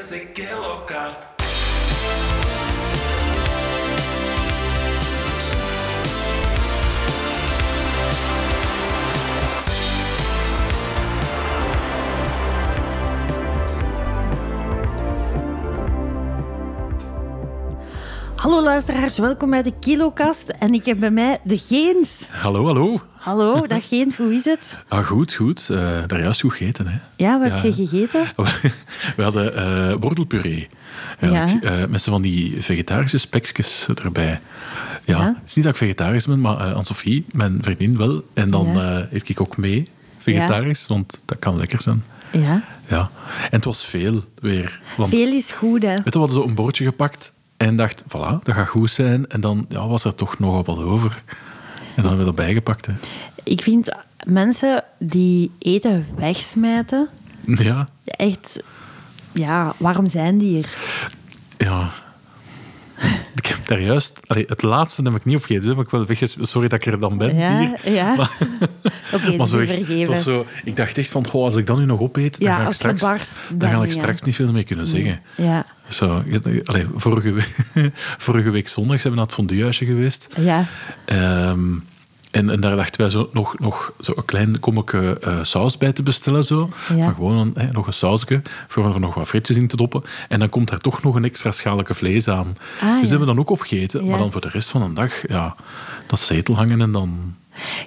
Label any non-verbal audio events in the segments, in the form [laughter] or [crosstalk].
ese Kilocast. Hallo luisteraars, welkom bij de Kilokast. En ik heb bij mij de Geens. Hallo, hallo. Hallo, dag Geens, hoe is het? Ah, goed, goed. Eh, daar juist goed gegeten, hè. Ja, wat Ja. heb je gegeten? [laughs] We hadden eh wortelpuree. eigenlijk. Eh, met zo van die vegetarische spekjes erbij. Ja, Ja. het is niet dat ik vegetarisch ben, maar eh Anne-Sophie, mijn vriendin, wel. En dan Ja. eh, eet ik ook mee, vegetarisch, want dat kan lekker zijn. Ja. Ja. En het was veel weer. Want, Veel is goed, hè? Weet je, we hadden zo een bordje gepakt en dacht, voilà, dat gaat goed zijn. En dan ja, was er toch nogal wat over. En dan hebben we dat bijgepakt, hè. Ik vind mensen die eten wegsmijten, Ja, echt... Ja, waarom zijn die er? Ja. [laughs] Ik heb daar juist... Allee, het laatste heb ik niet opgegeten, hè, maar ik wel weg... Sorry dat ik er dan ben Ja, hier. [laughs] ja. Oké, maar dat zo is echt, het vergeven. was zo, ik dacht echt van, goh, als ik dat nu nog opeet, Ja, dan ga ik als je straks, barst, dan dan ga ik ja. straks niet veel meer kunnen zeggen. Ja, Zo, ik- allee, vorige, we- [laughs] vorige week zondag zijn we naar het fonduehuisje geweest. ja. Ehm, en, en daar dachten wij zo nog, nog zo een klein kommetje eh, saus bij te bestellen. Zo. Ja. Van gewoon een, hè, nog een sausje voor er nog wat frietjes in te doppen. En dan komt daar toch nog een extra schaalke vlees aan. Ah, dus ja. dat hebben we dan ook opgegeten. Ja. Maar dan voor de rest van de dag, ja, dat zetel hangen en dan...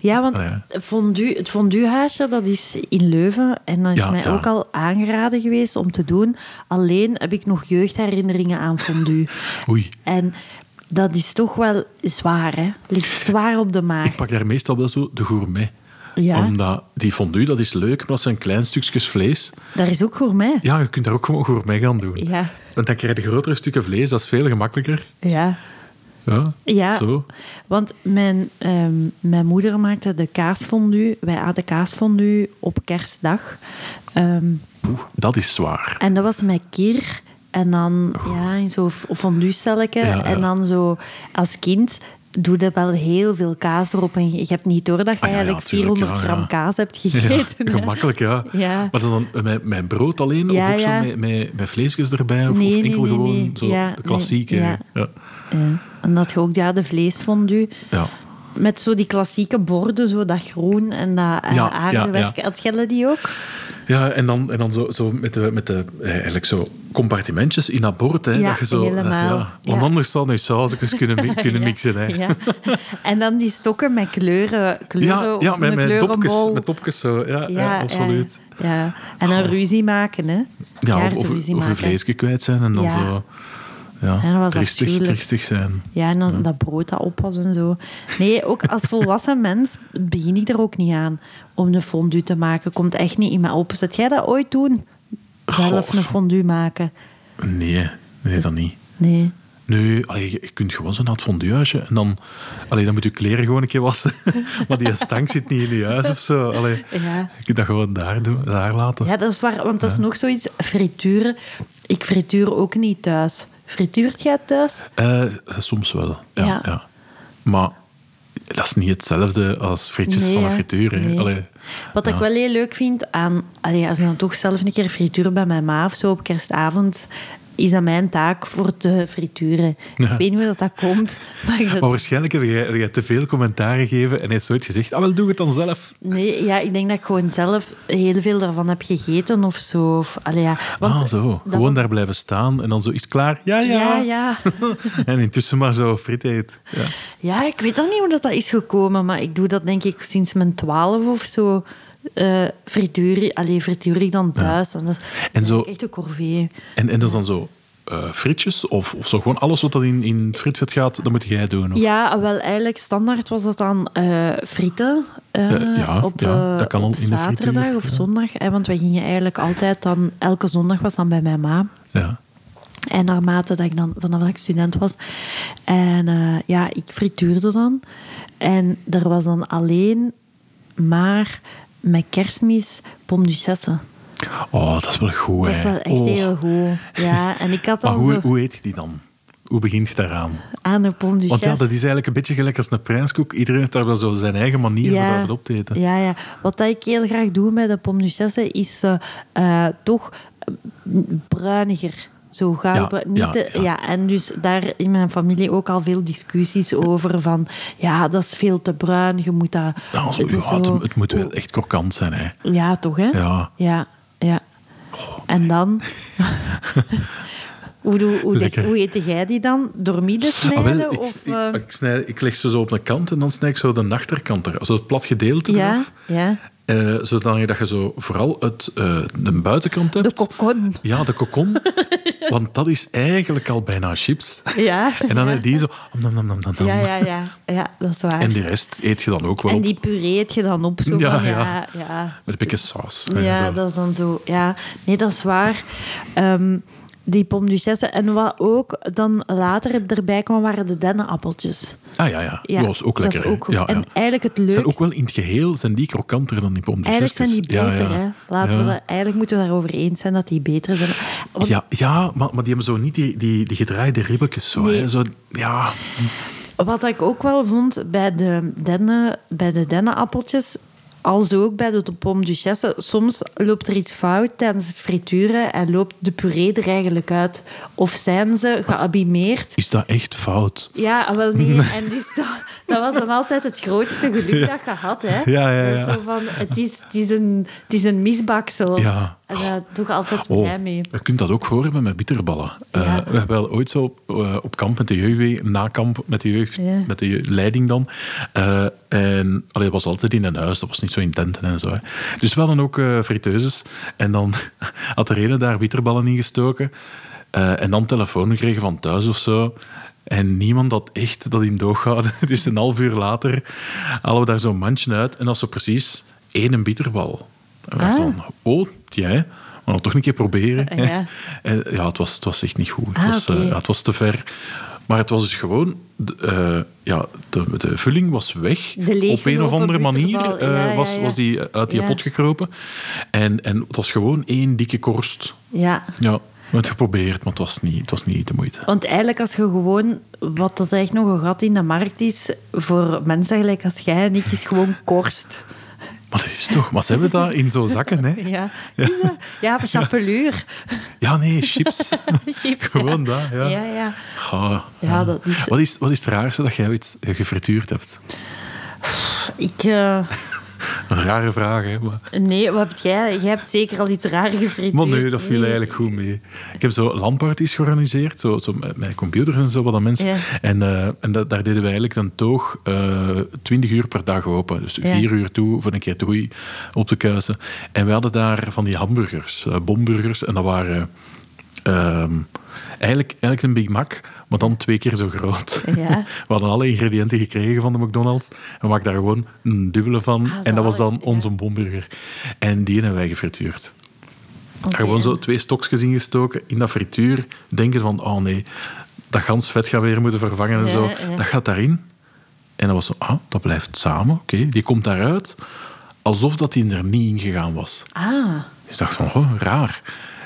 Ja, want Ah, Ja. fondue, het fonduehuisje, dat is in Leuven. En dat is Ja, mij ja. ook al aangeraden geweest om te doen. Alleen heb ik nog jeugdherinneringen aan fondue. [laughs] Oei. En dat is toch wel zwaar, hè? Ligt zwaar op de Ik maag. pak daar meestal wel zo de gourmet. Ja. Omdat die fondue, dat is leuk, maar dat zijn klein stukjes vlees. Daar is ook voor mij. Ja, je kunt daar ook gewoon gourmet gaan doen. Ja. Want dan krijg je grotere stukken vlees, dat is veel gemakkelijker. Ja. Ja, Ja, zo. want mijn, ehm, mijn moeder maakte de kaasfondue. Wij aten kaasfondue op kerstdag. Ehm, Oeh, dat is zwaar. En dat was met kier. En dan ja, in zo'n f- fonduestelletje. Ja, ja. En dan zo als kind doe je wel heel veel kaas erop. En je hebt niet door dat je Ah, ja, ja, eigenlijk tuurlijk, 400 ja, ja. gram kaas hebt Ja, gegeten. hè. [laughs] gemakkelijk, ja. Ja. Maar dat is dan eh, mijn, mijn brood alleen, Ja, of ook ja. zo met, met, met vleesjes erbij, of, Nee, of nee, enkel nee, gewoon nee. Zo, Ja, de klassieke. nee, ja. ja. Ja. Ja. En dat je ook ja, de vleesfondue... Ja. Met zo die klassieke borden, zo dat groen en dat eh, Ja, ja, aardewerk. ja. Had jij die ook? en dan, en dan zo, zo met de, met de eh, eigenlijk zo compartimentjes in dat bord, hè, Ja, dat je zo... eh, helemaal, ja. Want ja. anders zou je sausjes kunnen, mi- [laughs] [laughs] kunnen Ja, mixen, hè. ja. [laughs] En dan die stokken met kleuren. kleuren Ja, ja, op met, een met, kleurenbol. topjes, met topjes zo, ja, ja, Eh, absoluut. Ja, ja. En dan ruzie maken, hè? Ja, Kaarten of, of, ruzie of je maken. vleesje kwijt zijn en dan Ja. zo... Ja, Ja, dat was tristig, afschuwelijk. tristig zijn. Ja, en dan dat brood dat op was en zo. Nee, ook als volwassen mens begin ik er ook niet aan om een fondue te maken. Komt echt niet in mij op. Zou jij dat ooit doen? Zelf Goh. een fondue maken? Nee, nee, dat niet. Nee. Nee, allee, je, je kunt gewoon zo naar het fonduehuisje en dan, allee, dan moet je kleren gewoon een keer wassen. [laughs] maar die stank zit niet in je huis of zo. Allee, Ja. Je kunt dat gewoon daar, doen, daar laten. Ja, dat is waar, want dat is nog zoiets. Frituren. Ik frituur ook niet thuis. Frituurt jij thuis? Eh, soms wel, ja, Ja. ja. Maar dat is niet hetzelfde als frietjes van een hè. frituur. hè. Nee. Allee, Wat ik ja. wel heel leuk vind aan... allee, als ik dan toch zelf een keer frituur bij mijn ma of zo op kerstavond... Is dat mijn taak voor te frituren? Ik Ja. weet niet hoe dat, dat komt. [laughs] Maar ik dat... Maar waarschijnlijk heb jij, heb jij te veel commentaar gegeven en heeft ooit gezegd, ah wel, doe het dan zelf. Nee, ja, ik denk dat ik gewoon zelf heel veel daarvan heb gegeten of zo. Of, allee, ja. Want ah, zo. dat Gewoon was- daar blijven staan en dan zo, is het klaar? Ja, Ja, ja. ja. [laughs] en intussen maar zo friet eet. Ja. Ja, ik weet dan niet hoe dat, dat is gekomen, maar ik doe dat denk ik sinds mijn twaalf of zo. Eh frituur, allee, frituur ik dan thuis. Want dat is En zo- echt een corvée. En, en dat is dan zo eh, frietjes of, of zo gewoon alles wat dat in, in het frietvet gaat, dat moet jij doen. Of, Ja, ah, wel eigenlijk standaard was dat dan eh, frieten. eh, Eh, ja, op, ja, eh, dat kan al op in de zaterdag frituur, of ja. zondag. Hè, want wij gingen eigenlijk altijd dan, elke zondag was dan bij mijn ma. ja. En naarmate dat ik dan, vanaf dat ik student was. En eh, ja, ik frituurde dan. En er was dan alleen maar met kerstmis pom duchesse. Oh, dat is wel goed, Dat is hè. wel echt Oh. heel goed. Ja, en ik had Maar dan hoe, zo hoe eet je die dan? Hoe begint je daaraan? aan de pom Want duchesse. ja, dat is eigenlijk een beetje gelijk als een prijskoek. Iedereen heeft daar wel zo zijn eigen manier om daarvan op te eten. Ja, ja. Wat dat ik heel graag doe met de pommes duchesse is eh, eh, toch eh, bruiniger. Zo gauw. Ja, be- niet ja, te- ja. ja, en dus daar in mijn familie ook al veel discussies over. Van ja, dat is veel te bruin, je moet dat. Ja, zo, het is ja, het, zo- het moet wel echt krokant zijn, hè. Ja, toch hè? Ja. Ja, ja. En [laughs] dan? hoe, doe, hoe, dek, Lekker. hoe eet jij die dan? Door midden Ah, snijden? wel, ik, of, ik, eh, ik snij, ik leg ze zo op een kant en dan snij ik zo de achterkant er, zo het plat gedeelte ja, eraf. ja. Eh, zodat je- dat je zo vooral het, eh, de buitenkant hebt. De kokon. Ja, de [laughs] kokon. Want dat is eigenlijk al bijna chips. Ja. En dan heb je die zo... nam, nam, nam, nam, nam. Ja, ja, ja. Ja, dat is waar. En de rest eet je dan ook wel En op. die puree eet je dan op zo Ja, van, ja, ja. ja. Met een beetje saus. Ja, Zo. dat is dan zo. Ja, nee, dat is waar. Ehm, die pomme duchesse. En wat ook dan later erbij kwam, waren de dennenappeltjes. Ah ja, ja. Ja, dat is ook dat is lekker. hè. ook goed. ja, ja. En eigenlijk het Zijn ook leukste... wel in het geheel zijn die krokanter dan die pommes Eigenlijk zijn die frites. beter, ja, ja. hè. Laten ja. we dat, eigenlijk moeten we daarover eens zijn dat die beter zijn. Want Ja, ja maar, maar die hebben zo niet die, die, die gedraaide ribbetjes. Zo, Nee. hè. Zo, ja, Wat ik ook wel vond bij de, dennen, bij de dennenappeltjes, als ook bij de pomme duchesse, soms loopt er iets fout tijdens het frituren en loopt de puree er eigenlijk uit. Of zijn ze geabimeerd? is dat echt fout? Ja, ah, wel nee. En dus dat, dat was dan altijd het grootste geluk dat je had. Hè? Ja, ja, ja. Dat is Zo van, het, is, het, is een, het is een misbaksel. Ja. En daar doe ik altijd blij Oh, mee. je kunt dat ook voor hebben met bitterballen. Eh, Ja. we hebben wel ooit zo op, eh, op kamp met de jeugd, na kamp met de jeugd, Ja. met de jeugd- leiding dan. Eh, en allee, dat was altijd in een huis, dat was niet zo in tenten en zo. Hè. Dus we hadden ook eh, friteuses. En dan [laughs] had er ene daar bitterballen in gestoken. Eh, en dan telefoon gekregen van thuis of zo. En niemand had echt dat in doog gehouden. [laughs] Dus een half uur later halen we daar zo'n mandje uit. En dat is zo precies één bitterbal. En we dachten Ah. van, oh, jij. Maar dan toch een keer proberen. Ja. hè. [laughs] En, ja, het was, het was echt niet goed. Het, Ah, was, eh, oké. ja, het was te ver. Maar het was dus gewoon... de, eh, ja, de, de vulling was weg. De Op een of leeggelopen andere manier bitterbal. eh, Ja, ja, was, ja. was die uit die Ja. pot gekropen. En, en het was gewoon één dikke korst. Ja. Ja, we hebben het geprobeerd, maar het was niet, het was niet de moeite. Want eigenlijk als je gewoon, wat dat echt nog een gat in de markt is, voor mensen gelijk als jij en ik, is gewoon [laughs] korst. Maar dat is toch... Maar ze hebben dat in zo'n zakken, hè? Ja, is dat? ja of chapeluur. [laughs] Ja, nee, chips. Chips, Gewoon ja. dat, ja. Ja, ja. Goh, Ja, dat is- Wat, is, wat is het raarste dat jij ooit eh, gefrituurd hebt? Ik, eh, Een rare vraag, hè? Maar... nee, wat heb jij? Jij hebt zeker al iets raar gefrituurd. Maar nee, dat viel Nee. eigenlijk goed mee. Ik heb zo landparties georganiseerd, zo, zo met, met computers en zo, wat dan mensen. Ja. En, eh, en dat, daar deden we eigenlijk een toog eh 20 uur per dag open. Dus vier uur toe voor een keer toei op te kuisen. En we hadden daar van die hamburgers, eh, bomburgers. En dat waren ehm, eigenlijk, eigenlijk een Big Mac, maar dan twee keer zo groot. Ja. [laughs] We hadden alle ingrediënten gekregen van de McDonald's. En we maakten daar gewoon een dubbele van. en dat was dan Ah, zalig, ja. onze bomburger. En die hebben wij gefrituurd. Oké. Gewoon zo twee stokjes ingestoken in dat frituur. Denken van, oh nee, dat gans vet gaan we weer moeten vervangen en Ja, zo. ja. Dat gaat daarin. En dat was zo, ah, dat blijft samen. Oké, die komt daaruit. Alsof dat die er niet ingegaan was. Ah, Dus ik dacht van, oh, raar.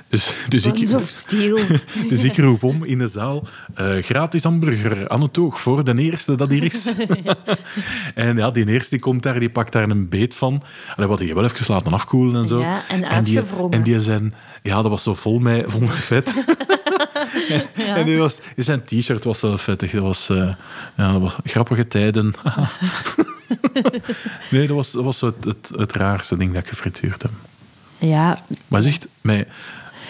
Dus, dus ik... Guns of Steel. [laughs] Dus ik roep om in de zaal, eh, gratis hamburger aan het oog voor de eerste dat hier [laughs] is. en ja, die eerste die komt daar, die pakt daar een beet van. En wat je wel even laten afkoelen en zo. Ja, en En uitgewrongen. die, en die zijn, ja, dat was zo vol met, vol met [laughs] vet. En die was, die zijn t-shirt was wel vettig. Dat was, eh, ja, dat was grappige tijden. [laughs] nee, dat was, dat was het, het, het raarste ding dat ik gefrituurd heb. ja. Maar zegt, met,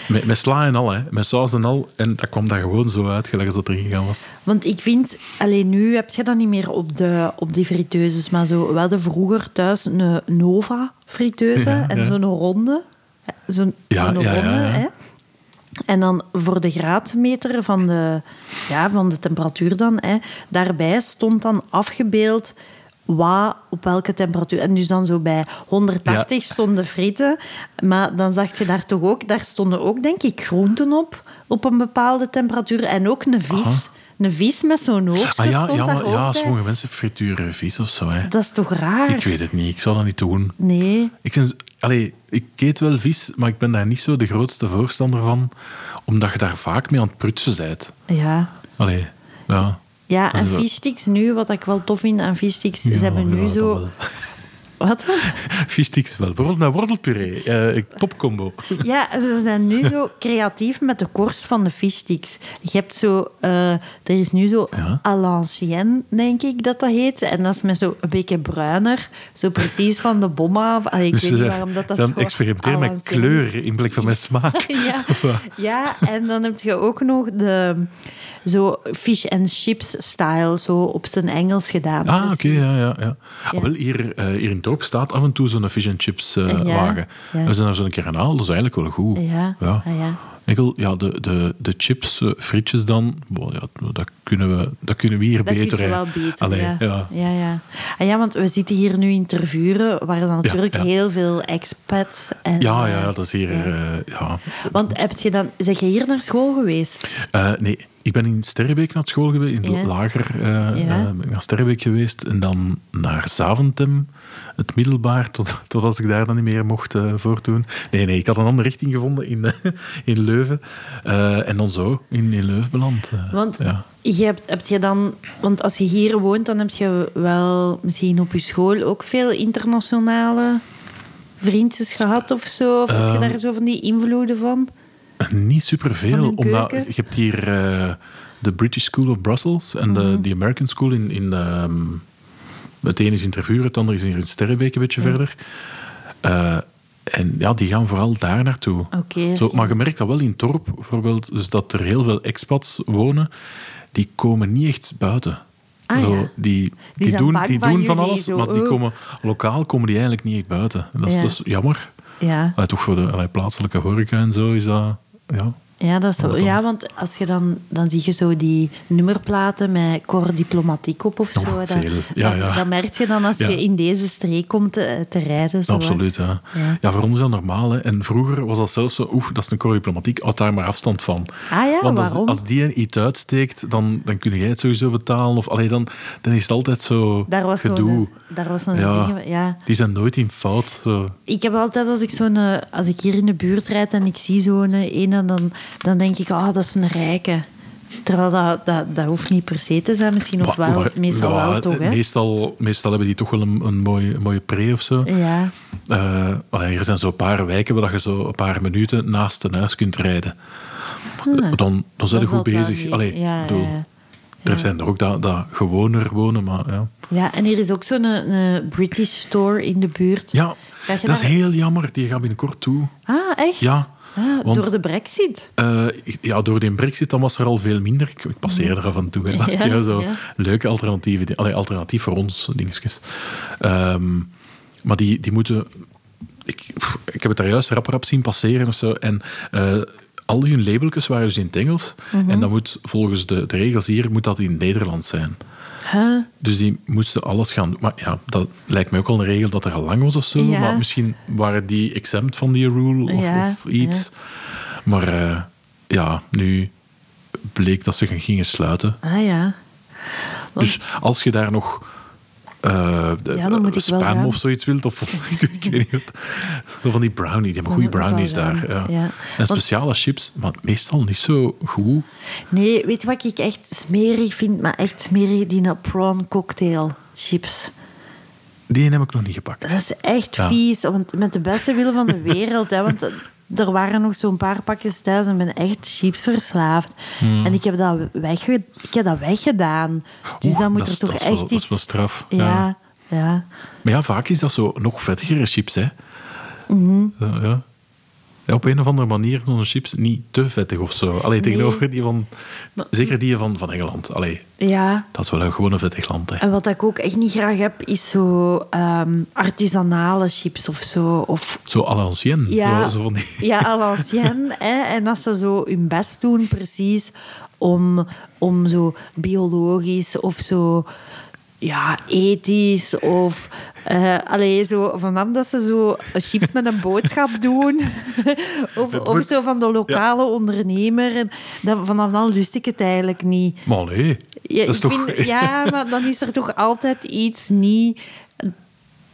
met, met sla en al, hè. met saus en al. En dat kwam daar gewoon zo uit, gelijk als dat erin gegaan was. Want ik vind, alleen nu heb je dat niet meer op, de, op die friteuses, maar zo, we hadden vroeger thuis een Nova-friteuze Ja, en ja. zo'n ronde. Zo'n Ja, zo'n ja, ja, ronde, ja. hè. En dan voor de graadmeter van de, ja, van de temperatuur dan, hè, daarbij stond dan afgebeeld wat op welke temperatuur. En dus dan zo bij 180 stonden frieten, maar dan zag je daar toch ook, daar stonden ook denk ik groenten op, op een bepaalde temperatuur. En ook een vis. Een vis met zo'n hoofdje Ah ja, stond ja, daar maar, ook ja bij. sommige mensen frituren vies of zo. Hè. Dat is toch raar? Ik weet het niet, ik zou dat niet doen. Nee. Ik, ben, allee, ik eet wel vis, maar ik ben daar niet zo de grootste voorstander van. Omdat je daar vaak mee aan het prutsen bent. Ja. Allee, ja. Ja, Dat en is wel- vissticks nu, wat ik wel tof vind aan vissticks, Ja, ze hebben ja, nu dat zo... wel. Wat? dan? Viestieks wel. [laughs] Bijvoorbeeld met wortelpuree. Eh, topcombo. Ja, ze zijn nu zo creatief met de korst van de fishsticks. Je hebt zo, eh, er is nu zo Ja. à l'ancienne, denk ik dat dat heet. En dat is met zo een beetje bruiner. Zo precies van de bomma. af. Allee, ik weet niet eh, waarom dat dat dan zo experimenteer à met l'ancienne is. [laughs] kleur in blik van mijn smaak. [laughs] Ja, ja, en dan heb je ook nog de zo fish and chips style, zo op zijn Engels gedaan. Ah, oké, precies. ja, ja, ja. Ah, Ja. Wel, hier, eh, hier in het dorp staat af en toe zo'n fish and chips eh, Ja, wagen. ja. We zijn er zo'n keer aan gehaald, dat is eigenlijk wel goed. Ja, ja. ah, ja. Enkel, ja, de, de, de chips, eh, frietjes dan, boh, ja, dat, kunnen we, dat kunnen we hier Dat beter. kun je hè. wel beter, Allee, ja. ja. Ja, ja. Ah, ja, want we zitten hier nu in Tervuren, waar dan natuurlijk ja. heel veel expats... En, Ja, eh, ja, dat is hier... ja. eh, ja. Want heb je dan, zeg je hier naar school geweest? Eh, nee, ik ben in Sterrebeek naar school geweest. In Ja. het lager eh, Ja. eh, ben ik naar Sterrebeek geweest. En dan naar Zaventem, het middelbaar, tot, tot als ik daar dan niet meer mocht eh, voortdoen. Nee, nee, ik had een andere richting gevonden in, [laughs] eh, in Leuven. Eh, en dan zo in, in Leuven beland. eh. Want ja. je hebt, heb je dan, want als je hier woont, dan heb je wel misschien op je school ook veel internationale vriendjes gehad of zo. Of had je Ehm. daar zo van die invloeden van? Niet Van superveel, hun omdat keuken? je hebt hier eh, de British School of Brussels en Mhm. de de American School in... in ehm, het ene is in Tervuren, het andere is hier in Sterrebeek een beetje verder. Eh, en ja, die gaan vooral daar naartoe. Oké, dus- Zo, slim. maar je merkt dat wel in Torp bijvoorbeeld, dus dat er heel veel expats wonen, die komen niet echt buiten. Ah, Zo, ja. die, die, zijn doen, bang die van doen van jullie, alles, zo, maar die oh. komen, lokaal komen die eigenlijk niet echt buiten. En Dat is, Ja. dat is jammer. Ja. Allee, Ah, toch voor de allee, plaatselijke horeca en zo is dat... Ja. Ja, dat is zo. Relevant. ja, want als je dan, dan zie je zo die nummerplaten met Cor Diplomatiek op of zo. Oh, dat, veel. Ja, dat- ja. dat merk je dan als Ja. je in deze streek komt eh, te, te rijden. Zo, hè. Absoluut, ja. Ja. ja. voor ons is dat normaal. Hè. En vroeger was dat zelfs zo, oeh, dat is een korreldiplomatiek, houd daar maar afstand van. Ah ja, Want als, waarom? als die een iets uitsteekt, dan, dan kun jij het sowieso betalen. Of, allee, dan, dan is het altijd zo Daar was zo'n- eh, gedoe. daar was zo'n ding, ja. Die zijn nooit in fout. Zo. Ik heb altijd, als ik, zo'n, eh, als ik hier in de buurt rijd en ik zie zo'n eh, ene, dan, dan denk ik, ah, dat is een rijke. Terwijl dat, dat, dat hoeft niet per se te zijn, misschien, of Maar- wel, maar- meestal ja, wel toch, hè? Meestal, meestal hebben die toch wel een, een mooie, een mooie pre of zo. Ja, Eh, allee, er zijn zo'n paar wijken waar je zo een paar minuten naast een huis kunt rijden. Eh, Dan, dan zijn dat ze goed Ah, valt wel bezig. mee. Allee, ja, bedoel, ja, ja. Er zijn er ook dat, dat gewoner wonen, maar ja. Ja, en hier is ook zo'n een British store in de buurt. Ja, Ga dat je is daar- heel jammer. Die gaan binnenkort toe. Ah, echt? Ja, Ah, want- Door de brexit? Eh, ja, door die brexit dan was er al veel minder. Ik, ik passeer er af en toe. hè. Maar Ja, ja, zo ja. Leuke alternatieven. di- Allee, alternatief voor ons, dingetjes. Ehm, maar die, die moeten... Ik, pff, ik heb het daar juist rap, rap zien passeren of zo. En eh, al hun labeltjes waren dus in het Engels. Mhm. En dan moet volgens de, de regels hier moet dat in het Nederlands zijn. Huh? Dus die moesten alles gaan doen. Maar ja, dat lijkt mij ook al een regel dat er al lang was of zo. Ja. Maar misschien waren die exempt van die rule of, Ja, of iets. Maar eh, ja, nu bleek dat ze gaan- gingen sluiten. Ah ja. Want- Dus als je daar nog eh de- Ja, dan moet ik wel spam gaan. of zoiets wilt, of [laughs] ik, weet niet wat. Zo van die brownie, die hebben goede moet ik wel brownies gaan. daar. Ja. Ja. En Want- speciale chips, maar meestal niet zo goed. Nee, weet je wat ik echt smerig vind? Maar echt smerig, die prawn cocktail chips. Die heb ik nog niet gepakt. Dat is echt Ja. vies, want met de beste wil [laughs] van de wereld. hè, want er waren nog zo'n paar pakjes thuis en ik ben echt chips verslaafd. Hmm. En ik heb dat, wegge ik heb dat weggedaan. Dus Oeh, dan moet dat er is- toch dat is echt wel- iets... dat is wel straf, ja. Ja, ja. Maar ja, vaak is dat zo nog vettigere chips, hè. Mhm. Zo, ja. Ja, op een of andere manier zijn onze chips niet te vettig of zo. Allee, tegenover die van... Maar- zeker die van, van Engeland. Allee, ja. dat is wel een gewoon een vettig land, hè. En wat ik ook echt niet graag heb, is zo ehm, artisanale chips of zo. Of, Zo à l'ancienne. ja, Zo, zo van die... ja, à l'ancienne. hè. En als ze zo hun best doen, precies, om, om zo biologisch of zo ja, ethisch of... eh allee, zo, vanaf dat ze zo chips met een [laughs] boodschap doen. of, Het of moet- zo van de lokale ondernemer. En dan, vanaf dan lust ik het eigenlijk niet. [laughs] Maar allee, Ja, dat ik is toch... vind, ja, maar dan is er toch altijd iets niet...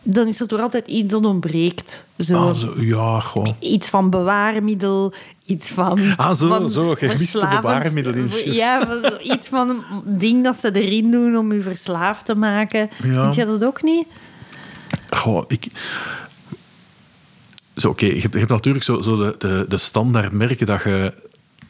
Dan is er toch altijd iets dat ontbreekt. Zo. Ah, zo, [laughs] ja, gewoon... Iets van bewaarmiddel, iets van... Ah, zo, van zo, gemiste verslavend- bewaarmiddel in chips. Ja, van zo- iets van een ding dat ze erin doen om u verslaafd te maken. Ja. Vind jij dat ook niet? Goh, ik... Zo, oké, je, hebt, je hebt natuurlijk zo, zo de, de, de standaardmerken dat je,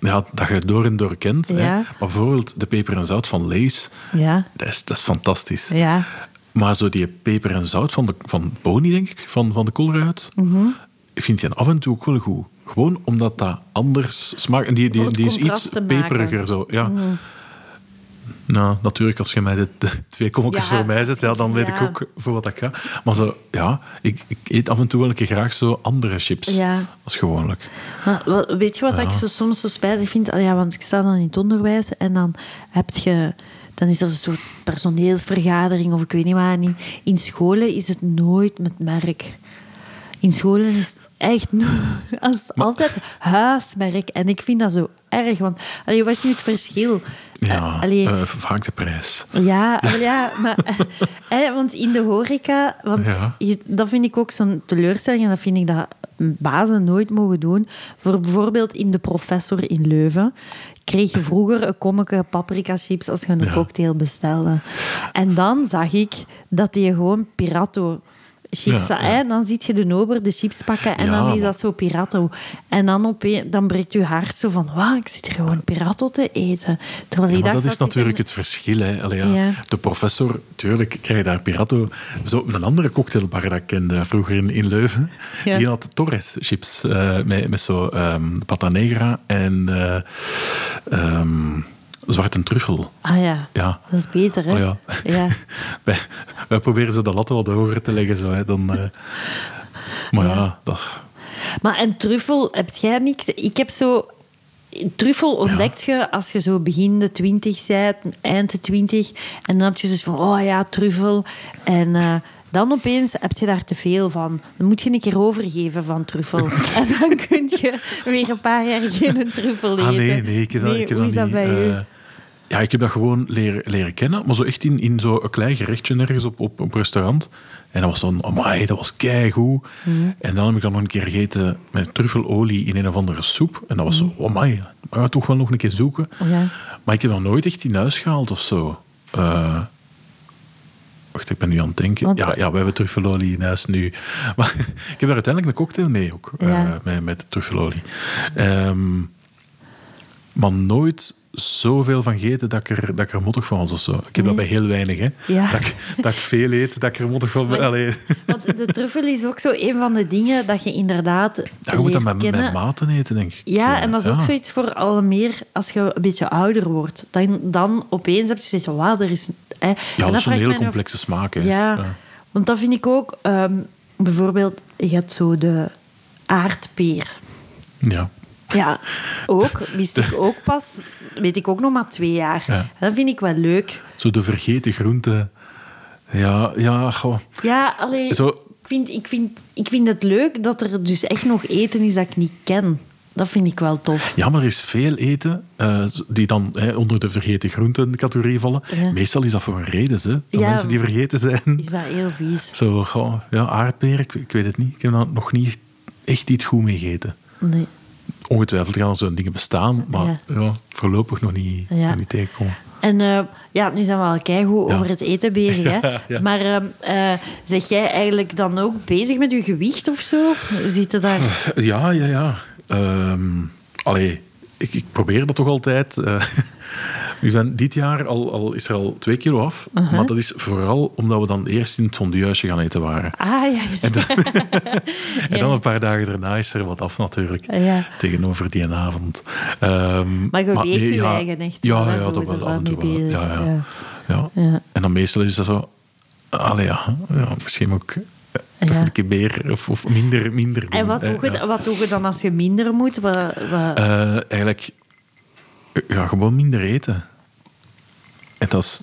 ja, dat je door en door kent. Hè? Ja. Maar bijvoorbeeld de peper en zout van Lees, Ja, dat is, dat is fantastisch. ja. Maar zo die peper en zout van, de, van Boni, denk ik, van, van de koolruit, Mhm. ik vind die af en toe ook wel goed. Gewoon omdat dat anders smaakt. En die, Voor die, het die is contrast iets te maken. Mhm. peperiger. Zo. Ja. Nou, natuurlijk, als je mij de, de twee konkjes Ja, voor mij zet, ja, dan weet precies, ik ja. ook voor wat ik ga. Maar zo, ja, ik, ik eet af en toe wel een keer graag zo andere chips. Ja. Als gewoonlijk. Maar wat- weet je wat ik zo, soms zo spijtig vind? Ah Ja, want ik sta dan in het onderwijs en dan heb je... Dan is er een soort personeelsvergadering of ik weet niet wat. En in, in scholen is het nooit met merk. In scholen is het echt no- [laughs] als het altijd huismerk. En ik vind dat zo erg. Want allee, wat is nu het verschil? Ja, Eh, allee, eh, vaak de prijs. ja, [laughs] wel ja, maar hè, want in de horeca, want Ja. je- dat vind ik ook zo'n teleurstelling en dat vind ik dat bazen nooit mogen doen. Voor bijvoorbeeld in de professor in Leuven kreeg je vroeger een kommetje paprika chips als je een Ja. cocktail bestelde. En dan zag ik dat die gewoon Pirato chips, Ja, hè, ja. dan ziet je de ober de chips pakken en Ja, dan maar- is dat zo Pirato. En dan, opeen- dan breekt je hart zo van, wauw, ik zit hier gewoon Pirato te eten. Terwijl Ja, ik maar dacht dat is ik een- natuurlijk het verschil. Hè. Allee, ja. Ja. De professor, tuurlijk krijg je daar Pirato. Zo, een andere cocktailbar dat ik kende vroeger in, in Leuven, Ja. die had Torres chips eh, met, met zo ehm pata negra en eh, ehm, zwarte truffel. Ah ja. Ja. Dat is beter, hè? Oh ja. [laughs] ja. [laughs] wij, wij proberen zo de lat wat hoger te leggen. Zo, hè, dan, eh. Maar ja, dat, Maar en truffel, heb jij niks? Ik heb zo... Truffel ontdekt je als je zo begin de twintig bent, eind de twintig. En dan heb je dus van, oh ja, truffel. En eh, dan opeens heb je daar te veel van. Dan moet je een keer overgeven van truffel. [laughs] en dan kun je weer een paar jaar geen truffel eten. Ah, nee, nee, ik heb dat, ik heb hoe is dat dat niet. bij eh, u? ja, ik heb dat gewoon leren, leren kennen, maar zo echt in, in zo'n klein gerechtje ergens op, op een restaurant. En dat was dan, amai, dat was keigoed. Mhm. En dan heb ik dan nog een keer gegeten met truffelolie in een of andere soep. En dat was zo, amai, maar toch wel nog een keer zoeken. Mhm. Oh, Ja. Maar ik heb dat nooit echt in huis gehaald of zo. Eh, wacht, ik ben nu aan het denken. Want- ja, ja, we hebben truffelolie in huis nu. [laughs] Maar ik heb daar uiteindelijk een cocktail mee ook, eh, Ja. met, met truffelolie. Ehm maar nooit zoveel van gegeten dat ik er, dat ik er mottig van was of zo. Ik heb dat bij heel weinig, hè. Ja. Dat, ik, dat ik veel eet, dat ik er mottig van ben. Maar- Allee. Want de truffel is ook zo een van de dingen dat je inderdaad Ja, je moet dat leert met, met kennen. maten eten, denk ik. Ja, en dat is ook Ja. zoiets voor al meer als je een beetje ouder wordt. Dan, dan opeens heb je zoiets van, wauw, er is... Hè. En Ja, dan dat is een vraag ik hele mij nu af- complexe smaak, hè. Ja, want dat vind ik ook... ehm, bijvoorbeeld, je hebt zo de aardpeer. ja. Ja, ook. Wist ik ook pas, weet ik ook nog maar twee jaar. Ja. En Dat vind ik wel leuk. Zo de vergeten groente. Ja, ja, goh. Ja, alleen... Zo- Ik, vind, ik, vind, ik vind het leuk dat er dus echt nog eten is dat ik niet ken. Dat vind ik wel tof. Ja, maar er is veel eten eh, die dan hè, onder de vergeten groenten categorie vallen. Ja. Meestal is dat voor een reden, hè. Dat Ja. mensen die vergeten zijn. Is dat heel vies? Zo, goh, ja, aardbeer, ik, ik weet het niet. Ik heb daar nog niet echt iets goed mee gegeten. Nee. Ongetwijfeld gaan er zo'n dingen bestaan, maar ja. Ja. voorlopig nog niet, Ja. nog niet tegenkomen. En eh, ja, nu zijn we al keigoed Ja. over het eten bezig, hè? [laughs] Ja, ja. Maar ehm, eh, zeg jij eigenlijk dan ook bezig met je gewicht of zo? Zit er daar... Ja, ja, ja. Ehm, allee, ik, ik probeer dat toch altijd. Eh, [laughs] ik ben dit jaar al, al, is er al twee kilo af. Maar dat is vooral omdat we dan eerst in het fonduehuisje gaan eten waren. Ah, ja, ja. En dan een paar dagen daarna is er wat af natuurlijk. Eh, Ja. Tegenover die avond. Ehm, Maar je weegt nee, je ja. eigen echt wel, Ja, hè? ja, Zo dat is er wel. wel Af en toe mee wel. bezig, Ja, ja. ja. Ja. Ja. En dan meestal is dat zo... Allee, ja, ja, misschien ook eh, Ja. een keer meer of, of minder, minder En doen, wat hè, doe, je, eh, ja. wat doe je dan als je minder moet? Wat, wat- Eh, eigenlijk, eh, ja, gewoon minder eten. En dat is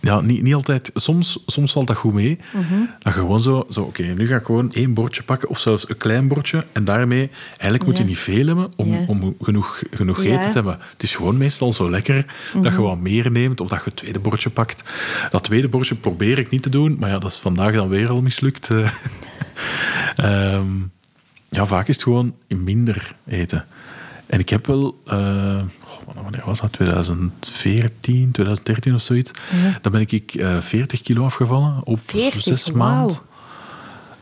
ja, niet, niet altijd. Soms, soms valt dat goed mee. Mhm. Dat je gewoon zo, zo oké, nu ga ik gewoon één bordje pakken of zelfs een klein bordje. En daarmee, eigenlijk moet je Ja. niet veel hebben om, Ja. om genoeg, genoeg gegeten Ja. Mhm. te hebben. Het is gewoon meestal zo lekker dat je wat meer neemt of dat je het tweede bordje pakt. Dat tweede bordje probeer ik niet te doen, maar ja, dat is vandaag dan weer al mislukt. Eh, [laughs] Ehm, ja, vaak is het gewoon minder eten. En ik heb wel, eh, goh, wanneer was dat? 2014, 2013 of zoiets. Dan ben ik eh 40 kilo afgevallen op 40, zes wauw. maanden.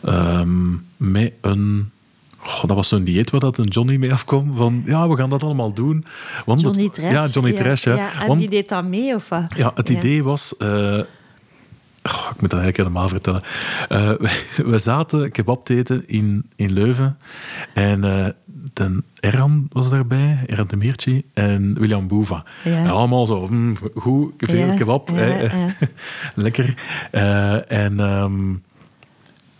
Ehm, met een... Goh, dat was zo'n dieet waar dat een Johnny mee afkwam. Van, ja, we gaan dat allemaal doen. Want het- Johnny Trash. Ja, Johnny Trash, ja. en Want- die deed dat mee, of wat? ja, het Ja. idee was. eh, goh, ik moet dat eigenlijk helemaal vertellen. Eh, [laughs] we, we zaten kebab te eten in, in Leuven. En eh den Erhan was daarbij, Erhan de Miertje en William Boeva. Ja. En allemaal zo, mm, goed, veel Ja, kebab. ja, hè. ja. [laughs] Lekker. Eh, en, ehm,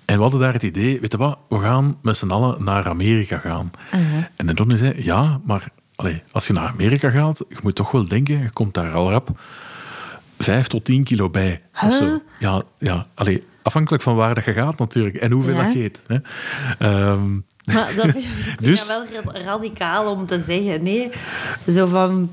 en we hadden daar het idee, weet je wat, we gaan met z'n allen naar Amerika gaan. Aha. En de Donnie zei, ja, maar allee, als je naar Amerika gaat, je moet toch wel denken, je komt daar al rap vijf tot tien kilo bij. Of Huh? zo. Ja, ja allee, afhankelijk van waar dat je gaat natuurlijk en hoeveel Ja. dat je eet. Hè. Ehm, Maar [laughs] dat vind ik Dus- wel ra- radicaal om te zeggen. Nee, zo van...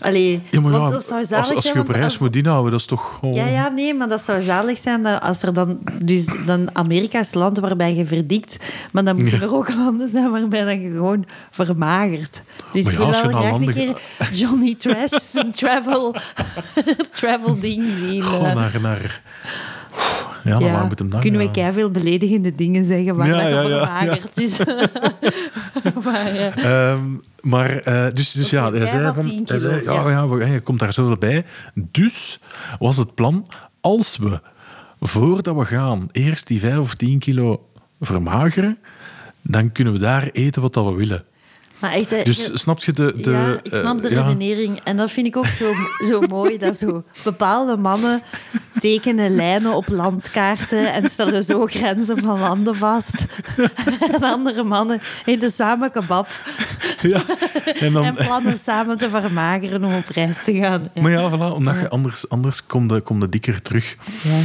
Allee, ja, maar want ja, dat zou als, zalig als zijn, je op want reis als- moet inhouden, dat is toch... gewoon- Ja, ja, nee, maar dat zou zalig zijn dat als er dan... Dus dan Amerika is het land waarbij je verdikt, maar dan moeten er ook landen zijn waarbij dat je gewoon vermagert. Dus Maar ik ja, wil als je wel naar graag een landen keer Johnny [laughs] Trash travel, [laughs] travel ding zien. Goh, eh. naar... naar ja, maar waar moet hem dan kunnen we gaan? veel beledigende dingen zeggen waar Ja, dat je ja, ja, ja. vermagert. Dus, maar, eh, Ehm, maar, eh, dus, dus Oké, ja, hij vijf à zei, tien van, hij kilo, zei ja, ja. ja. we- hè, je komt daar zoveel bij. Dus was het plan, als we, voordat we gaan, eerst die vijf of tien kilo vermageren, dan kunnen we daar eten wat dat we willen. [laughs] maar echt, eh, Dus je- snap je de... de ja, ik eh, snap de ja. redenering. En dat vind ik ook zo, zo mooi, dat zo bepaalde mannen tekenen lijnen op landkaarten en stellen zo grenzen van landen vast. [laughs] en andere mannen eten samen kebab [laughs] Ja, en [laughs] dan, en plannen samen te vermageren om op reis te gaan. Ja. maar ja, voilà, omdat je anders, anders komt de, kom de dikker terug. Ja.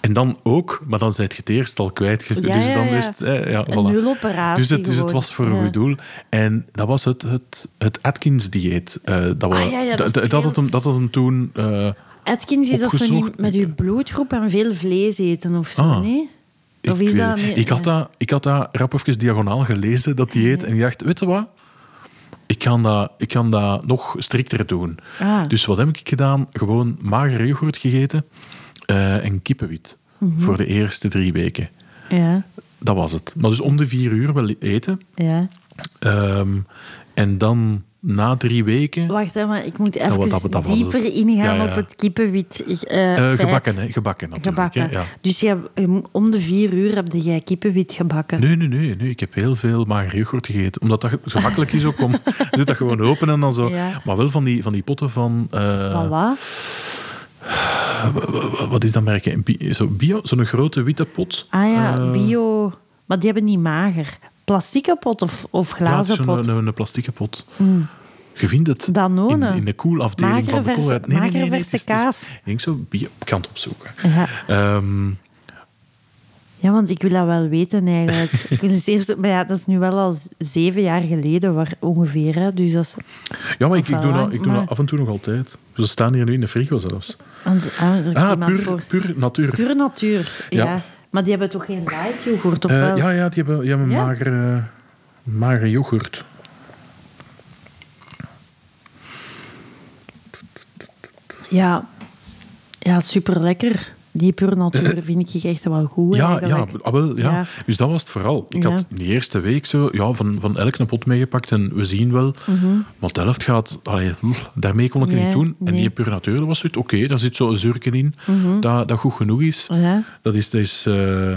En dan ook, maar dan zijt je het eerst al kwijt. [laughs] Dus Ja, ja, dan ja. is het... eh, ja, Een voilà. nuloperatie Dus het, dus het gewoon. was voor een Ja. goed doel. En dat was het, het, het Atkins-dieet. eh, dat, we- Ah, ja, ja, dat dat, is dat, veel- had hem, dat had hem toen... eh, Atkins is dat zo niet Opgezocht. met uw bloedgroep en veel vlees eten of zo, Ah. nee? ik, Of is weet dat het. meer- ik, had dat, ik had dat rap even diagonaal gelezen, dat dieet. En ik dacht, weet je wat? Ik ga dat, ik ga dat nog strikter doen. Ah. Dus wat heb ik gedaan? Gewoon magere yoghurt gegeten eh, en kippenwit. Mhm. Voor de eerste drie weken. Ja, Dat was het. Maar dus om de vier uur wel eten. ja. Ehm, en dan na drie weken... Wacht, hè, maar ik moet even wa- dat- dat was het. dieper ingaan Ja, ja. op het kippenwit. Ik, eh, Eh, feit. gebakken, hè? Gebakken natuurlijk. Gebakken. Hè? Ja. Dus je, hebt- je moet- om de vier uur heb jij kippenwit gebakken. Nee, nee, nee, nee. Ik heb heel veel mager yoghurt gegeten. Omdat dat gemakkelijk is [laughs] ook om... Je doet dat gewoon open en dan zo. Ja. Maar wel van die, van die potten van... eh, Van wat? wa- Wat is dat merk? hè? Bi- zo bio? Zo'n grote witte pot. Ah ja, Eh, bio. Maar die hebben niet mager. Plastieke pot of, of ja, het glazen is zo'n- eh, pot? Een, een, plastieke pot. Je vindt het Danone. in, in de koelafdeling Mm. Magere van de verse- koelheid. magere verse het is- het is- kaas. Ik denk zo... Bio, ik kan het opzoeken. Ja. Ehm, Ja, want ik wil dat wel weten [laughs] eigenlijk. ik wil eens eerst, maar ja, dat is nu wel al z- zeven jaar geleden waar, ongeveer. Hè, dus dat is ja, maar ik, Of ik doe, wel dat, lang, ik doe maar- dat af en toe nog altijd. Ze staan hier nu in de frigo zelfs. Want ah, er Ah, iemand puur, voor. puur natuur. Puur natuur, ja. Ja. Maar die hebben toch geen light yoghurt, of Eh, wel? ja, ja, die hebben, die hebben Ja? magere, magere yoghurt. Ja. Ja, superlekker. Die puur [laughs] natuur vind ik echt wel goed, Ja, ja, eigenlijk. ah, wel, ja. Ja. dus dat was het vooral. Ik Ja. had in de eerste week zo, ja, van, van elk een pot meegepakt en we zien wel. Maar de helft gaat, allee, oeh, daarmee kon ik het Ja, niet doen. En Mhm. nee. Mhm. die puur natuur, dat was zoiets, oké, daar zit zo'n zurken in, dat, dat goed genoeg is. Ja. Dat is, dat is eh,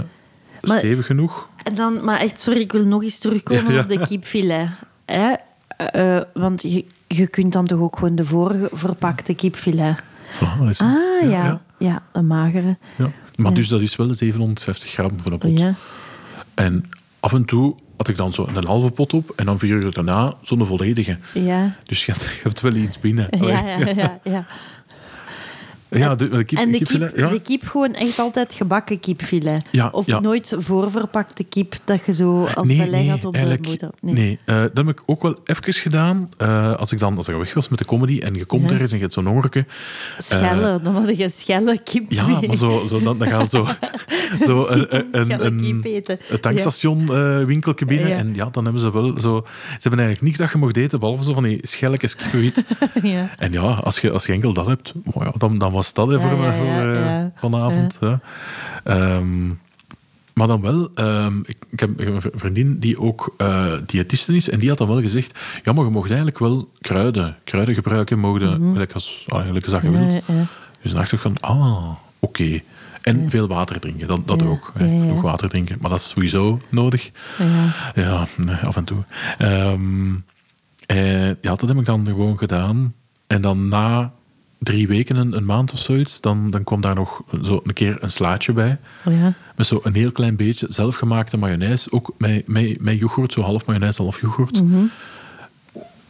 stevig genoeg. En dan, maar echt, sorry, ik wil nog eens terugkomen Ja, ja. op de kipfilet. Hè? Eh, eh, want je, je kunt dan toch ook gewoon de vorige verpakte kipfilet. Voilà, dat is hem. Ah, ja. Ja, ja, de magere. ja. Maar Ja. dus dat is wel 750 gram voor een pot. Ja. En af en toe had ik dan zo een halve pot op en dan vier uur daarna zo'n volledige. Ja. Dus je hebt, je hebt wel iets binnen. Ja, ja, ja, ja. Ja, de, de kip, en de kipfilet, kip, ja. de kip gewoon echt altijd gebakken kipfilet. Ja, of ja. nooit voorverpakte kip dat je zo als beleg had op de eigenlijk- moeder. Nee, eh, dat heb ik ook wel even gedaan. eh, als ik dan als ik weg was met de comedy en je komt Ja. ergens en je hebt zo'n hongerke. Schellen, dan had je schellen kip. Eh, Ja, maar zo, zo, dan, dan [laughs] gaan zo, zo Zie een, hem een, schelle een, kip eten. een tankstation eh, winkeltje binnen. Ja. En ja, dan hebben ze wel zo... Ze hebben eigenlijk niks dat je mocht eten, behalve zo van die schelletjes kippenwiet. [laughs] Ja. En ja, als je, als je enkel dat hebt, oh ja, dan, dan was dat hè, Ja, voor, ja, voor, ja, eh, ja. vanavond. Ja. Ehm, Maar dan wel, ehm, ik, ik heb een v- vriendin die ook eh diëtiste is. En die had dan wel gezegd, ja, maar je mag eigenlijk wel kruiden, kruiden gebruiken. Mogen gelijk als ah, eigenlijk zag je Mhm. Ja, wilt. ja, ja. Dus dan dacht ik van, ah, oké. En veel water drinken, dat, dat Ja, ook. hè. ja, ja. Genoeg water drinken, maar dat is sowieso nodig. Ja. Ja, nee, af en toe. Ehm, eh, ja, dat heb ik dan gewoon gedaan. En dan na drie weken, een, een maand of zoiets, dan, dan kwam daar nog zo een keer een slaatje bij. ja. Met zo'n heel klein beetje zelfgemaakte mayonaise. Ook met, met, met yoghurt, zo half mayonaise, half yoghurt.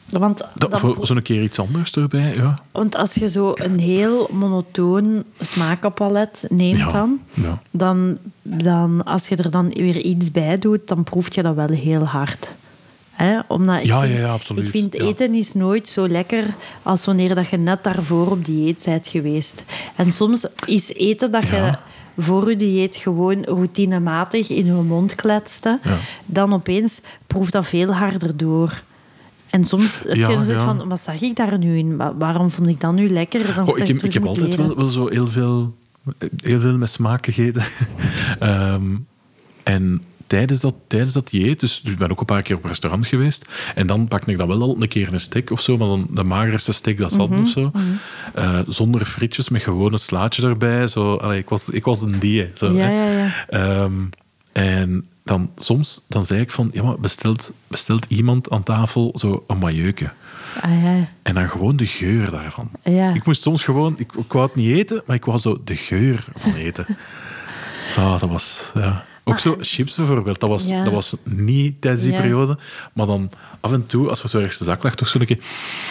Want, dat, dan- voor zo'n keer iets anders erbij, ja. want als je zo een heel monotoon smakenpalet neemt Ja, dan, ja. dan, dan als je er dan weer iets bij doet, dan proef je dat wel heel hard. Hè? Omdat ik Ja, vind, ja, ja, absoluut. Ik vind Ja. eten is nooit zo lekker als wanneer dat je net daarvoor op dieet bent geweest. En soms is eten dat je Ja. voor je dieet gewoon routinematig in je mond kletste, Ja. dan opeens proeft dat veel harder door. En soms heb je Ja, dan zoiets ja. van, wat zag ik daar nu in? Wa- Waarom vond ik dat nu lekker? Dan dat Goh, ik, heb, terug ik heb moet altijd leren. wel, wel zo heel veel, heel veel met smaak gegeten. [laughs] Ehm, en tijdens dat, tijdens dat dieet, dus ik ben ook een paar keer op restaurant geweest. En dan pak ik dan wel al een keer een steak of zo, maar dan de magerste steak dat Mhm, zat of zo. Eh, zonder frietjes, met gewoon het slaatje erbij. Zo, allee, ik, was, ik was een die. Zo, Ja, hè. ja, ja. Ehm, en dan soms dan zei ik van, ja, maar bestelt, bestelt iemand aan tafel zo een majeuke? Ah, ja. En dan gewoon de geur daarvan. Ja. Ik moest soms gewoon, ik, ik wou het niet eten, maar ik wou zo de geur van [laughs] eten. ah, dat was, ja. Ook zo chips bijvoorbeeld, dat was, Ja. dat was niet tijdens die Ja. periode. Maar dan af en toe, als er zo ergens de zak lag, toch zo'n keer...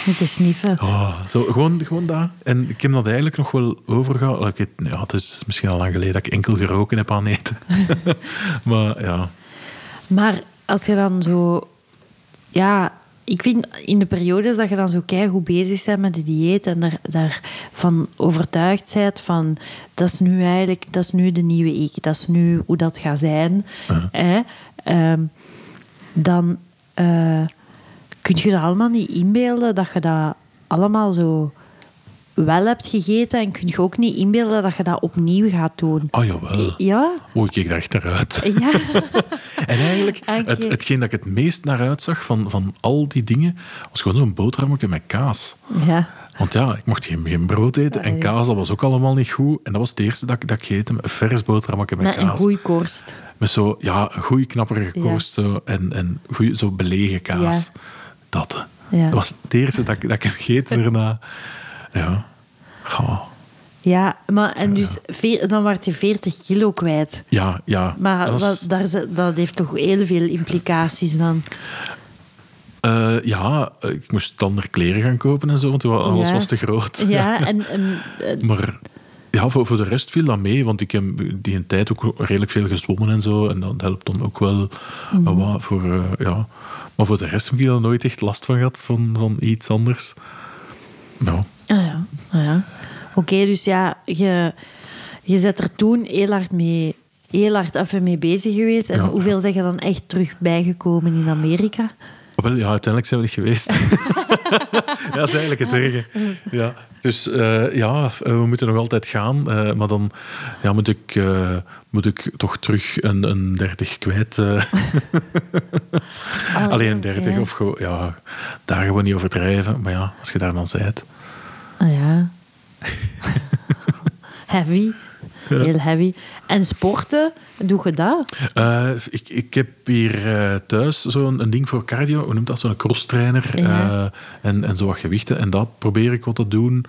Een keer sniffen. ah, zo, gewoon, gewoon daar. En ik heb dat eigenlijk nog wel overgehouden. Ik weet- Ja, het is misschien al lang geleden dat ik enkel geroken heb aan eten. [laughs] maar ja, Maar als je dan zo... Ja, ik vind in de periodes dat je dan zo goed bezig bent met de dieet en daar, daarvan overtuigd bent van dat is nu eigenlijk, dat is nu de nieuwe ik, dat is nu hoe dat gaat zijn, hè, ehm, dan eh, kun je dat allemaal niet inbeelden dat je dat allemaal zo wel hebt gegeten en kun je ook niet inbeelden dat je dat opnieuw gaat doen. oh jawel. Ja? Oh, ik keek er echt naar uit. Ja. [laughs] En eigenlijk, Oké. het, hetgeen dat ik het meest naar uitzag van, van al die dingen, was gewoon zo'n boterhammetje met kaas. ja. Want ja, ik mocht geen, geen brood eten en Nee. kaas, dat was ook allemaal niet goed. En dat was het eerste dat, ik- dat ik gegeten heb, een vers boterhammetje met Met een kaas. goeie korst. Met zo, ja, een goeie knapperige Ja. kost zo, en, en goeie, zo belegen kaas. Ja. Dat, hè. Ja. dat was het eerste dat, ik- dat ik heb gegeten daarna. Ja, Goh. Ja, maar en dus veer- dan werd je 40 kilo kwijt. ja, ja. Maar Dat is- wat, daar, ze- dat heeft toch heel veel implicaties dan. eh, ja, ik moest dan er kleren gaan kopen en zo, want alles Ja. was te [laughs] groot. [laughs] Ja, en, en, eh, Maar ja, voor, voor de rest viel dat mee, want ik heb die een tijd ook redelijk veel gezwommen en zo. En dat helpt dan ook wel eh, wat voor, eh, ja. Maar voor de rest heb ik daar nooit echt last van gehad, van, van iets anders. Ja, ah ja, ah ja. Oké, dus ja, je, je zet er toen heel hard mee, heel hard even mee bezig geweest. En Ja. hoeveel zijn je dan echt terug bijgekomen in Amerika? wel, ja uiteindelijk zijn we niet geweest. ja, dat is eigenlijk het erge. Ja. Dus eh, ja, eh, we moeten nog altijd gaan. eh, maar dan ja, moet, ik, eh, moet ik toch terug een, een 30 kwijt. eh. Ah, Alleen 30 ja. of gewoon, ja, daar gewoon niet overdrijven. Maar ja, als je daar dan zijt. Ah ja. [laughs] heavy. Heel heavy. En sporten, doe je dat? Eh, ik, ik heb hier eh, thuis zo'n een ding voor cardio, hoe noemt dat? Zo'n crosstrainer Ja. eh, en, en zo wat gewichten. En dat probeer ik wat te doen.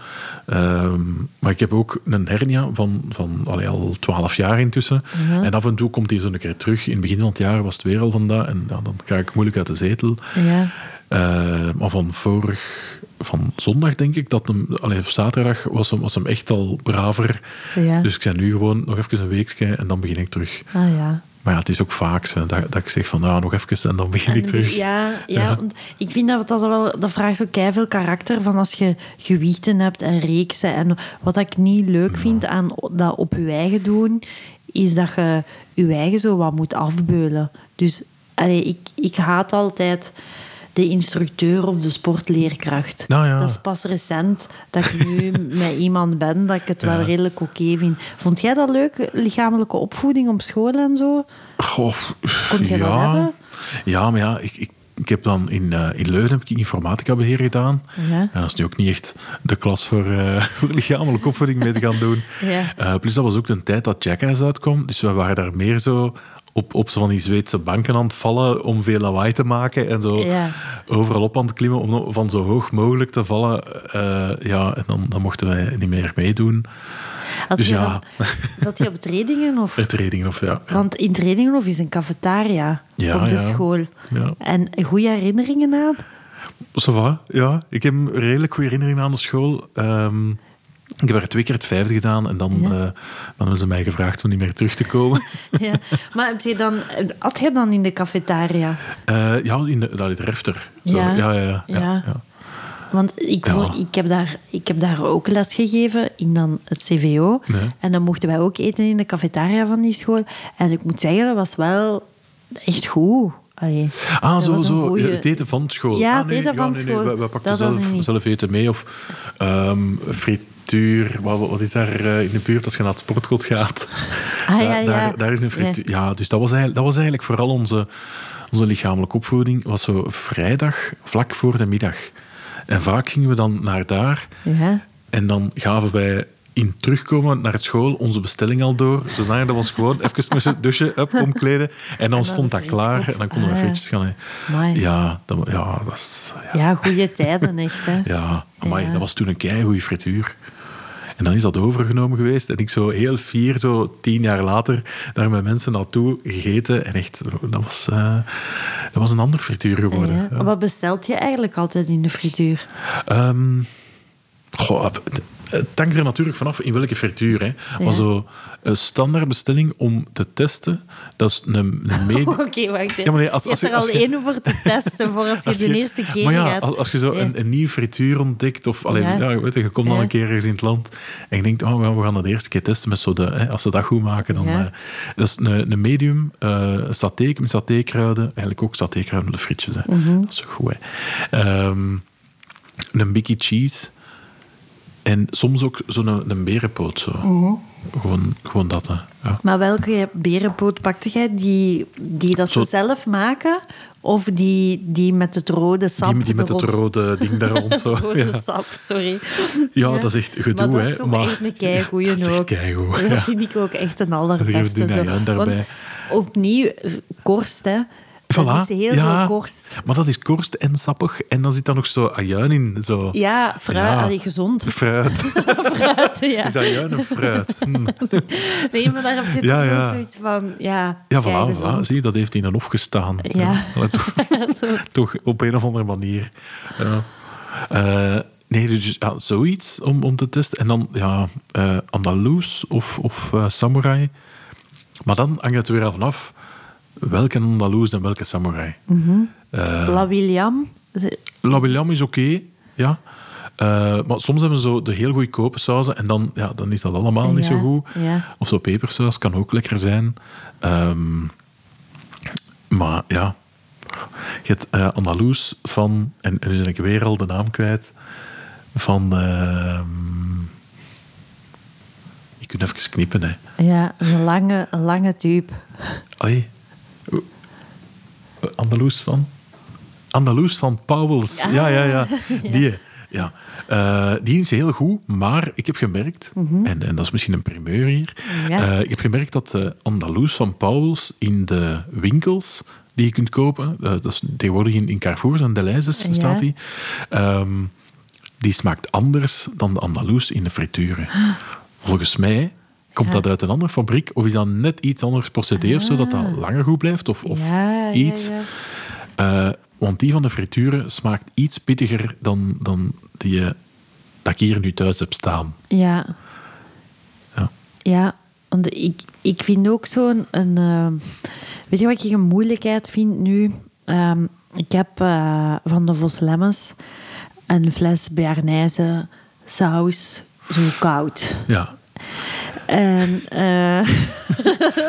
Ehm, maar ik heb ook een hernia van, van allee, al 12 jaar intussen. En af en toe komt die zo'n keer terug. In het begin van het jaar was het weer al van dat. En ja, dan ga ik moeilijk uit de zetel. Ja. Eh, maar van vorig, van zondag denk ik, dat hem, allee, op zaterdag was hem, was hem echt al braver. Ja. Dus ik ben nu gewoon nog even een weekje en dan begin ik terug. Ah ja. Maar ja, het is ook vaak zo dat, dat ik zeg van, nou, nog even en dan begin ik En terug. die- Ja, ja, want ik vind dat dat wel... Dat vraagt ook veel karakter van als je gewichten hebt en reeksen. En wat ik niet leuk vind aan o- dat op je eigen doen, is dat je je eigen zo wat moet afbeulen. Dus allee, ik, ik haat altijd de instructeur of de sportleerkracht. Nou ja. Dat is pas recent dat ik [laughs] nu met iemand ben dat ik het wel Ja. redelijk oké vind. Vond jij dat leuk, lichamelijke opvoeding op school en zo? Goh, Kon jij dat ja. hebben? Ja, maar ja, ik, ik, ik heb dan in, eh, in Leuven heb ik informatica beheer gedaan. Ja. En dat is nu ook niet echt de klas voor, eh, [laughs] voor lichamelijke opvoeding mee te gaan doen. [laughs] Ja. Eh, plus dat was ook de tijd dat Jackass uitkwam. Dus we waren daar meer zo op, op zo van die Zweedse banken aan het vallen om veel lawaai te maken. En zo Ja. overal op aan het klimmen om van zo hoog mogelijk te vallen. Eh, ja, en dan, dan mochten wij niet meer meedoen. Had Dus je ja. dan- zat [laughs] je op trainingen? Of? Trainingen of ja. Want in trainingen of is een cafetaria Ja, op de ja. school. Ja. En goede herinneringen aan? [laughs] Oh, Ça va, ja. Ik heb een redelijk goede herinneringen aan de school. Ehm, ik heb er twee keer het vijfde gedaan en dan, Ja. eh, dan hebben ze mij gevraagd om niet meer terug te [laughs] komen. ja. Maar heb je dan, had je dan in de cafetaria? Eh, ja, in de, dat is refter. Zo, Ja. ja. Ja, ja, ja, Ja. ja. Want ik, Ja. vond- ik, heb daar, ik heb daar ook les gegeven in dan het CVO. Nee. En dan mochten wij ook eten in de cafetaria van die school. En ik moet zeggen, dat was wel echt goed. Allee, Ah, dat zo, was een zo. goeie- Het eten van school. Ja, Ah, het eten van school. We, we pakten Dat hadden we zelf, niet. zelf eten mee. Of ehm, frituur. Wat, wat is daar eh, in de buurt als je naar het sportkot gaat? [laughs] Ah, Daar- ja, ja. Daar, daar is een frituur. Ja, dus dat was, eigenlijk, dat was eigenlijk vooral onze, onze lichamelijke opvoeding. was zo vrijdag, vlak voor de middag. En vaak gingen we dan naar daar. Ja. En dan gaven wij in terugkomen naar het school onze bestelling al door. Zodat we ons gewoon even moesten douchen, up, omkleden. En dan, stond dat frietjes. klaar en dan konden we Ah, ja. frietjes gaan eten. Amai. Ja, dat, wa- ja, dat is... Ja, ja, goede tijden echt. Hè. ja. Amai, Ja. dat was toen een keigoeie frituur. En dan is dat overgenomen geweest. En ik zo heel fier, zo tien jaar later, daar met mensen naartoe gegeten. En echt, dat was, eh, dat was een ander frituur geworden. Ja. Ja. Wat bestelt je eigenlijk altijd in de [laughs] frituur? Ehm, goh, het, het hangt er natuurlijk vanaf in welke frituur. Hè. Ja. Maar zo, een standaard bestelling om te testen, dat is een, een medi- Oké, wacht. hè. Ja, maar nee, als- je hebt als je- er al als je- één voor te testen [laughs] voor als je als de je- eerste keer maar ja, gaat. Als, als je zo Ja. een, een nieuwe frituur ontdekt, of alleen, Ja. ja. weet je, je komt dan Ja. een keer ergens in het land en je denkt, oh, we- we gaan dat de eerste keer testen met zo de, hè, als ze dat goed maken, dan... Ja. eh, dat is een, een medium, eh saté met satékruiden, eigenlijk ook satékruiden op de frietjes. Hè. Mhm. Dat is zo goed, hè. Ehm, een bikkie cheese en soms ook zo'n een, berenpoot. Zo. Mhm. gewoon, gewoon dat, hè. Ja. Maar welke berenpoot pakte jij? Die, die dat ze Zo- zelf maken? Of die, die met het rode sap? Die, die met de het rot- rode ding daar rond. [laughs] Het Zo. rode Ja. sap, sorry. Ja, dat is echt gedoe, maar dat hè. is toch Maar- echt een keigoeie Ja, dat is echt ook. keigoed, Dat ja. vind ik ook echt een Dat allerbeste. geeft Zo. Dina Jan Want daarbij. opnieuw, eh, korst, hè. Dat Voilà, is heel ja. veel korst. Maar dat is korst en sappig. En dan zit daar nog zo ajuin in. Zo. Ja, fruit, Ja. allee, gezond. [laughs] Fruit. fruit, ja. Is ajuin en fruit? Hm. [laughs] Nee, maar daar heb je Ja, toch ja. nog zoiets van, ja, Ja, voilà, voilà. keigezond. Zie je, dat heeft hij dan opgestaan. [laughs] Ja. Allee, toch, toch op een of andere manier. Ja. Eh, nee, dus ja, zoiets om, om te testen. En dan ja, eh Andaloes of, of eh, Samurai. Maar dan hangt het weer al vanaf welke Andaloes en welke Samurai. Eh, La William. La William is oké, ja. Eh, maar soms hebben ze zo de heel goedkope sauzen en dan, ja, dan is dat allemaal niet Ja, zo goed. ja. Of zo pepersaus kan ook lekker zijn. Ehm, maar ja, je hebt eh Andaloes van, en en nu ben ik weer al de naam kwijt, van... ehm, je kunt even knippen, hè. Ja, een lange, een lange tube. Allee. Andaloes van? Andaloes van Pauwels. Ja, ja, ja. [laughs] Die, ja. Eh, die is heel goed, maar ik heb gemerkt, en, en dat is misschien een primeur hier, Ja. eh, ik heb gemerkt dat de Andaloes van Pauwels in de winkels die je kunt kopen, eh, dat is tegenwoordig in, in Carrefour en Deleuze's Ja. staat die, ehm, die smaakt anders dan de Andaloes in de frituren. [gasps] Volgens mij komt dat uit een andere fabriek of is dat net iets anders procedé of zo, dat dat langer goed blijft of, of Ah. Ja, ja, iets. ja. Eh, want die van de frituren smaakt iets pittiger dan, dan die eh, dat ik hier nu thuis heb staan. Ja. Ja. Ja, want ik, ik vind ook zo'n... Een, eh, weet je wat ik een moeilijkheid vind nu? Ehm, ik heb eh, van de Vos Lemmens een fles Béarnaise saus, zo koud. Ja. Eh, En eh, [laughs]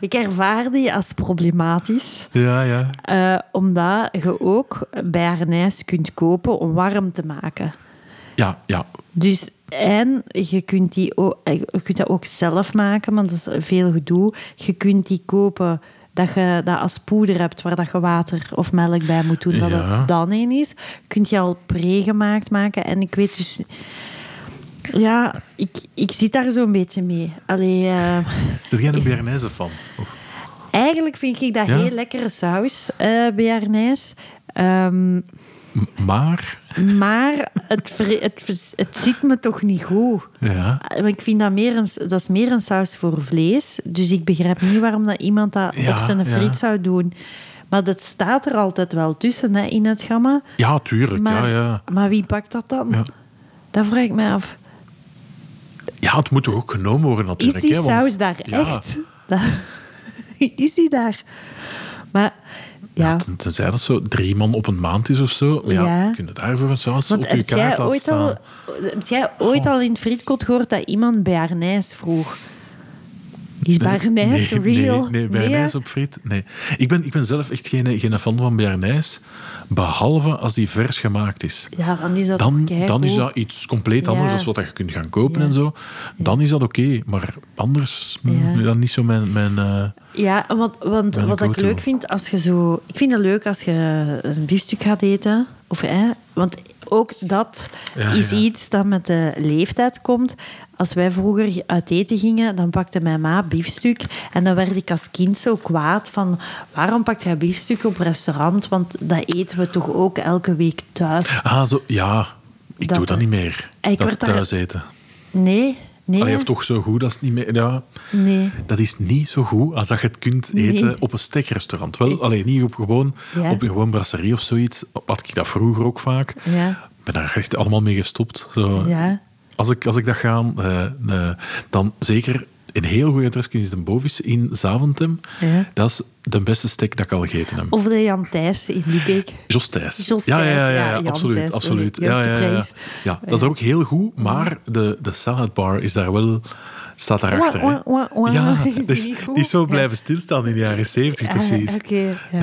ik ervaar die als problematisch. Ja, ja. eh, omdat je ook bij Arnijs kunt kopen om warm te maken. Ja, ja. Dus, en je kunt, die ook, je kunt dat ook zelf maken, want dat is veel gedoe. Je kunt die kopen dat je dat als poeder hebt, waar dat je water of melk bij moet doen, dat Ja. het dan in is. Kunt je al pre-gemaakt maken. En ik weet dus... Ja, ik, ik zit daar zo'n beetje mee. Allee, eh, Zit jij een Bernese fan? Of- eigenlijk vind ik dat Ja? heel lekkere saus eh bij Arnijs. Ehm, M- Maar, maar het, vre- het, vers- het ziet me toch niet goed. ja. Ah, maar Ik vind dat meer een, dat is meer een saus voor vlees. Dus ik begrijp niet waarom dat iemand dat Ja, op zijn friet ja. zou doen. Maar dat staat er altijd wel tussen hè, in het gamma. Ja, tuurlijk. Maar, Ja, ja. maar wie pakt dat dan? Ja. Dat vraag ik mij af. ja, het moet toch ook genomen worden Is natuurlijk. die hè, want- saus daar Ja. echt? [laughs] Dat- is die daar? Maar ja, Ten- Tenzij dat zo drie man op een maand is of zo. Maar ja, Ja. kun je daarvoor een saus want op je heb jij, kaart laten ooit al, staan? heb jij ooit al in het frietkot gehoord dat iemand bij Arnijs vroeg? Is Barnijs nee, real? Nee, nee hè? Bearnaise op friet. Nee. Ik, ben, ik ben zelf echt geen, geen fan van Bearnaise. Behalve als die vers gemaakt is. Ja, dan is dat Dan, keigoed. dan is dat iets compleet anders Ja. dan wat je kunt gaan kopen Ja. en zo. Dan is dat oké. Maar anders, mm, Ja. dan niet zo mijn... mijn eh, Ja, want, want Ben ik wat ook ik leuk toe. vind, als je zo... Ik vind het leuk als je een biefstuk gaat eten. Of, hè, want ook dat Ja, is ja. iets dat met de leeftijd komt. Als wij vroeger uit eten gingen, dan pakte mijn ma biefstuk. En dan werd ik als kind zo kwaad van... Waarom pakt jij biefstuk op restaurant? Want dat eten we toch ook elke week thuis? Ah, zo... Ja, ik Dat- doe dat niet meer. Ik dat word daar- thuis eten. Nee, nee. Allee, hè? of toch zo goed als het niet meer... Ja. Nee. Dat is niet zo goed als dat je het kunt eten Nee. op een steakrestaurant. Wel, alleen niet op, gewoon, Ja. op een gewoon brasserie of zoiets. Had ik dat vroeger ook vaak. Ja. Ik ben daar echt allemaal mee gestopt. Zo. Ja. Als, ik, als ik dat ga, eh, eh, dan zeker een heel goede adres is de Bovis in Zaventem. Ja. Dat is de beste steak dat ik al gegeten heb. Of de Jan Thijs in Lübeck. Jos Thijs. Jos ja, Thijs, ja, ja, ja, ja, Jan absoluut. Thijs, absoluut. sorry. Ja, Jos ja, ja, ja. Thijs. ja, dat is Ja. ook heel goed, maar de, de salad bar is daar wel, staat daarachter. hè. Wah, wah, wah, wah. Ja, [laughs] Is die dus niet goed? die is zo Ja. blijven stilstaan in de jaren zeventig, Ah, precies. oké, ja.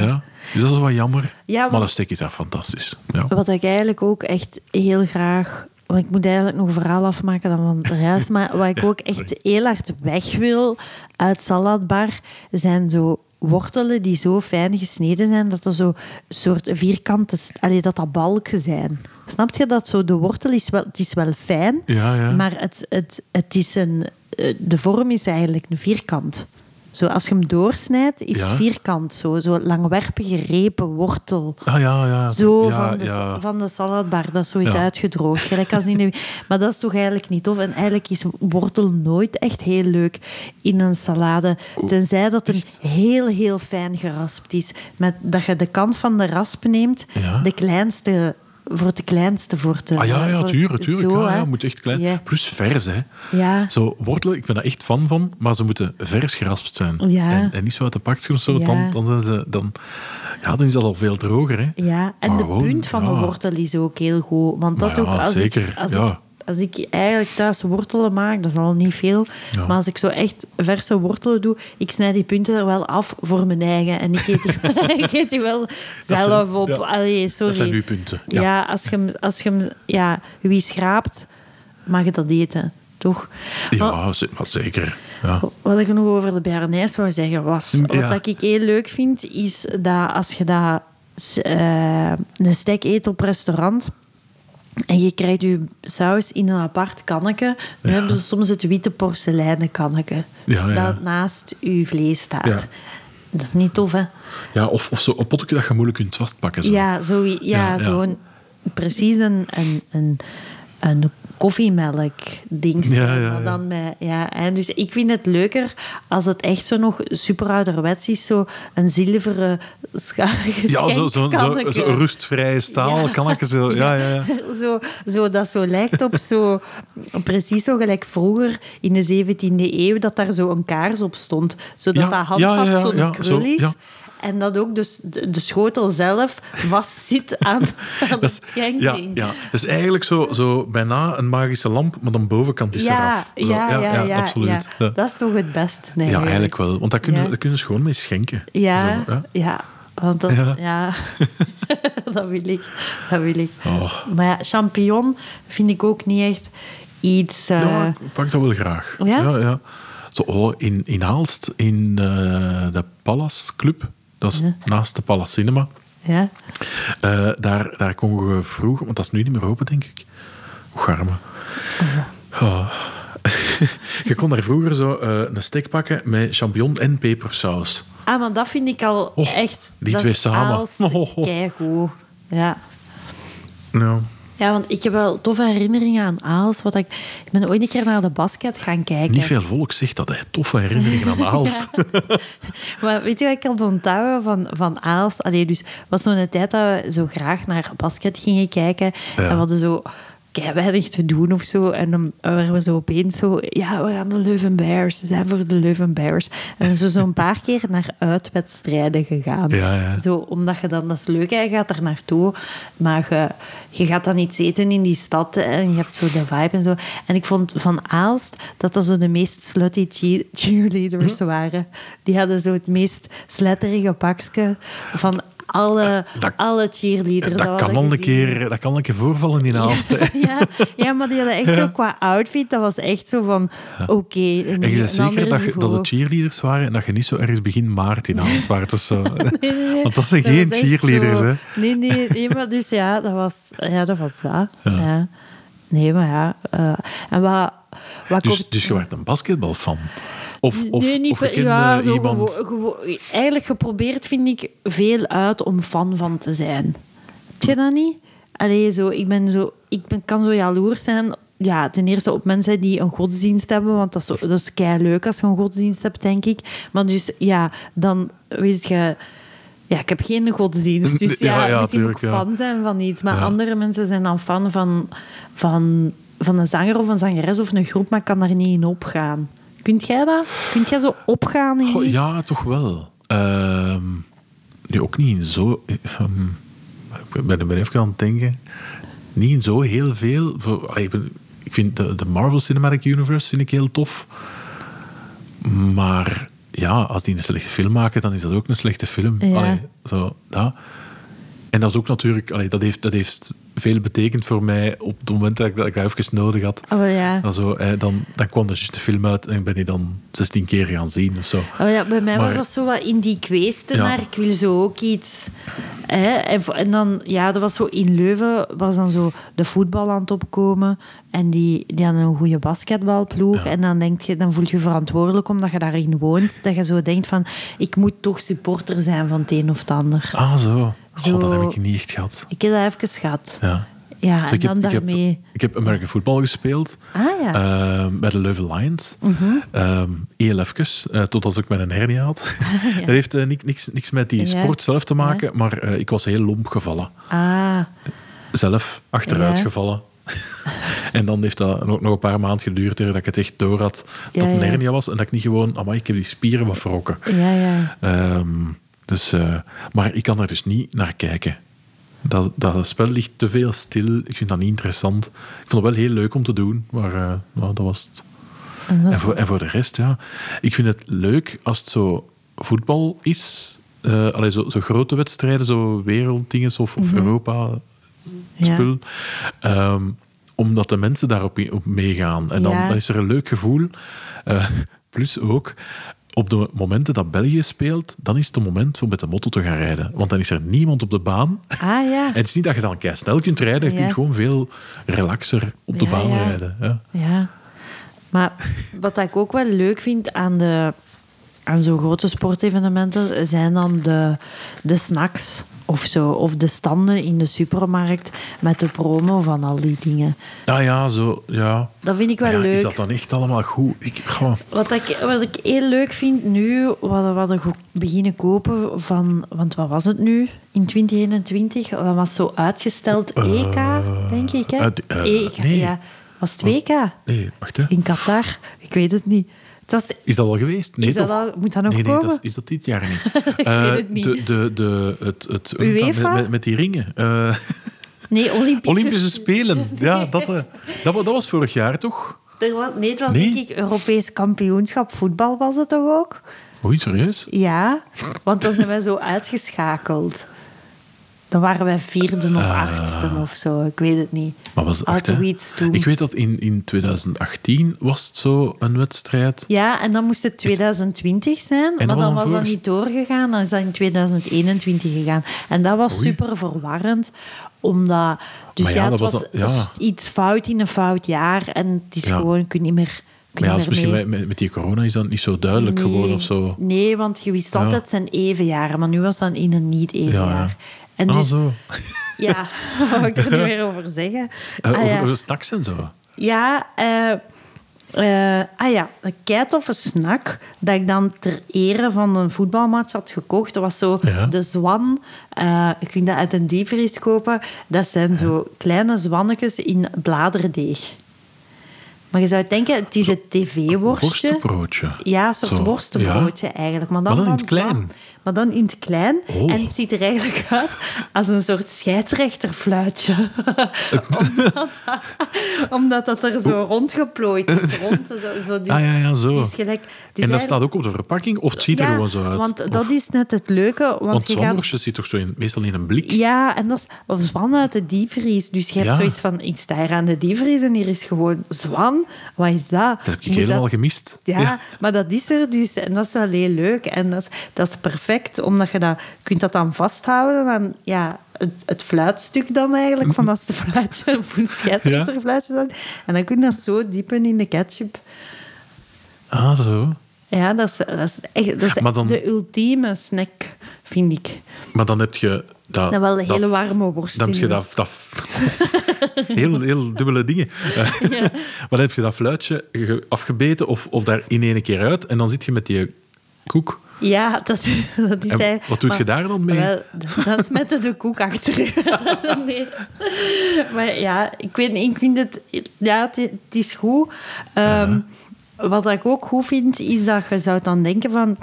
Dus dat is wel jammer, Ja, maar want- dat steek is daar fantastisch. Ja. Wat ik eigenlijk ook echt heel graag... Want ik moet eigenlijk nog een verhaal afmaken dan van de rest. Maar wat ik [laughs] Ja, ook sorry. echt heel hard weg wil uit Saladbar... zijn zo wortelen die zo fijn gesneden zijn... dat er zo soort vierkante... st- Allee, dat dat balken zijn. Snap je dat zo? De wortel is wel, het is wel fijn... Ja, ja. maar het, het, het is een... eh, De vorm is eigenlijk een vierkant. Zo, als je hem doorsnijdt, is het Ja. vierkant. Zo, zo langwerpige repen wortel. Ah, ja, ja. Zo Ja, van, de, ja. van de saladbar, dat is zo is Ja. uitgedroogd. Gelijk als in de- [laughs] maar dat is toch eigenlijk niet tof. En eigenlijk is wortel nooit echt heel leuk in een salade. Tenzij dat hem heel, heel fijn geraspt is. Met, dat je de kant van de rasp neemt, Ja. de kleinste voor de kleinste voor te... Ah ja, ja, voor- tuurlijk. tuurlijk. zo, ja, hè. ja, moet echt klein. Ja. Plus vers, hè. Ja. Zo wortelen, ik ben daar echt fan van, maar ze moeten vers geraspt zijn. Ja. En, en niet zo uit de pakjes of zo, Ja. dan, dan zijn ze... Dan, ja, dan is dat al veel droger, hè. Ja, en Maar de gewoon, punt van ja. de wortel is ook heel goed. Want dat Maar ja, ook, als, zeker, ik, als, ja. ik, als ik eigenlijk thuis wortelen maak, dat is al niet veel. Ja. Maar als ik zo echt verse wortelen doe, ik snijd die punten er wel af voor mijn eigen. En ik eet die, [laughs] [laughs] ik eet die wel zijn- zelf op. ja. Allee, sorry. zijn uw punten, ja. Ja, als je hem- als je hem- ja, wie schraapt, mag je dat eten, toch? Maar- Ja, ze- maar zeker. Ja. wat ik nog over de Bernays zou zeggen was... Wat Ja. dat ik heel leuk vind, is dat als je dat, eh, een steak eet op restaurant... En je krijgt je saus in een apart kanneke. Nu Ja. hebben ze soms het witte porseleinen kanneke. Ja, ja. Dat naast je vlees staat. Ja. Dat is niet tof, hè? Ja, of, of zo een potje dat je moeilijk kunt vastpakken. Zo. Ja, zo, ja, Ja, ja. zo'n... Precies een, een, een, een koffiemelk ding. Ja, ja, ja. Maar dan met, ja, en dus ik vind het leuker als het echt zo nog super ouderwets is. Zo een zilveren scha- Ja, zo, zo, zo, schenkanneke. zo rustvrije staal eh. [laughs] Ja. kan ik zo. Ja, ja, ja. zo, zo, dat zo lijkt op zo... Precies zo gelijk vroeger in de 17e eeuw dat daar zo een kaars op stond. Zodat Ja, dat ja, handvat ja, ja, zo'n ja, krul zo, is. ja. En dat ook dus de, de schotel zelf vastzit aan, aan de [laughs] Dat is- schenking. ja, ja, dus eigenlijk zo, zo bijna een magische lamp, maar dan bovenkant is Ja, eraf. Zo, ja, ja, ja, absoluut. ja. Ja. Dat is toch het beste, nee. Ja, eigenlijk wel. Want daar kunnen, eh, Ja. daar kunnen ze gewoon mee schenken. Ja, Zo, ja. ja. Want dat, ja. [laughs] Ja. dat wil ik. Dat wil ik. Oh. Maar ja, champignon vind ik ook niet echt iets... eh, Ja, ik pak dat wel graag. Ja? Ja, ja. Zo, oh, in, in Aalst, in eh, de Palace Club, dat is naast de Palace Cinema, ja. eh, daar, daar kon je vroeger, want dat is nu niet meer open, denk ik. Hoe garme. Oh. [laughs] je kon daar vroeger zo eh, een steak pakken met champignon en pepersaus. Ah, maar dat vind ik al Och, echt... Oh, die dat twee is samen. Aalst Oh, [laughs] oh, oh. keigoed. Ja. Ja. ja, want ik heb wel toffe herinneringen aan Aalst. Wat ik, ik ben ooit een keer naar de basket gaan kijken. Niet veel volk zegt dat, hè. Toffe herinneringen [laughs] aan Aalst. Maar weet je wat ik had onthouden van, van Aalst? Allee, dus het was zo'n tijd dat we zo graag naar basket gingen kijken. Ja. En we hadden zo kei weinig te doen of zo. En dan waren we zo opeens zo... Ja, we gaan de Leuven Bears. We zijn voor de Leuven Bears. En we zijn zo zo'n paar keer naar uitwedstrijden gegaan. Ja, ja. Zo, omdat je dan... Dat is leuk, hè, je gaat er naartoe. Maar je, je gaat dan iets eten in die stad. hè, En je hebt zo de vibe en zo. En ik vond van Aalst dat dat zo de meest slutty cheer- cheerleaders Hm? waren. Die hadden zo het meest sletterige pakje van alle, Eh, dat- eh, alle cheerleaders. dat, we kan hadden al een gezien. keer, dat kan al een keer voorvallen in Aalst, hè. [laughs] Ja, ja, maar die hadden echt zo qua outfit, dat was echt zo van, oké, een, En je een bent zeker ander dat, je, niveau. dat het cheerleaders waren en dat je niet zo ergens begin maart in Aalst waart of [laughs] zo. Nee, nee, nee. [laughs] Want dat zijn geen was echt cheerleaders, zo- hè. Nee, [laughs] nee, nee, maar dus ja, dat was, ja, dat, was dat. Ja. Nee, maar ja. eh, en wat, wat Dus, komt- dus je werd een basketbalfan. Of, of, nee, niet of je per- kende ja, zo iemand... gewo- gewo- eigenlijk geprobeerd vind ik veel uit om fan van te zijn. Heb je dat niet? Allee, zo, ik, ben zo, ik ben, kan zo jaloers zijn. Ja, ten eerste op mensen die een godsdienst hebben, want dat is, zo- dat is kei leuk als je een godsdienst hebt, denk ik. Maar dus ja, dan weet je. Ja, ik heb geen godsdienst. Dus Ja, ja, ja, misschien moet ik tuurlijk, ja. fan zijn van iets. Maar Ja. andere mensen zijn dan fan van, van, van een zanger of een zangeres of een groep, maar kan daar niet in opgaan. Kunt jij dat? Kunt jij zo opgaan in Goh, iets? ja, toch wel. Ehm nu, ook niet in zo... ehm, ik ben, ben even aan het denken. Niet in zo heel veel... Voor, allee, ik, ben- ik vind de, de Marvel Cinematic Universe vind ik heel tof. Maar ja, als die een slechte film maken, dan is dat ook een slechte film. Ja. Allee, zo, dat. En dat is ook natuurlijk... Allee, dat, heeft, dat heeft veel betekend voor mij op het moment dat ik dat, ik dat even nodig had. Oh, ja. Dan, zo, eh, dan, dan kwam er juist de film uit en ben die dan 16 keer gaan zien of zo. Oh ja, bij mij was Maar- dat zo wat in die kweesten Ja. naar ik wil zo ook iets. Hè? En, vo- en dan, ja, dat was zo in Leuven, was dan zo de voetbal aan het opkomen. En die, die hadden een goede basketbalploeg. En dan, denk je, dan voel je je verantwoordelijk omdat je daarin woont. Dat je zo denkt van, ik moet toch supporter zijn van het een of het ander. Ah, zo. Zo. Goh, dat heb ik niet echt gehad. Ik heb dat even gehad. Ja. Ja, Dus en dan ik, heb, daarmee... ik heb American Football gespeeld. Ah, ja. Mhm. ehm, bij de Leuven Lions. Ehm, heel even, eh, totdat ik met een hernia [laughs] had. Dat heeft eh, ni- niks, niks met die Ja. sport zelf te maken, maar eh, ik was heel lomp gevallen. Ah, Zelf, achteruit Ja. gevallen. [laughs] en dan heeft dat ook nog een paar maanden geduurd eer dat ik het echt door had Ja, dat het ja. een hernia was en dat ik niet gewoon, amai, ik heb die spieren wat verrokken. ja, ja. Ehm, dus, eh, maar ik kan er dus niet naar kijken. Dat, dat spel ligt te veel stil. Ik vind dat niet interessant. Ik vond het wel heel leuk om te doen, maar eh, nou, dat was het. En dat En is- voor, en voor de rest, ja. Ik vind het leuk als het zo voetbal is. Eh allee, zo, zo grote wedstrijden, zo werelddinges of, of Mhm. Ja. Europa-spul. Ehm, omdat de mensen daarop i- op meegaan. En dan, Ja. dan is er een leuk gevoel. Eh, plus ook, op de momenten dat België speelt, dan is het het moment om met de motto te gaan rijden. Want dan is er niemand op de baan. Ah, ja. En het is niet dat je dan snel kunt rijden. Je Ja. kunt gewoon veel relaxer op de Ja, baan ja. rijden. Ja. Ja, maar wat ik ook wel leuk vind aan, de, aan zo'n grote sportevenementen zijn dan de, de snacks of zo. Of de standen in de supermarkt met de promo van al die dingen. Nou ja, zo, ja. Dat vind ik wel Maar ja, leuk. Is dat dan echt allemaal goed? Ik, goh, Wat ik, wat ik heel leuk vind nu, wat, wat we go- beginnen kopen van... Want wat was het nu in 2021? Dat was zo uitgesteld EK, denk ik. Hè? Eh, uit- eh, EK, nee. ja. Was het WK? nee, wacht hè. In Qatar? Ik weet het niet. Dat is, Is dat al geweest? Nee, Is dat toch? al- moet dat nog nee, Nee, komen? dat is, is dat dit jaar niet. [laughs] Ik Eh, weet het niet. De, de, de, het, het, UEFA? Met, met die [laughs] ringen. Eh, nee, Olympische... Olympische Spelen. Ja, dat, eh, dat, wa- dat was vorig jaar toch? Er was, nee, het was Nee. denk ik Europees kampioenschap voetbal was het toch ook? Oei, serieus? Ja, want dan zijn wij zo uitgeschakeld. Dan waren wij vierde of Ah. achtste of zo, ik weet het niet. Maar was het Had echt, hè? zoiets toen. Ik weet dat in, in 2018 was het zo een wedstrijd. Ja, en dan moest het 2020 zijn, dat maar was dan dan was dat vorig- niet doorgegaan. Dan is dat in 2021 gegaan. En dat was Oei. super verwarrend, omdat... Dus Maar ja, ja, het dat was, was dan- ja. s- iets fout in een fout jaar en het is Ja. gewoon, je kunt niet meer... kun Maar ja, niet dat is meer misschien mee. met, met, met die corona is dat niet zo duidelijk geworden of zo. Nee, want je wist Ja. altijd het zijn evenjaren, maar nu was dat in een niet-evenjaar. Ja, ja. En ah, dus, zo. ja, [laughs] wat moet ik [laughs] er nu weer over zeggen? Eh, ah, over, ja, over snacks en zo. ja, eh, eh, ah, ja, een keitoffe snack dat ik dan ter ere van een voetbalmatch had gekocht. Dat was zo Ja. de zwan. eh, ik ging dat uit een diepvries kopen. Dat zijn zo kleine zwannetjes in bladerdeeg. Maar je zou denken, het is het tv-worstje. Worstenbroodje. Ja, een soort Zo, worstenbroodje eigenlijk. Maar dan, Maar dan in van het klein. zwam. Maar dan in het klein. Oh. En het ziet er eigenlijk uit als een soort scheidsrechterfluitje. [laughs] omdat, omdat dat er zo rondgeplooid [laughs] is. Rond, zo, zo, dus, Ah, ja, ja, zo. Het is gelijk, het is en dat eigenlijk- staat ook op de verpakking, of het ziet er Ja, gewoon zo uit? Want Of- dat is net het leuke. Want, want je gaat zwamworstjes zit toch zo in, meestal in een blik? ja, en dat is of zwan uit de diepvries. Dus je hebt Ja. zoiets van, ik sta hier aan de diepvries en hier is gewoon zwan. Wat is dat? Dat heb ik Moet helemaal gemist. Ja, maar dat is er dus. En dat is wel heel leuk. En dat is, dat is perfect, omdat je dat, kunt dat dan vasthouden aan ja, het, het fluitstuk dan eigenlijk. Van als de fluitje, [laughs] voor het scheidsrechterfluitje dan. En dan kun je dat zo diepen in de ketchup. Ah, zo. Ja, dat is, dat is, echt, dat is Maar dan- de ultieme snack, vind ik. Maar dan heb je... Dat, Dan wel een dat- hele warme worst Dan heb in je je- dat... dat [laughs] heel, heel dubbele [laughs] dingen. [laughs] Eh, Maar dan heb je dat fluitje ge- afgebeten of, of daar in één keer uit. En dan zit je met die koek. Ja, dat, dat is En eigenlijk- wat doet je daar dan mee? Wel, d- dat is met de- de koek achter u. [laughs] nee. [laughs] Maar ja, ik weet niet, ik vind het... Ja, het, i- het is goed. Ehm, Uh-huh. Wat ik ook goed vind, is dat je zou dan denken van...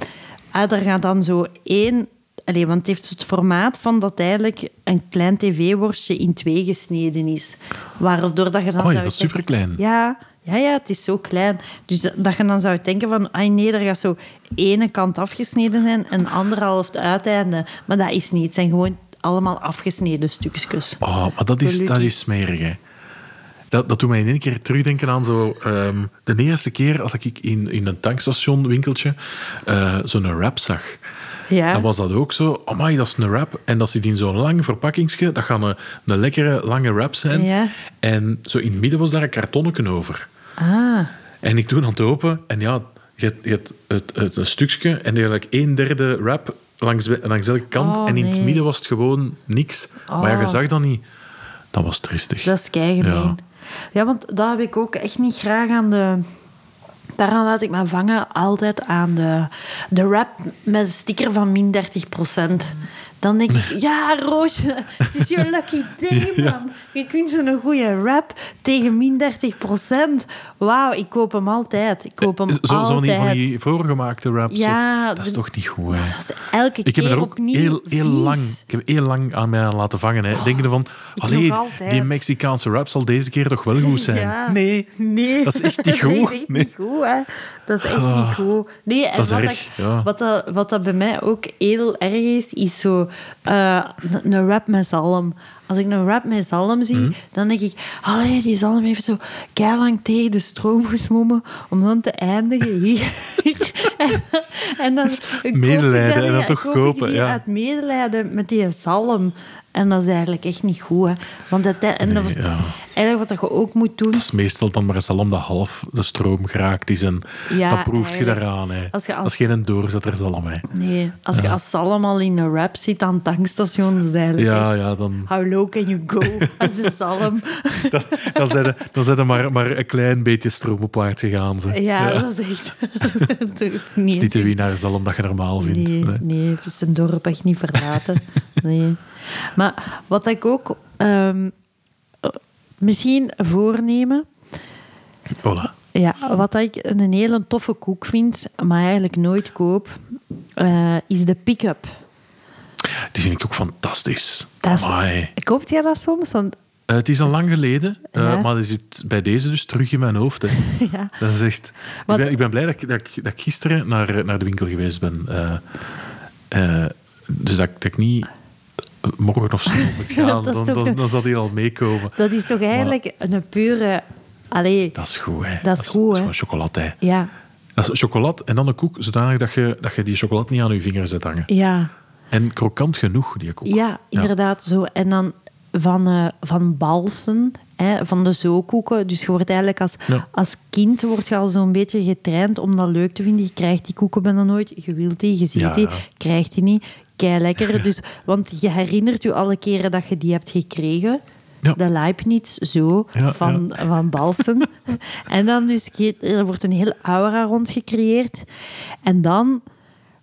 Ah, er gaat dan zo één... Allee, want het heeft het formaat van dat eigenlijk een klein tv-worstje in twee gesneden is. Waardoor dat je dan Oei, zou Oh, dat is denken- superklein. ja, ja, ja, het is zo klein. Dus dat, dat je dan zou denken van... Ai nee, er gaat zo ene kant afgesneden zijn en anderhalf het uiteinde. Maar dat is niet. Het zijn gewoon allemaal afgesneden stukjes. Oh, maar dat is, Gelukkig. dat is smerig, hè. Dat, dat doet mij in één keer terugdenken aan zo... ehm, de eerste keer als ik in, in een tankstation winkeltje eh, zo'n wrap zag. Ja. Dan was dat ook zo. Amai, dat is een wrap. En dat zit in zo'n lang verpakkingsje. Dat gaan een, een lekkere, lange wrap zijn. Ja. En zo in het midden was daar een kartonneken over. Ah, En ik doe het open en ja, je hebt, je hebt het, het, een stukje en eigenlijk een derde wrap langs, langs elke kant. Oh, en in het nee. midden was het gewoon niks. Maar ja, je Oh. zag dat niet. Dat was tristig. dat is keigemeen. Ja. Ja. want dat heb ik ook echt niet graag aan de... Daaraan laat ik me vangen altijd aan de, de rap met een sticker van min 30 Dan denk [laughs] ik, ja, Roosje, het is your lucky day, man. Je kunt zo'n goede rap tegen min 30 Wauw, ik koop hem altijd. Ik koop hem Zo, Eh, zo van, die, altijd. van die voorgemaakte wraps. Ja, of- dat is de- toch niet goed, hè? Dat is elke Ik heb keer er ook opnieuw heel, heel vies. Oh, lang, ik heb heel lang aan mij aan laten vangen. Hè. Denkende van, ik allee, nog altijd. die Mexicaanse rap zal deze keer toch wel [laughs] goed zijn. Ja. Nee, Nee. dat is [laughs] echt niet goed. Dat is echt Nee. niet goed, hè. Dat is echt Ah, niet goed. Nee, en dat is wat, erg, ik- ja. wat, dat, wat dat bij mij ook heel erg is, is zo eh, een- een rap met zalm. Als ik een rap met zalm zie, Mhm. dan denk ik... Allee, die zalm heeft zo lang tegen de stroom geswommen om dan te eindigen hier. [laughs] en, en [laughs] dan koop ik medelijden dat, en dan ja, toch koop ik kopen, die ja. uit medelijden met die zalm. En dat is eigenlijk echt niet goed, hè. Want dat, en dat was Nee, ja. eigenlijk wat dat je ook moet doen... Dat is meestal dan maar een zalm dat half de stroom geraakt is. En Ja, dat proeft je eigenlijk. daaraan. Hè. Als je als- Dat is geen doorzetter zalm. Hè. Nee, als je als zalm al in een rap zit aan het tankstation, is het eigenlijk Ja, echt, ja, dan, How low can you go? [laughs] Als een zalm. dan zijn er, dan zijn er maar, maar een klein beetje stroom op waard gegaan. Ze. Ja, dat is echt... [laughs] dat doet niet Het is niet de eens. winnaar zalm dat je normaal vindt. Nee, Nee. nee, het is een dorp echt niet verlaten. Nee. Maar wat ik ook... ehm, eh, misschien voornemen... Voilà. Ja, wat dat ik een hele toffe koek vind, maar eigenlijk nooit koop, eh, is de pick-up. Die vind ik ook fantastisch. Dat is- Amai. Koopt jij dat soms? Want, Eh, het is al lang geleden, eh, Ja. maar die zit bij deze dus terug in mijn hoofd. Hè. [laughs] ja. Dat is echt... Wat- Ik, ben, ik ben blij dat ik, dat ik, dat ik gisteren naar, eh, naar de winkel geweest ben. Eh, eh, dus dat, ik- dat ik niet eh, [laughs] morgen of zo moet Ja, gaan. dat is dan, toch- dan, dan zal die al meekomen. Dat is toch eigenlijk een pure... Allee, Dat is goed, hè. Dat is goed, hè. Dat is gewoon chocolade, hè. ja. Dat is chocolade en dan een koek, zodanig dat je, dat je die chocolade niet aan je vingers zet hangen. Ja. En krokant genoeg, die koek. Ja, inderdaad. Zo. En dan van, eh, van balsen, hè, van de zookoeken. Dus je wordt eigenlijk als, Ja. als kind wordt je al zo'n beetje getraind om dat leuk te vinden. Je krijgt die koeken bijna nooit. Je wilt die, je ziet Ja, die, ja. krijgt die niet. Kei lekker. Dus, want je herinnert je alle keren dat je die hebt gekregen. Ja. De Leibniz, zo, Ja, van, van Balsen. [laughs] en dan dus, je- er wordt een heel aura rond gecreëerd. En dan,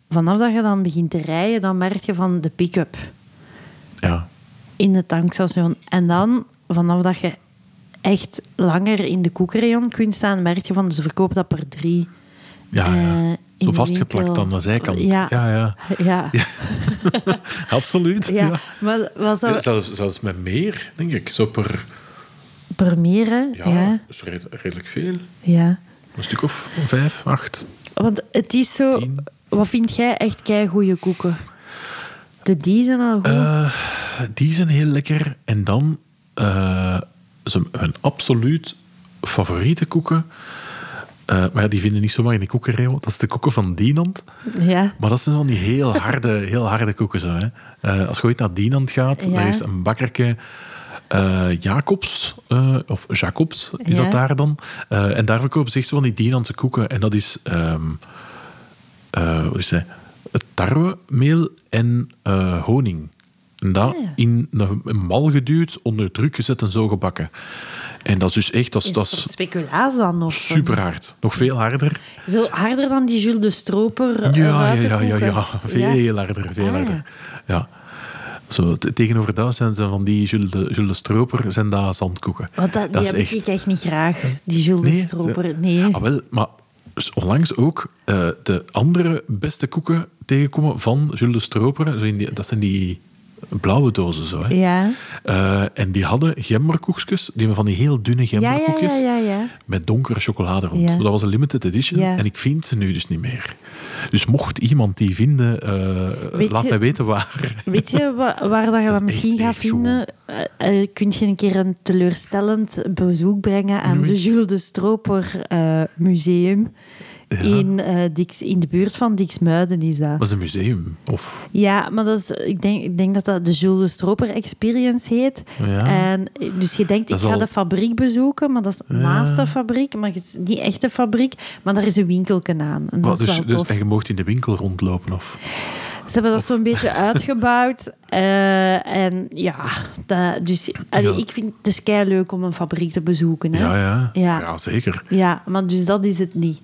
vanaf dat je dan begint te rijden, dan merk je van de pick-up Ja. in het tankstation. En dan, vanaf dat je echt langer in de koekrayon kunt staan, merk je van, ze verkopen dat per drie. Ja, Eh, ja. in Zo de vastgeplakt winkel. aan de zijkant. Ja, Ja, [laughs] ja. ja. ja. absoluut. Ja. maar was Ja, dat zelfs, zelfs met meer, denk ik. Zo per... per meer, hè? Ja, Ja. dat is red- redelijk veel. ja. Een stuk of vijf, acht. Want het is zo... Tien. Wat vind jij echt kei goede koeken? De die zijn al goed. Eh, die zijn heel lekker. En dan eh, zo mijn absoluut favoriete koeken. Eh, maar ja, die vinden niet zomaar in de koekenreel. Dat is de koeken van Dinant. ja. Maar dat zijn van die heel harde, heel harde koeken. Zo, hè. Eh, als je ooit naar Dinant gaat, Ja. daar is een bakkerke eh, Jacobs, eh, of Jacobs is Ja. dat daar dan. Eh, en daar verkopen ze echt zo van die Dinantse koeken. En dat is, ehm, eh, wat is dat? Het tarwemeel en eh, honing. En dat Ah. in een, een mal geduwd, onder druk gezet en zo gebakken. En dat is dus echt, dat is, Is dat het is speculaas dan? Of zo? super hard. Nog veel harder. Zo harder dan die Jules de Stroper eh, Ja, ja, ja, ja, ruitenkoeken. ja. Veel harder, veel Ah, ja. harder. Ja. Zo, t- tegenover dat zijn ze van die Jules de, Jules de Stroper, zijn daar zandkoeken. Want dat, die is heb echt... ik echt niet graag, die Jules de Stroper. ze- Nee. Ah, wel, maar s- onlangs ook eh, de andere beste koeken tegenkomen van Jules de Stroper. Zo in die, dat zijn die blauwe dozen zo, hè. Ja. Eh, en die hadden gemberkoekjes, die hebben van die heel dunne ja, ja, gemberkoekjes, ja, ja. met donkere chocolade rond. Ja. Dat was een limited edition Ja. en ik vind ze nu dus niet meer. Dus mocht iemand die vinden, eh, Weet laat je- mij weten waar. Weet je [laughs] wa- waar dat je is dat misschien echt, gaat echt vinden? Eh, eh, kun je een keer een teleurstellend bezoek brengen aan Oei. de Jules de Stroper eh, Museum in, eh, Dix, in de buurt van Dixmuiden is dat. Dat is een museum. Of, Ja, maar dat is, ik, denk, ik denk dat dat de Jules de Stroper Experience heet. Ja. En, dus je denkt, Dat ik is ga al- de fabriek bezoeken, maar dat is naast de fabriek, maar het is niet echt de fabriek, maar daar is een winkelken aan. En dat Wat, is dus, wel dus, tof. en je mocht in de winkel rondlopen. Of, Ze hebben dat zo'n [laughs] beetje uitgebouwd. eh, en ja, dat, dus, allee, Ja. ik vind het is kei leuk om een fabriek te bezoeken. Hè? ja, ja. Ja. zeker. Ja, maar dus dat is het niet.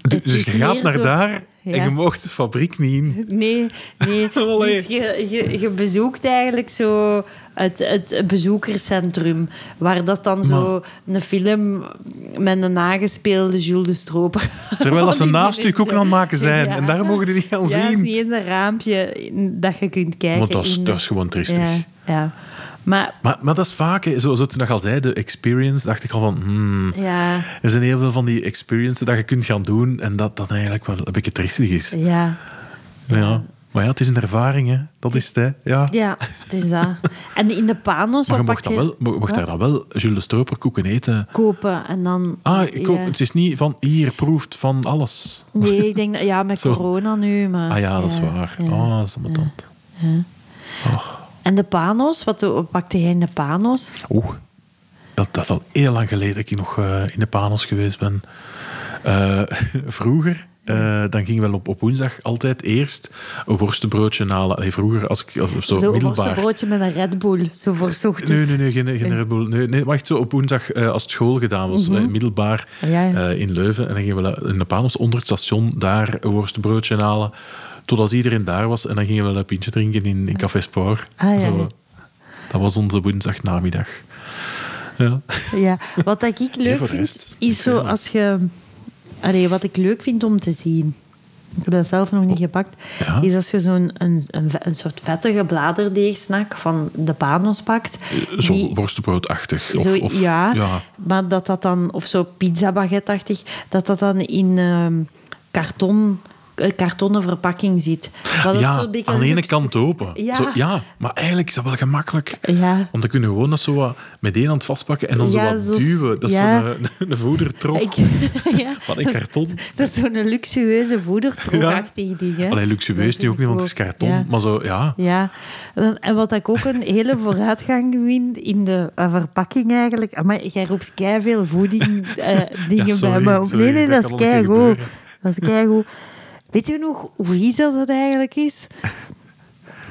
Dus, Het is je gaat meer naar zo- daar en Ja. je mocht de fabriek niet in. [laughs] Nee, nee. [laughs] Allee. Dus je, je, je bezoekt eigenlijk zo het, het bezoekerscentrum, waar dat dan zo een film met een nagespeelde Jules de Stroper. [laughs] Terwijl dat ze [laughs] Die eh, naast je koeken aan het maken zijn. Ja. En daar mogen die niet aan Ja, het is zien. niet eens een raampje in- dat je kunt kijken. Want dat is, in- dat is gewoon triestig. Ja, ja. Maar Maar, maar dat is vaak, hè, zoals het nog al zei, de experience, dacht ik al van... hmm, ja, er zijn heel veel van die experiences dat je kunt gaan doen en dat dat eigenlijk wel een beetje triestig is. ja. Ja. Maar ja, het is een ervaring, hè. Dat is het, hè. Ja. Ja, het is dat. En in de panos Maar je wat mocht, pak dan wel, mo- mocht daar dan wel Jules de Stroper koeken eten. kopen en dan... Ah, ik ja. ook, het is niet van hier proeft van alles. Nee, ik denk dat... Ja, met Zo. corona nu, maar... Ah ja, dat is waar. ja. Oh, dat is allemaal tand. En de panos, wat, wat pakte jij in de panos? Oeh, dat, dat is al heel lang geleden dat ik nog eh, in de Panos geweest ben. Eh, [laughs] vroeger, eh, dan gingen we op, op woensdag altijd eerst een worstenbroodje halen. Allee, vroeger, als ik als, zo, Zo'n middelbaar... worstenbroodje met een Red Bull, zo voor 's ochtends. Nee, nee, nee, geen, geen Red Bull. Nee, nee, wacht, zo op woensdag eh, als het school gedaan was, eh, middelbaar Mhm. Ah, Ja, ja. eh, in Leuven. En dan gingen we in de Panos onder het station daar een worstenbroodje halen. Totdat iedereen daar was. En dan gingen we een pintje drinken in, in Café Spoor. Ah, ja, Zo, ja. Dat was onze woensdagnamiddag. Ja. Ja, wat dat ik leuk voor de vind, rest, is zo natuurlijk. als je... Allee, wat ik leuk vind om te zien, ik heb dat zelf nog niet gepakt, Oh. Ja. is als je zo'n een, een, een soort vettige bladerdeegsnack van de Panos pakt. Zo die- worstenbroodachtig. Of, zo, of, ja, ja. maar dat dat dan, of zo pizza baguette-achtig, dat dat dan in ehm, karton, eh, kartonnen verpakking zit. Wat ook Ja, zo'n beetje aan de ene luxe- kant open. Ja. Ja. Zo, ja, maar eigenlijk is dat wel gemakkelijk. Ja. Want dan kun je gewoon dat zo wat met één hand vastpakken en dan Ja, zo wat zo s- duwen. Dat is ja. zo'n eh, een [laughs] voedertrok Ik, [laughs] ja. van een karton. Dat is zo'n luxueuze voedertrokachtig ding. Hè? Allee, luxueus Dat nu ook niet, want het is vind ik ook, karton. ja. Maar zo, ja. Ja, en en wat ik ook een hele vooruitgang vind in de eh, verpakking eigenlijk. ah, Maar jij roept kei veel voeding eh, dingen [laughs] Ja, sorry, bij me. op. sorry, nee, nee, dat dat is kan wel een kei keer goed. gebeuren. Dat is kei [laughs] goed. Weet je nog hoe vies dat, dat eigenlijk is?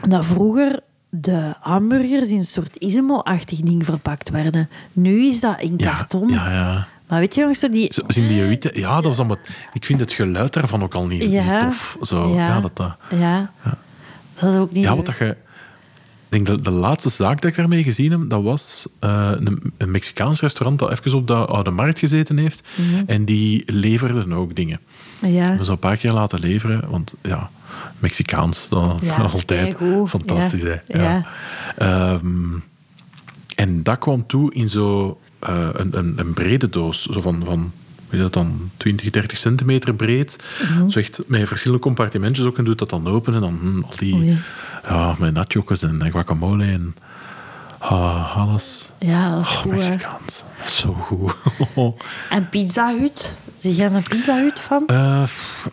Dat vroeger de hamburgers in een soort ismo-achtig ding verpakt werden. Nu is dat in Ja, karton. ja, ja. Maar weet je nog zo die... Zo, zien die witte... Ja, dat was dan wat... Ik vind het geluid daarvan ook al niet, niet tof. Zo, ja. dat, dat, ja. Dat is ook niet ja, wat leuk. dat je... Ik denk dat de laatste zaak dat ik daarmee gezien heb, dat was eh, een, een Mexicaans restaurant dat even op de Oude Markt gezeten heeft. Mhm. En die leverden ook dingen. Ja. We zo'n paar keer laten leveren, want ja, Mexicaans, dan Ja, dat is [laughs] altijd. keigoed. Fantastisch, Ja. hè. Ja. Ehm, en dat kwam toe in zo'n een, een, een brede doos, zo van, van weet je dat dan, 20, 30 centimeter breed. Mhm. Zo echt met verschillende compartimentjes ook, en doet dat dan open. En dan hm, al die, Oei. ja, met nachokes en guacamole en ah, alles. Ja, dat is Oh, goed, hè. Mexicaans. Dat is zo goed. [laughs] En Pizza Hut? Zie jij een Pizza Hut van? Eh, v-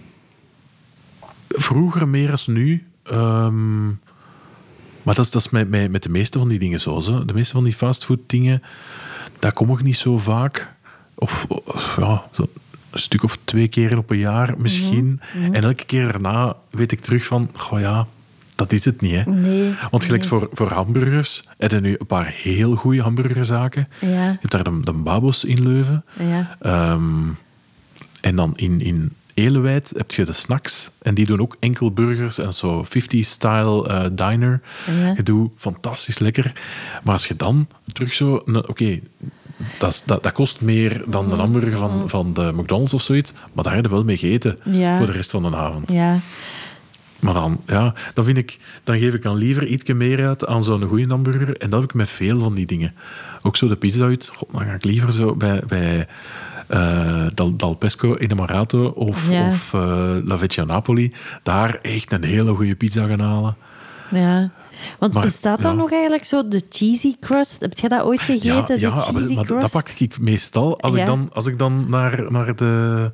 vroeger meer als nu. Ehm, maar dat is, dat is met, met, met de meeste van die dingen zo. zo. De meeste van die fastfood dingen, daar kom ik niet zo vaak. Of of, ja, zo een stuk of twee keer op een jaar misschien. Mhm, En elke keer daarna weet ik terug van, goh ja, dat is het niet. Hè. Nee, Want gelijk voor, voor hamburgers, heb je nu een paar heel goede hamburgerzaken. Ja. Je hebt daar de, de Babos in Leuven. Ja. Ehm, en dan in, in Elewijd heb je de snacks. En die doen ook enkel burgers en zo 50-style eh, diner. Ja. Je doet fantastisch lekker. Maar als je dan terug zo... nou, Oké, dat, is- dat, dat kost meer dan Mm. de hamburger van, van de McDonald's of zoiets. Maar daar heb je wel mee gegeten Ja. voor de rest van de avond. Ja. Maar dan, ja, dan, vind ik, dan geef ik dan liever ietsje meer uit aan zo'n goede hamburger. En dat heb ik met veel van die dingen. Ook zo de pizza uit. God, dan ga ik liever zo bij, bij eh, Dal, Dal Pesco in de Marato of, Ja. of eh, La Vecchia Napoli. Daar echt een hele goede pizza gaan halen. ja. Want Maar, bestaat dan ja. nog eigenlijk zo de cheesy crust? Heb jij dat ooit gegeten, de ah, maar, cheesy maar crust? dat pak ik meestal. Als, Ja. ik, dan, als ik dan naar, naar de,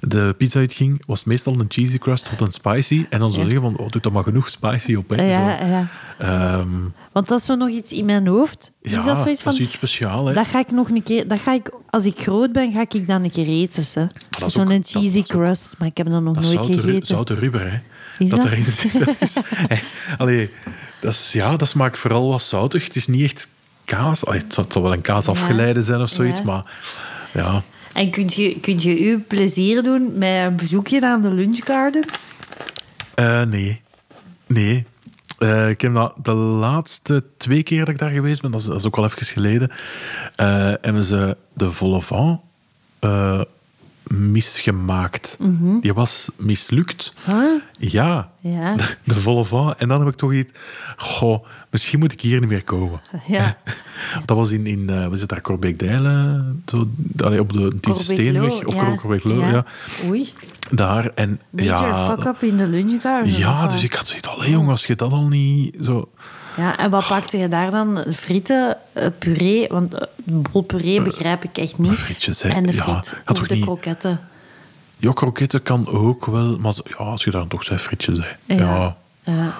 de pizza uit ging, was het meestal een cheesy crust tot een spicy. En dan zo Ja. zeggen van, oh, doe er maar genoeg spicy op. Hè, Ja, zo. ja. Ehm, Want dat is zo nog iets in mijn hoofd. Ja, is dat zoiets van... iets speciaals. hè. Dat ga ik nog een keer... Dat ga ik, als ik groot ben, ga ik dan een keer eten. hè. dat is Zo'n ook- cheesy dat is ook- crust. Maar ik heb dat nog Dat is nooit zoute, ru- gegeten. zoute rubber, hè. Is dat? erin zit. Dat [laughs] is, hè. Allee, dat is, ja, dat smaakt vooral wat zoutig. Het is niet echt kaas. Allee, het, zal, het zal wel een kaas afgeleide zijn of zoiets, Ja. maar ja. En kunt je, kunt je u plezier doen met een bezoekje aan de lunchgarden? Eh, nee. Nee. Eh, ik heb dat de laatste twee keer dat ik daar geweest ben, dat is, dat is ook al even geleden, eh, hebben ze de Volevant eh, misgemaakt. Die was mislukt. Mhm. Huh? Ja. Ja. De, de volle van. En dan heb ik toch iets... Goh, misschien moet ik hier niet meer komen. Ja. Dat was in, in eh, wat is het daar, Corbeek-Dijlen? Zo, allee, op de Tiense Steenweg. Of Cor- Corbeek-Loo, ja. Oei. Daar. En Major ja... fuck up in de lunchgarden. of Ja, wat? dus ik had zoiets... Allee, jongen, als je dat al niet... Zo... Ja, en wat pakte je daar dan? Frieten, eh, puree? Want eh, bol puree begrijp ik echt niet. frietjes, hè. En de Ja, friet. had of toch de niet- kroketten. Ja, kroketten kan ook wel, maar zo- ja, als je daar toch zijn frietjes... Hè. Ja. Ja.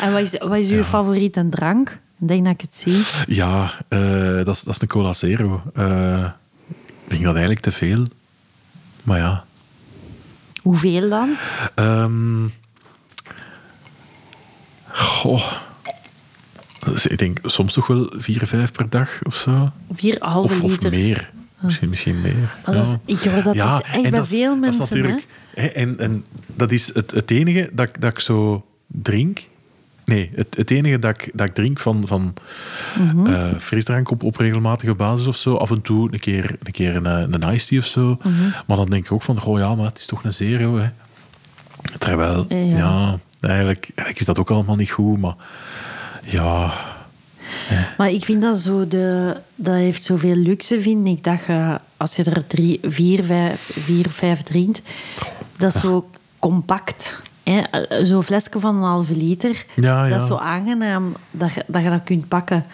en wat is, wat is uw favoriete drank? Ik denk dat ik het zie. Ja, eh, dat, is, dat is een cola zero. Eh, ik denk dat eigenlijk te veel. Maar ja... Hoeveel dan? Ehm goh. Dus ik denk soms toch wel vier, vijf per dag of zo. Vier halve Of, of liters. meer. Misschien, misschien meer. Maar dat is- ik hoor dat dus echt en bij dat is- veel dat is mensen, natuurlijk, hè, en, en dat is het, het enige dat, ik- dat ik zo drink. Nee, het, het enige dat ik, dat ik drink van, van Mhm. eh, frisdrank op, op regelmatige basis of zo, af en toe een keer een, keer een, eh, een iced tea of zo. Mhm. Maar dan denk ik ook van, goh ja, maar het is toch een zero, hè. Terwijl, Ja. ja, eigenlijk, eigenlijk is dat ook allemaal niet goed, maar ja... Maar ik vind dat zo, de, dat heeft zoveel luxe, vind ik, dat je, als je er drie, vier, vijf, vier, vijf drinkt, dat is zo compact. hè. Zo'n flesje van een halve liter, Ja, dat ja. is zo aangenaam dat je dat, je dat kunt pakken.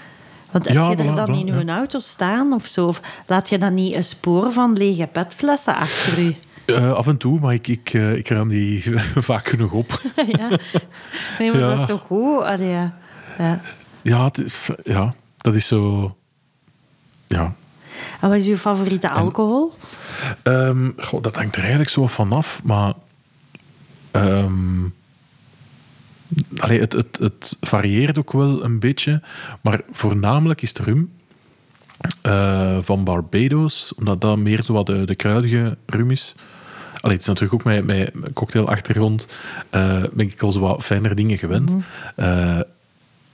Want heb je Ja, er voilà, dan voilà, in ja. je auto staan of zo? Of laat je dan niet een spoor van lege petflessen achter je? eh, af en toe, maar ik, ik, eh, ik ruim die [laughs] vaak genoeg op. ja. Nee, maar Ja. dat is toch goed? Allee, ja. Ja. Ja, het is- ja, dat is zo... Ja, En wat is uw favoriete alcohol? Ehm, goh, dat hangt er eigenlijk zo vanaf, maar. ehm, allee, het, het, het varieert ook wel een beetje, maar voornamelijk is het rum eh, van Barbados, omdat dat meer zo wat de, de kruidige rum is. Allee, het is natuurlijk ook mijn, mijn cocktailachtergrond, eh, ben ik al zo wat fijner dingen gewend. Eh,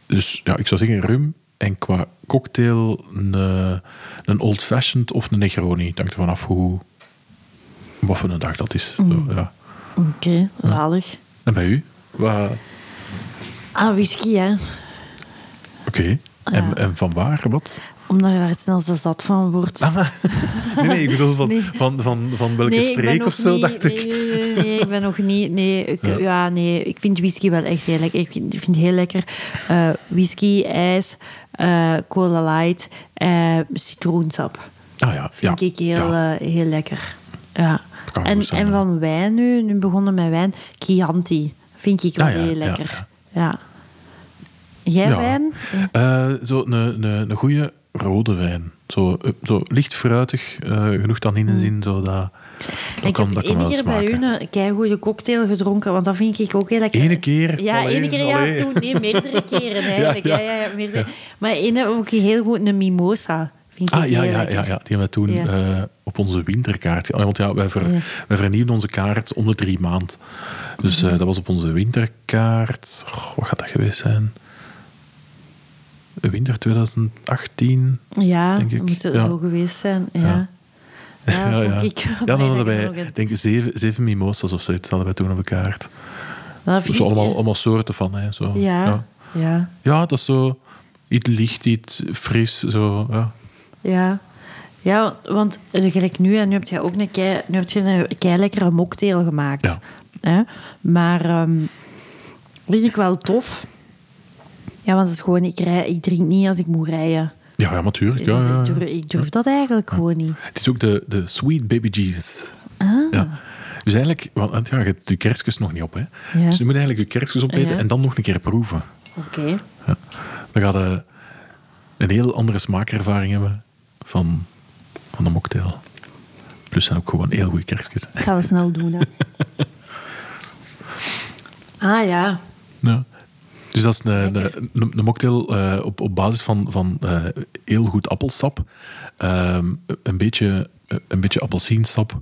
dus ja, ik zou zeggen rum. En qua cocktail een, eh, een old fashioned of een Negroni. Het hangt ervan af hoe wat voor een dag dat is. Zo, Mhm. ja. Oké, zalig. En bij u? Wa- Ah, whisky, hè. Oké. En, en van waar? Wat? Omdat je daar snel zo zat van wordt. Nee, nee, ik bedoel van, Nee. van, van, van Ah, welke ik ben streek nog of zo, niet- dacht nee, ik. Nee, nee, nee, ik ben nog niet... Nee, ik, ja. Ja. nee, ik vind whisky wel echt heel lekker. Ik vind, ik vind heel lekker eh, whisky, ijs, eh, cola light, eh, citroensap. Ah ja, Vind ja, ik heel, ja. eh, heel lekker. Ja. kan En, goed zijn, en hè. van wijn nu, nu begonnen met wijn, Chianti. Vind ik wel Ah, ja, heel ja, lekker. Ja. Jij Ja. wijn? Eh, zo een, een, een goede rode wijn. Zo, eh, zo licht fruitig, eh, genoeg tanninen in, zo dat, dat Mm. ik kan, heb dat één kan wel keer bij smaken. u een keigoede cocktail gedronken, want dat vind ik ook heel lekker. Ene keer? Ja, Allee, één keer. Ja, allee. toen, nee, [laughs] meerdere keren eigenlijk. ja, Ja, ja. ja. Ja, meerdere. Maar één heb ik heel goed, een mimosa. Vind ik Ah ja, heel ja, lekker. ja, ja, die hebben we toen Ja. eh, op onze winterkaart. ge- Ah, Want ja, wij, ver, Ja. wij vernieuwen onze kaart om de drie maand. Dus eh, dat was op onze winterkaart. Goh, wat gaat dat geweest zijn? Eh, Winter 2018. Ja, Denk ik, moet het ja. zo geweest zijn. Ja, ja. [laughs] Ja. dat ja. vond ik wel Ja, dan bijna hadden wij, genoeg, hè. denk ik, zeven, zeven mimosas of zoiets hadden wij toen op de kaart. Dat Nou, vind Zo ik- allemaal, allemaal soorten van. Hè, zo. Ja, Ja. ja, Ja, dat is zo iets licht, iets fris. Zo, ja. ja. Ja, want eh, gelijk nu, en nu heb je ook een kei, nu heb je een eh, kei lekkere mocktail gemaakt. Ja. Hè? Maar ehm, vind ik wel tof. Ja, want het is gewoon, ik, rij, ik drink niet als ik moet rijden. Ja, ja, natuurlijk. Ja, Dus ja, ja. Ik, durf, ik durf dat eigenlijk gewoon niet. Het is ook de, de Sweet Baby Jesus. Ah. Ja. Dus eigenlijk, want want ja, je hebt je kerstjes nog niet op. Hè? Ja. Dus je moet eigenlijk je kerstjes opeten Ja. en dan nog een keer proeven. Oké. Dan gaat je een heel andere smaakervaring hebben van, van de mocktail. Plus zijn ook gewoon heel goede kerstjes. Ik ga dat snel doen. Hè. [laughs] ah ja. Ja. Dus dat is een, Lekker. een, een- een mocktail eh, op, op basis van, van eh, heel goed appelsap, ehm, een, beetje, een beetje appelsiensap,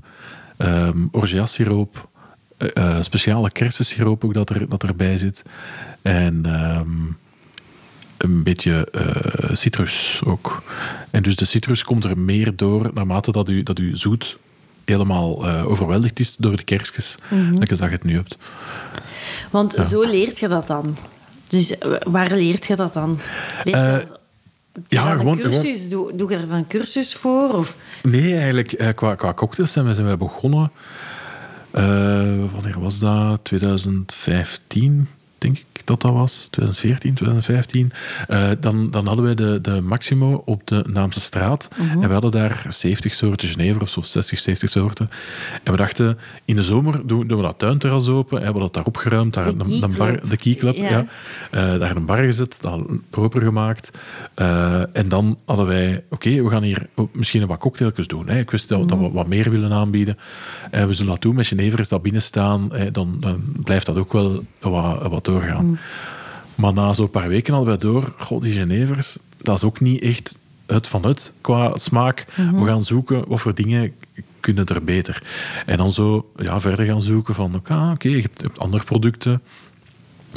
ehm orgeassiroop, eh, eh, speciale kersensiroop ook dat, er, dat erbij zit. En ehm, een beetje eh, citrus ook. En dus de citrus komt er meer door naarmate dat u, dat u zoet helemaal eh, overweldigd is door de kerstjes. Lekker dat je het nu hebt. Want zo leert je dat dan. Dus eh, waar leert je dat dan? Leert je Eh, dat- ja, Is dat een gewoon- Cursus? Doe, doe je er een cursus voor? Of? Nee, eigenlijk eh, qua, qua cocktails zijn we, zijn we begonnen. eh, wanneer was dat? 2015, denk ik dat dat was. 2014, 2015. Eh, dan, dan hadden wij de, de Maximo op de Naamse straat. Mhm. En we hadden daar 70 soorten Genever of zo, 60, 70 soorten. En we dachten, in de zomer doen, doen we dat tuinterras open. Hebben we dat daar opgeruimd. Daar De een, een bar, Keyclub. de Keyclub, Ja. ja. Eh, daar een bar gezet, dat proper gemaakt. Eh, en dan hadden wij, oké, we gaan hier ook misschien wat cocktailtjes doen. Hè. Ik wist dat, dat we wat meer willen aanbieden. En we zullen dat doen met Genevers dat binnen staan. hè, dan, dan blijft dat ook wel wat, wat doorgaan. Maar na zo'n paar weken hadden wij door, god, die Genevers, dat is ook niet echt het van het qua smaak. We gaan zoeken wat voor dingen kunnen er beter. En dan zo ja, verder gaan zoeken van, ah, oké, je hebt- je hebt andere producten.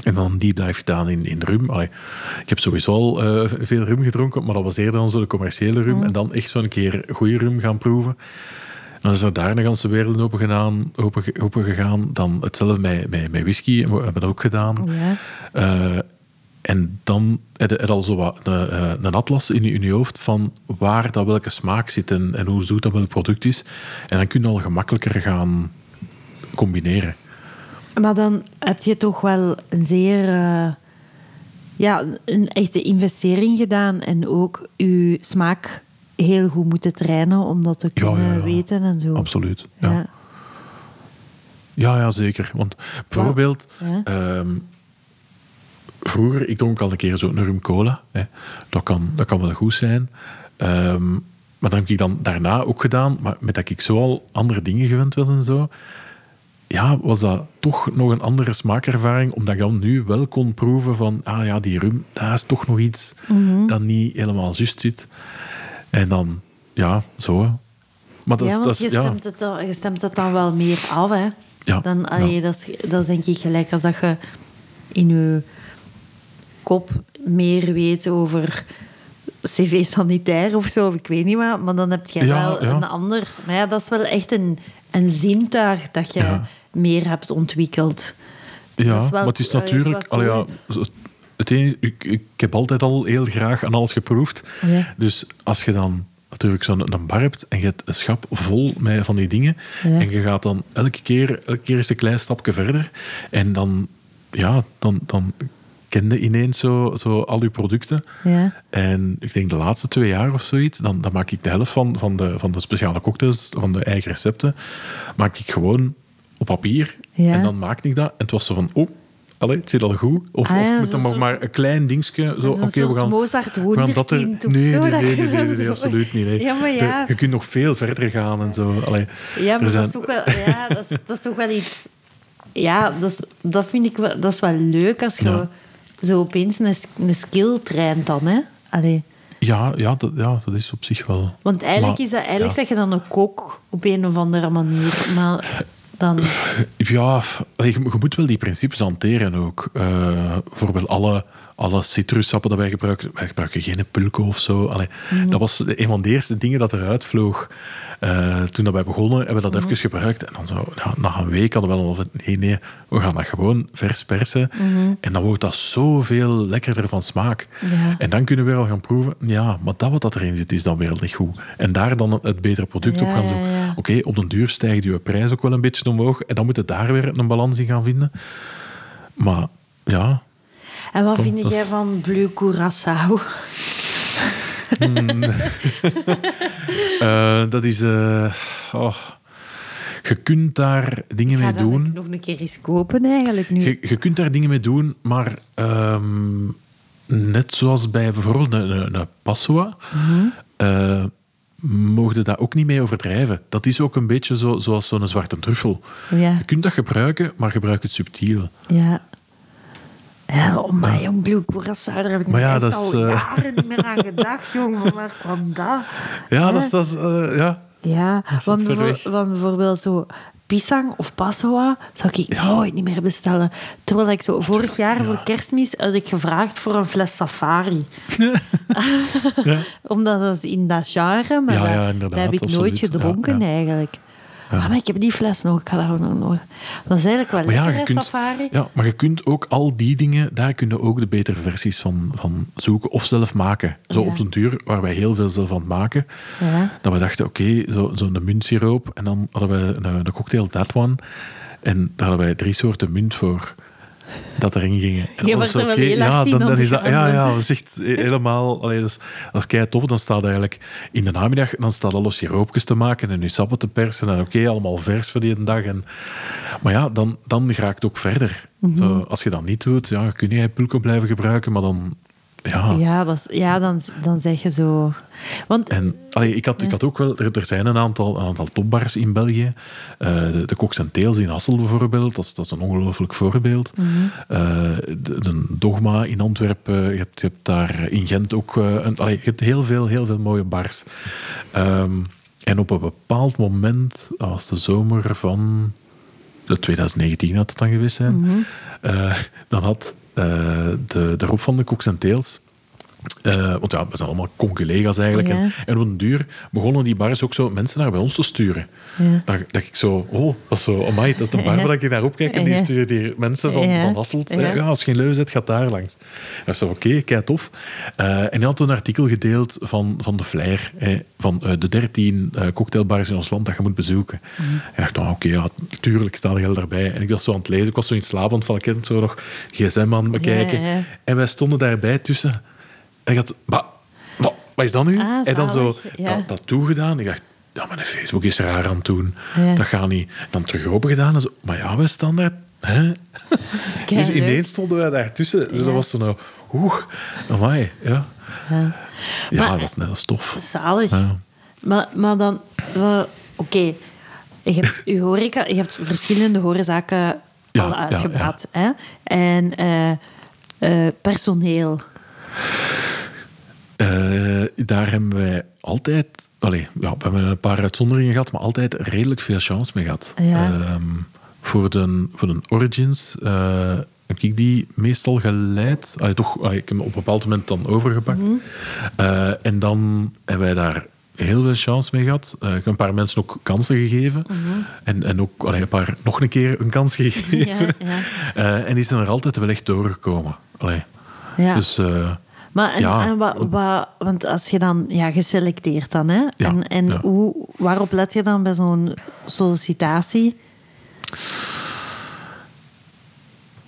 En dan die blijft gedaan in, in rum. Allee, ik heb sowieso al eh, veel rum gedronken, maar dat was eerder dan zo de commerciële rum. En dan echt zo'n keer goede rum gaan proeven. En dan is er daar een ganse wereld open, gedaan, open, ge- open gegaan. Dan hetzelfde met, met, met whisky hebben we dat ook gedaan. Ja. Eh, en dan heb je heb je al zo wat, een, eh, een atlas in je, in je hoofd van waar dat welke smaak zit en, en hoe zoet dat wel het product is. En dan kun je al gemakkelijker gaan combineren. Maar dan heb je toch wel een zeer... eh, ja, een echte investering gedaan. En ook je smaak heel goed moeten trainen om dat te kunnen weten en zo. Absoluut. Ja. Ja. Ja. Ja, zeker. Want bijvoorbeeld, Ja. ehm, vroeger, ik dronk al een keer zo'n rum cola. Hè. Dat, kan, dat kan wel goed zijn. Ehm, maar dat heb ik dan daarna ook gedaan. Maar met dat ik zo al andere dingen gewend was en zo, ja, was dat toch nog een andere smaakervaring. Omdat ik dan nu wel kon proeven van, ah ja, die rum, daar is toch nog iets Mhm. dat niet helemaal juist zit. En dan, ja, zo. hè. Maar ja, dat is, want dat is, je, ja. stemt het dan, je stemt het dan wel meer af, hè? Ja, Dan, ja. allee, Dat, is, dat is denk ik gelijk als dat je in je kop meer weet over cv-sanitair of zo, of ik weet niet wat, maar dan heb je Ja, wel ja. een ander... Maar ja, dat is wel echt een, een zintuig dat je Ja. meer hebt ontwikkeld. Ja, Dat is wel- maar het is dat is wel natuurlijk. cool. allee, ja, zo- het een- ik, ik heb altijd al heel graag aan alles geproefd. Ja. Dus als je dan natuurlijk zo'n een bar hebt en je hebt een schap vol met van die dingen. Ja. En je gaat dan elke keer, elke keer is een klein stapje verder. En dan, ja, dan, dan kende ineens zo, zo al je producten. Ja. En ik denk de laatste twee jaar of zoiets, dan, dan maak ik de helft van, van, de, van de speciale cocktails, van de eigen recepten, maak ik gewoon op papier. Ja. En dan maakte ik dat. En het was zo van, oh, allee, het zit al goed. Of, Ah ja, of zo'n moet er nog soort- maar een klein dingetje. Zo, Dat is een oké, we soort gaan, Mozart we gaan dat er, wonderkind of nee, zo, Nee, dat nee, je nee, nee, dan nee, zo- absoluut niet. nee. Ja, maar Er- ja. Je kunt nog veel verder gaan en zo. Allee, Ja, er maar dat zijn- is, toch wel, ja, dat, is, dat is toch wel iets... Ja, dat, is, dat vind ik wel, dat is wel leuk als je Ja. zo opeens een, s- een skill traint dan, hè. Allee. ja, ja, dat, ja, dat is op zich wel... Want eigenlijk Maar- is dat eigenlijk ja. zeg je dan een kok op een of andere manier. Maar dan... Ja, allee, je, je moet wel die principes hanteren ook. Eh, bijvoorbeeld alle, alle citrussappen dat wij gebruiken. Wij gebruiken geen pulko of zo. Allee, Dat was een van de eerste dingen dat eruit vloog. Eh, toen dat wij begonnen, hebben we dat even gebruikt. En dan zo, ja, na een week hadden we al van... Nee, nee, we gaan dat gewoon vers persen. En dan wordt dat zoveel lekkerder van smaak. Ja. En dan kunnen we weer al gaan proeven. Ja, maar dat wat dat erin zit, is dan weer niet goed. En daar dan het betere product Ja, op gaan ja, zoeken. ja. Oké, op den duur stijgt je prijs ook wel een beetje omhoog. En dan moet je daar weer een balans in gaan vinden. Maar ja, En wat Kom, vind dat jij is- van Bleu Curaçao? [laughs] eh, dat is. eh, oh. Je kunt daar dingen mee Ga dan doen. nog een keer eens kopen eigenlijk nu. Je, je kunt daar dingen mee doen, maar ehm, net zoals bij bijvoorbeeld een, een, een Passoa, Mhm. eh, mogen je daar ook niet mee overdrijven. Dat is ook een beetje zo, zoals zo'n zwarte truffel. Ja. Je kunt dat gebruiken, maar gebruik het subtiel. Ja. Ja, oh mijn jong, Blue Curaçao, daar heb ik Maar ja, echt dat is, al eh, jaren niet meer [laughs] aan gedacht, jongen. Van Waar kwam dat? Ja, Hè? dat is... Dat is eh, ja. Ja, Dat is want, wat ver bijvoor- weg. want bijvoorbeeld zo pisang of passoa zou ik nooit niet meer bestellen. Terwijl ik zo vorig jaar voor kerstmis had ik gevraagd voor een fles safari. ja. Omdat dat is in dat genre, maar Ja, ja, dat- dat, inderdaad, heb ik nooit absoluut. gedronken Ja, ja. eigenlijk. Ah, maar ik heb die fles nog, ik ga dat nog nooit. Dat is eigenlijk wel Maar lekker, ja, hè, je kunt, safari. ja, maar je kunt ook al die dingen, daar kun je ook de betere versies van, van zoeken of zelf maken. Zo Ja. op den duur, waar wij heel veel zelf aan het maken, Ja. dat we dachten, oké, zo- zo'n muntsiroop. En dan hadden we een, een cocktail, that one. En daar hadden wij drie soorten munt voor dat erin gingen. En Je dan wordt was er dat, wel oké, heel ja, actief dan, dan aan is dat, gaan, ja, hè. ja, dat is echt helemaal... Allee, dat, is, dat is kei tof. Dan staat eigenlijk in de namiddag dan staat alles siroopjes te maken en nu sappen te persen. En oké, allemaal vers voor die dag. En, maar ja, dan, dan raakt ook verder. Zo, als je dat niet doet, ja, kun je pulko blijven gebruiken, maar dan... Ja, Ja, dat is- ja dan, dan zeg je zo. Want En allee, ik, had, ik had ook wel, er, er zijn een aantal, een aantal topbars in België. Eh, de, de Cox Tails in Hassel bijvoorbeeld, dat is, dat is een ongelooflijk voorbeeld. Eh, de, de Dogma in Antwerpen, je hebt, je hebt daar in Gent ook eh, een, allee, je hebt heel veel, heel veel mooie bars. Ehm, en op een bepaald moment, als de zomer van dat 2019 had het dan geweest zijn. Eh, dan had eh, de, de Rob van de Koeks en Teels. eh, want ja, we zijn allemaal conculega's eigenlijk. Ja. En, en op een duur begonnen die bars ook zo mensen naar bij ons te sturen. Ja. Dat, dat ik zo, oh, dat is zo, amai, dat is de bar Ja. waar ik naar opkijk. En die Ja. sturen hier mensen van, Ja. van Hasselt. eh, Ja. ja, als je geen leu zit, gaat daar langs. Dat is oké, kijk tof. Eh, en hij had een artikel gedeeld van, van de Flair, eh, van eh, de 13 eh, cocktailbars in ons land dat je moet bezoeken. Mm. En ik dacht, oh, oké, ja, tuurlijk staan heel daarbij. En ik was zo aan het lezen, ik was zo in slaap, want van ik had zo nog gsm aan het bekijken. ja. En wij stonden daarbij tussen. En ik had, "Wa- wa- wat is dat nu? Ah, Hm? en dan zo, zalig, ja. dat, dat toegedaan. Ik dacht, ja, maar de Facebook is raar aan het doen. Ja. Dat gaat niet. Dan terug open gedaan. En zo, maar ja, we staan daar. Hè? is Dus keileuk. ineens stonden wij daartussen. Dus Ja. dat was zo nou, oeh, amai, ja. Ja. Ja, Maar- dat is net als tof. Zalig. Ja. Maar, maar dan... wel, Oké, je [laughs] hebt je horeca... Je hebt verschillende horezaken Ja, al ja, ja. uitgepraat. Hè? En eh, eh, personeel. Eh, daar hebben wij altijd, allee, ja, we hebben een paar uitzonderingen gehad, maar altijd redelijk veel chance mee gehad. Ja. Ehm, voor, de, voor de Origins eh, heb ik die meestal geleid. Allee, toch, allee, ik heb hem op een bepaald moment dan overgepakt. Mhm. Eh, en dan hebben wij daar heel veel chance mee gehad. Eh, ik heb een paar mensen ook kansen gegeven. Mhm. En, en ook allee, een paar nog een keer een kans gegeven. Ja, ja. [laughs] Eh, en die zijn er altijd wel echt doorgekomen. Allee. Ja. Dus... eh, Maar en, Ja. en wa- wa- want als je dan ja, geselecteerd dan, hè? en, en ja. Hoe, waarop let je dan bij zo'n sollicitatie?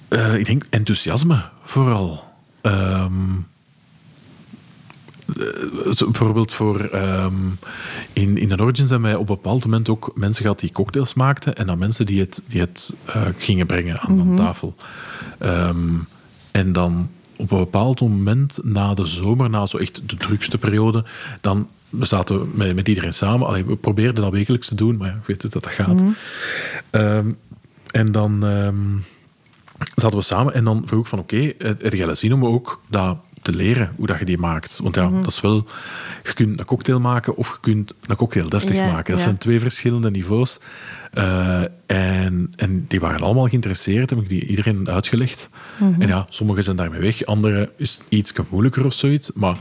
Eh, ik denk enthousiasme vooral. Ehm, eh, zo bijvoorbeeld voor ehm, in, in de Origins hebben wij op een bepaald moment ook mensen gehad die cocktails maakten en dan mensen die het, die het eh, gingen brengen aan de tafel. Ehm, en dan op een bepaald moment na de zomer, na zo echt de drukste periode, dan we zaten met, met iedereen samen. Allee, we probeerden dat wekelijks te doen, maar ja, ik weet hoe dat, dat gaat. Ehm, en dan ehm, zaten we samen en dan vroeg ik van oké, het heb jij zin om ook dat te leren, hoe dat je die maakt? Want Mhm. ja, dat is wel, je kunt een cocktail maken of je kunt een cocktail deftig Ja, maken. Dat ja. zijn twee verschillende niveaus. Eh, en, en die waren allemaal geïnteresseerd, heb ik die iedereen uitgelegd. Mhm. En ja, sommigen zijn daarmee weg, anderen is iets moeilijker of zoiets, maar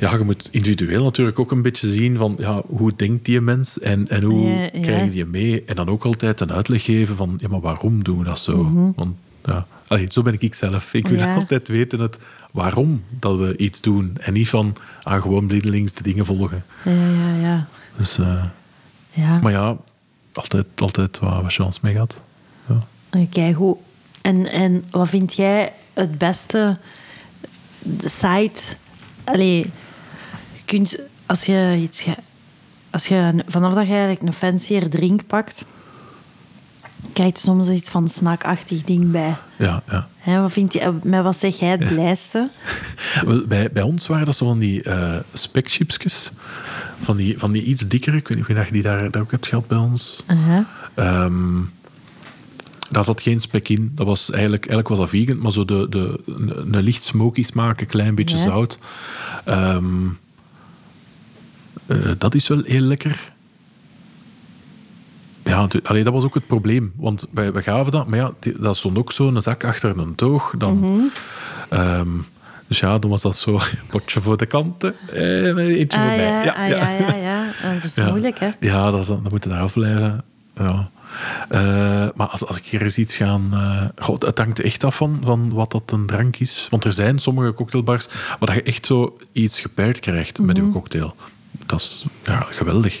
ja, je moet individueel natuurlijk ook een beetje zien van ja, hoe denkt die mens en, en hoe Ja, ja. krijg je die mee? En dan ook altijd een uitleg geven van ja, maar waarom doen we dat zo? Want ja, allee, zo ben ik zelf. Ik wil Ja. [laughs] altijd weten het waarom dat we iets doen en niet van ah, gewoon blindelings de dingen volgen. Ja, ja, ja. Dus, eh, ja. maar ja, altijd, altijd waar we chance mee gehad. Ja. Oké, goed. En, en wat vind jij het beste de site? Allee, je kunt, als je iets... ge- Als je, een- vanaf dat je eigenlijk een fancier drink pakt, krijg je soms iets van snackachtig ding bij. Ja, ja. Hè, wat vind je, eh, met wat zeg jij het blijste? Wel, bij, bij ons waren dat zo van die eh spekchipsjes. Van die, van die iets dikkere. Ik weet niet of je die daar, daar ook hebt gehad bij ons. Aha. Ehm, daar zat geen spek in. Dat was eigenlijk, eigenlijk was dat vegan, maar zo de, de, een, een licht smoky smaak, een klein beetje Ja. zout. Ehm, eh, dat is wel heel lekker. Ja, natu- allee, dat was ook het probleem. Want wij, wij gaven dat, maar ja, die- dat stond ook zo'n zak achter een toog. Dan, Mhm. Ehm, dus ja, dan was dat zo, potje voor de kanten, eh, eentje Ah, voorbij. ja, ah, ja, ja, ja. En Dat is moeilijk, hè? Ja, dat, is, dan moet je daar afblijven. Ja. Eh, maar als, als ik hier eens iets ga... eh, goh, het hangt echt af van, van wat dat een drank is. Want er zijn sommige cocktailbars waar dat je echt zo iets gepaard krijgt met Mhm. je cocktail. Dat is ja, geweldig.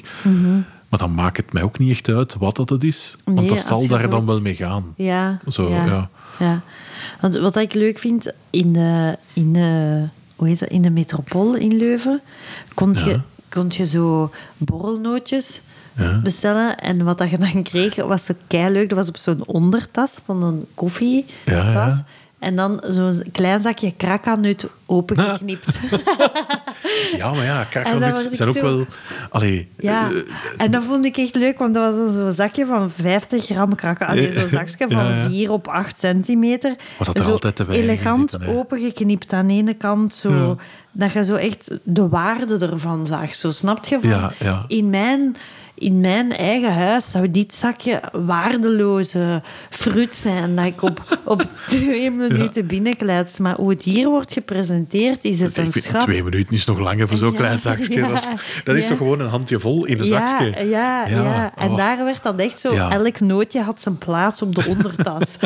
Maar dan maakt het mij ook niet echt uit wat dat het is. Want Nee, dat als zal je daar dan zoiets- wel mee gaan. Ja. Zo, ja. ja. Want wat ik leuk vind, in de, in de, hoe heet dat, in de metropool in Leuven, kon je, Ja. kon je zo borrelnootjes Ja. bestellen. En wat dat je dan kreeg, was zo leuk. Dat was op zo'n ondertas van een koffietas. Ja, ja. Ah. En dan zo'n klein zakje krakannut opengeknipt. Ja, maar ja, En dan kakaonuts was ik zijn ook zo- wel... Allee, Ja, eh, en dat vond ik echt leuk, want dat was dan zo'n zakje van 50 gram krakken. Allee, zo'n [laughs] zakje van Eh, Ja, ja. 4 op 8 centimeter. Maar dat er zo altijd te weinig in elegant zitten, hè. opengeknipt aan de ene kant. Zo, Ja. Dat je zo echt de waarde ervan zag. Zo snapt je van, Ja, ja. in mijn... in mijn eigen huis zou dit zakje waardeloze fruit zijn dat ik [laughs] op, op twee minuten binnenkleits. Maar hoe het hier wordt gepresenteerd, is het een Ik weet, schat. twee minuten is nog langer voor zo'n Ja, klein zakje. ja, dat is, dat is ja. toch gewoon een handje vol in een ja, zakje? ja, ja, En oh. daar werd dat echt zo... Ja. Elk nootje had zijn plaats op de ondertas. [laughs]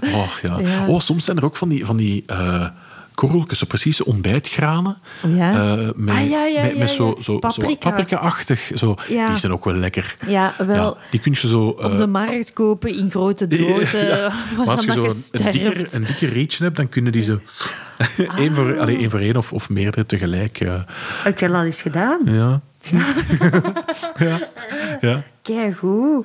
Dus Och, ja. Ja. Oh, soms zijn er ook van die, van die eh, korreltjes, zo precies ontbijtgranen. Ja. Eh, met, Ah, ja, ja, met, ja, met zo, ja. zo, zo Paprika. paprika-achtig. Zo. Ja. Die zijn ook wel lekker. Ja, wel. Die kun je zo... eh, op de markt kopen in grote dozen. [laughs] [laughs] ja. Maar als je waarvan zo je een, een dikker, sterft. een dikker reetje hebt, dan kunnen die zo... Ah. [laughs] één, voor, allee, één voor één of, of meerdere tegelijk. eh, Heb jij dat eens gedaan? [laughs] ja. ja. Ja. Kijk hoe.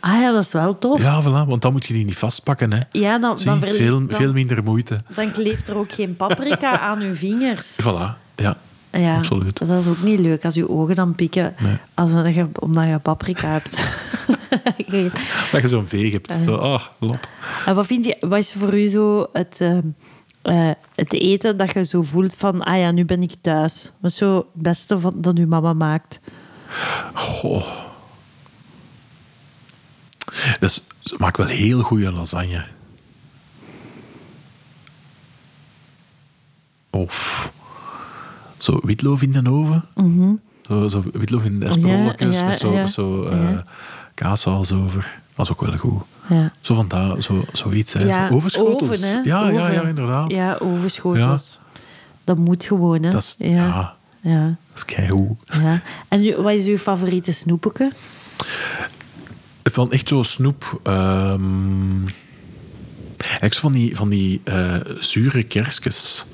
Ah ja, dat is wel tof. Ja, Ja, voilà, want dan moet je die niet vastpakken. Hè. dan, Zie, dan verlies veel, dan, veel minder moeite. dan kleeft er ook geen [laughs] paprika aan uw vingers. Voilà, ja. Ja, Absoluut. Dus dat is ook niet leuk als je ogen dan pikken Nee. als je, omdat je paprika hebt. [laughs] Dat je zo'n veeg hebt. Zo, ah, lop. en wat vind je, wat is voor u zo het, eh, eh, het eten dat je zo voelt van, ah ja, nu ben ik thuis. Wat is zo het beste van, dat uw mama maakt? Goh. Dus, ze maakt wel heel goede lasagne. Of zo witloof in de oven. zo, zo witloof in de esprolletjes Mhm. ja, met zo, ja, met zo eh, ja. kaassaus over. Dat is ook wel goed. Ja. Zo van daar, zo, zoiets. Hè. Zo overschotels. oven, hè. ja, ja, ja, Oven. inderdaad. Ja, overschotels. Dat moet gewoon, hè. Dat is- ja. ja. Dat is keigoed. Ja. En nu, wat is uw favoriete snoepeke? Van echt zo snoep. ehm eigenlijk zo van die, van die eh, zure kerstjes.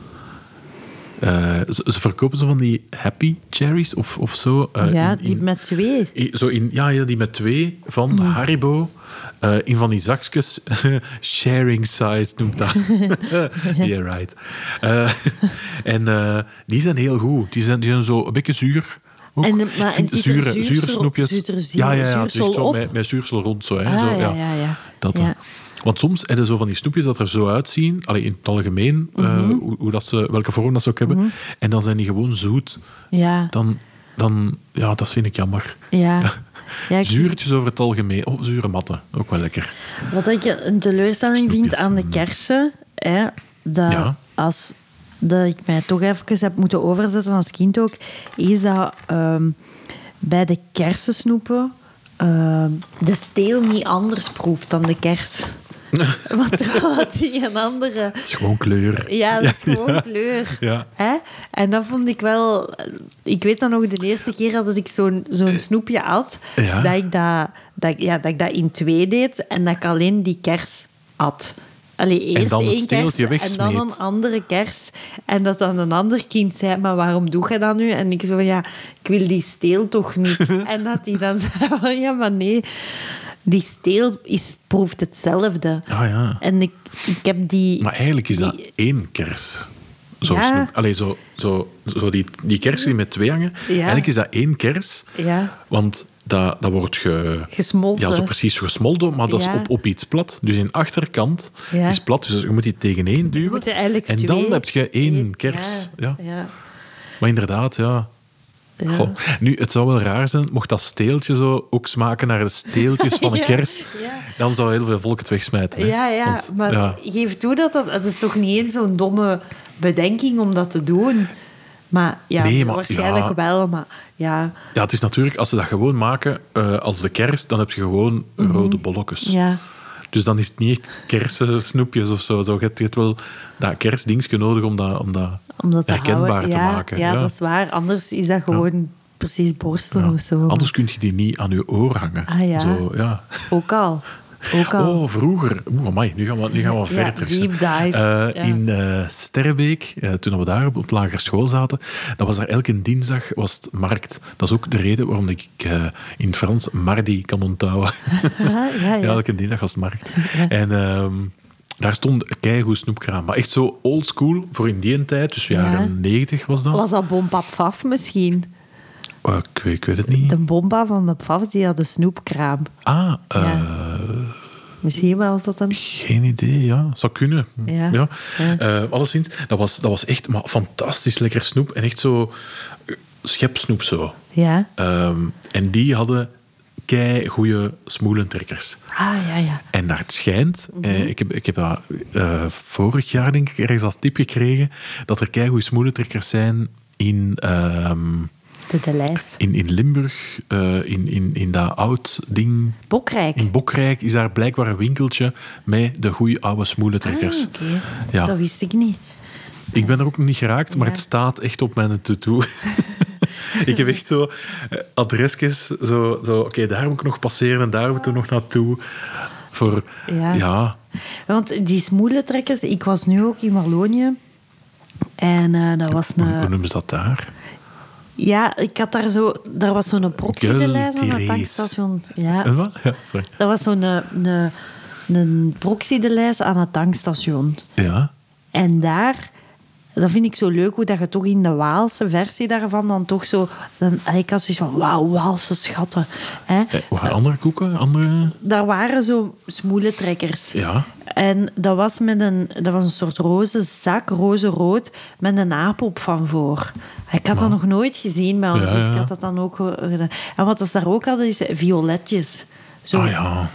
Eh, ze, ze verkopen zo van die happy cherries of, of zo. eh, ja, in- die in- met twee. Mm. i- zo in, ja, ja, die met twee van Haribo. eh, in van die zakjes. [laughs] Sharing size [laughs] noemt dat. yeah, right. Eh, en eh, die zijn heel goed. Die zijn, die zijn zo een beetje zuur. ook. En, eh, Ik maar- en vind zit er zure, zuursel- zure snoepjes. zit er zuur- ja, ja, ja. het zuursel ligt zo op? Met, met zuursel rond. Zo, hè, Ah, zo, ja, ja, ja. Dat, Ja. eh. Want soms hebben zo van die snoepjes dat er zo uitzien, allee, in het algemeen, eh, Mhm. hoe, hoe dat ze, welke vorm dat ze ook hebben, en dan zijn die gewoon zoet. Ja, Dan, dan, ja, dat vind ik jammer. [laughs] ja. ja ik- Zuurtjes over het algemeen. Oh, zure matten. Ook wel lekker. Wat ik een teleurstelling vind Snoepjes. aan de kersen, hè, dat Ja. als dat ik mij toch even heb moeten overzetten als kind ook, is dat ehm, bij de kersensnoepen ehm, de steel niet anders proeft dan de kers. Want er had die een andere... Het is gewoon kleur. Ja, dat is gewoon kleur. Ja. Hè? En dat vond ik wel... Ik weet dan nog de eerste keer dat ik zo'n zo'n snoepje at, Eh, Ja. dat, ik dat, dat, ik- ja, dat ik dat in twee deed en dat ik alleen die kers at. Allee, eerst dan het één kers steeltje en dan wegsmeet. een andere kers. En dat dan een ander kind zei, maar waarom doe je dat nu? En ik zo van, ja, ik wil die steel toch [laughs] niet. en dat die dan zei van, ja, maar nee... Die steel is, proeft hetzelfde. Ah, ja. En ik, ik heb die... Maar eigenlijk is dat die- één kers. Zo, Ja. snoep. Allee, zo, zo, zo die, die kersen die met twee hangen. Eigenlijk is dat één kers. Ja. Want dat, dat wordt ge... Gesmolten. Ja, zo precies gesmolten, maar dat Ja. is op, op iets plat. Dus een achterkant Ja. is plat, dus je moet die tegeneen duwen. moet er eigenlijk En dan twee- heb je één één- kers. Ja. Ja, ja, Maar inderdaad, ja. ja. Goh. Nu, het zou wel raar zijn, mocht dat steeltje zo ook smaken naar de steeltjes van [laughs] een Ja, kers, ja. dan zou heel veel volk het wegsmijten. hè. Ja, ja, Want, maar ja. geef toe dat dat... Het is toch niet eens zo'n domme bedenking om dat te doen? Maar ja, Nee, maar- waarschijnlijk ja. wel, maar ja. Ja, het is natuurlijk, als ze dat gewoon maken eh, als de kers, dan heb je gewoon rode bolletjes. Mhm. Ja, Dus dan is het niet echt kersensnoepjes of zo. zo je, hebt, je hebt wel dat kerstdingetje nodig om dat, om dat, om dat te herkenbaar houden. te ja, maken. Ja, dat is waar. Anders is dat gewoon precies borstelen Ja. of zo. maar Anders kun je die niet aan je oor hangen. Ah, ja. Zo, ja. Ook al. Ook al. Oh, vroeger. Oeh, amai, nu gaan we, nu gaan we ver terug. deep dive, Eh, ja. In eh Sterbeek, eh, toen we daar op de lagere school zaten, dan was daar elke dinsdag was het markt. Dat is ook de reden waarom ik eh, in het Frans Mardi kan onthouden. [laughs] Ja, ja, Ja, ja. elke dinsdag was het markt. En ehm, daar stond een keigoed snoepkraam. Maar echt zo old school voor in die tijd, dus jaren 90 was dat. Was dat Bomba Pfaff misschien? Eh, ik, weet, ik weet het niet. De Bomba van de Pfaff, die had een snoepkraam. Ah, eh, Ja. Misschien wel dat hem... geen idee, ja. Zou kunnen. Ja. Ja. Ja. Eh, alleszins, dat was, dat was echt maar fantastisch lekker snoep. En echt zo... schepsnoep zo. Ja. Ehm, en die hadden kei goede smoelentrekkers. Ah, ja, ja. En naar het schijnt, Mhm. eh, ik heb, ik heb dat eh, vorig jaar denk ik ergens als tip gekregen, dat er keigoede smoelentrekkers zijn in, ehm, De Delijs. in, in Limburg, eh, in, in, in dat oud ding. Bokrijk. In Bokrijk is daar blijkbaar een winkeltje met de goede oude smoelentrekkers. Ah, oké. Ja. Dat wist ik niet. Ik ben er ook nog niet geraakt, maar Ja. het staat echt op [laughs] mijn to-do. ik heb echt zo eh, adresjes, zo, zo oké, daar moet ik nog passeren en daar moeten we nog naartoe. Voor, Ja. ja, Want die smoelentrekkers, ik was nu ook in Wallonië. En eh, dat was Hoe, hoe een... noemen ze dat daar? Ja, ik had daar zo... Daar was zo'n proxy de lijst aan het Guilty tankstation. Ja. Een wat? Ja, sorry. Dat was zo'n een, een, een proxy de lijst aan het tankstation. Ja. En daar, dat vind ik zo leuk, hoe dat je toch in de Waalse versie daarvan dan toch zo... Dan, ik had zoiets van, wauw, Waalse schatten. Hè? Eh, hoe gaan andere koeken? Andere... Daar waren zo smoelentrekkers. Ja. En dat was, met een, dat was een soort roze zak, roze-rood, met een aap op van voor. Ik had dat nog nooit gezien bij ons, Ja, dus ik ja. had dat dan ook eh, gedaan. En wat ze daar ook hadden, is violetjes. Zo. Ah ja.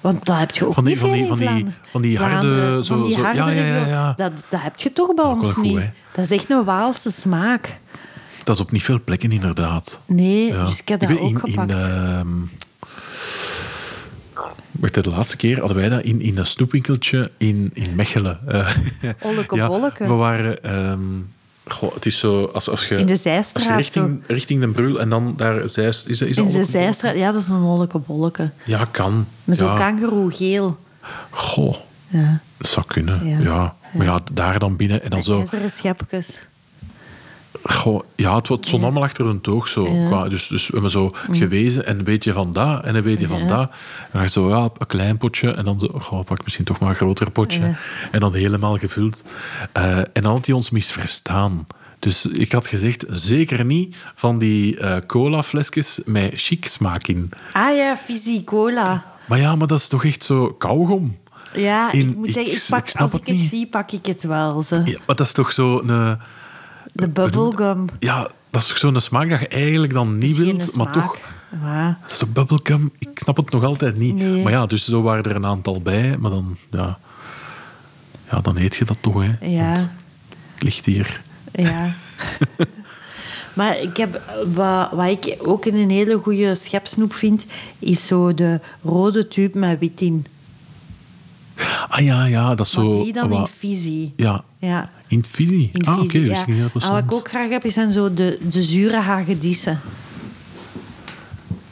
Want dat heb je ook Van die- niet van veel die- in van die- Vlaanderen. van die harde, Vlaanderen, zo- van die zo- ja, hardere ja, ja, ja. viool. Dat, dat heb je toch bij Dat is ons ook wel niet. goed, hè? dat is echt een Waalse smaak. Dat is op niet veel plekken, inderdaad. Nee, Ja. dus ik heb dat weet, ook in, gepakt. In, ehm, wacht, de laatste keer hadden wij dat in, in een snoepwinkeltje in, in Mechelen. Eh, [laughs] Olleke ja, bolleke. We waren... ehm, goh, het is zo... Als, als je, In de als Zijstraat, je richting, richting Den Brul en dan daar... Zeist, is, dat- in is dat de Olleke bolleke? zijstraat, ja, dat is een holleke bolleke. Ja, kan. Met zo'n ja. kangeroegeel. Goh, Ja. dat zou kunnen. Ja. Ja. Maar ja, daar dan binnen en dan Met zo... ijzeren schepjes. Goh, ja, het wordt zo allemaal achter een toog. Zo. Ja. Mm. Qua- dus, dus we hebben zo gewezen en een beetje van dat en een beetje van dat. En dan zo, ja, een klein potje. En dan zo, goh, pak misschien toch maar een groter potje. Ja. En dan helemaal gevuld. Eh, en dan had hij ons misverstaan. Dus ik had gezegd, zeker niet van die eh cola-flesjes met chic smaak in. Ah ja, Fizzy Cola. Maar ja, maar dat is toch echt zo kauwgom? Ja, ik In- moet ik- zeggen, ik ik pak, snap als het ik het niet. zie, pak ik het wel. Ze. Ja, maar dat is toch zo een... eh, De bubblegum. Ja, dat is toch zo'n smaak dat je eigenlijk dan niet Misschien wilt, een maar toch... smaak. Ja. Dat is toch bubblegum? Ik snap het nog altijd niet. Nee. Maar ja, dus zo waren er een aantal bij. Maar dan, ja... Ja, dan eet je dat toch, hè. Ja. Want het ligt hier. [laughs] Ja. maar ik heb, wat, wat ik ook een hele goede schepsnoep vind, is zo de rode tube met wit in. Ah ja, ja, dat is Maar zo... die dan wat- in visie. Ja, Ja. in het visie. In ah, oké, visie, wist ik niet dat dat En wat ik bestond. ook graag heb, zijn zo de, de zure hagedissen.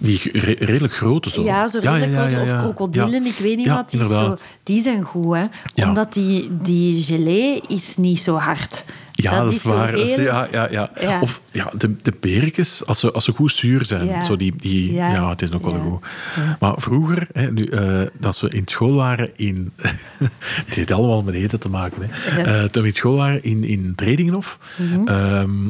Die ge- re- redelijk grote zo. Ja, zo redelijk grote. Of krokodillen, Ja. ik weet niet Ja, wat. Die, zo, inderdaad. die zijn goed, hè. Ja. Omdat die, die gelée is niet zo hard. Ja, dat, is zo waar. Dat is- heel- ja, ja, ja. Ja. Of ja, de, de perikjes, als ze, als ze goed zuur zijn. Ja. Zo die, die, Ja. ja. het is ook wel Ja. goed. Maar vroeger, hè, nu, eh, dat we in school waren in... [laughs] het heeft allemaal met eten te maken. Hè. Ja. Mhm. Eh, toen we in school waren in, in Tredingenhof, ehm,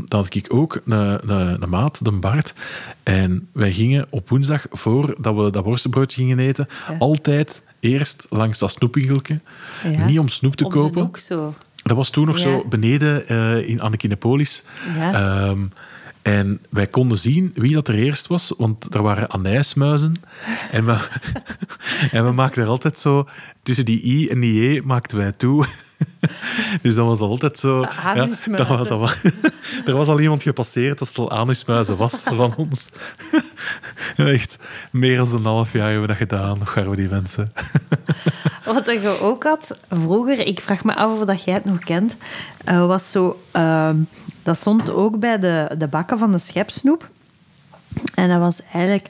dan had ik ook een, een, een maat, de Bart. En wij gingen op woensdag, voordat we dat worstenbroodje gingen eten, altijd eerst langs dat snoepwinkeltje. Ja. Niet om snoep te Op de kopen. hoek zo. Dat was toen nog Ja. zo beneden eh, in, aan de Kinepolis. Ja. Ehm, en wij konden zien wie dat er eerst was, want er waren anijsmuizen. En we, [laughs] en we maakten er altijd zo... Tussen die I en die J maakten wij toe. [laughs] Dus dat was altijd zo... Anusmuizen. dat was, dat was- [laughs] er was al iemand gepasseerd als het al anusmuizen was van ons. [laughs] En echt, meer dan een half jaar hebben we dat gedaan. Nog gaan we die mensen. Wat je ook had vroeger, ik vraag me af of dat jij het nog kent, eh, was zo... ehm, dat stond ook bij de, de bakken van de schepsnoep. En dat was eigenlijk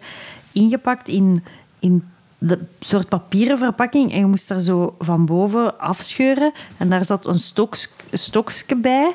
ingepakt in, in de soort papieren verpakking. En je moest daar zo van boven afscheuren. En daar zat een stoks, stokske bij...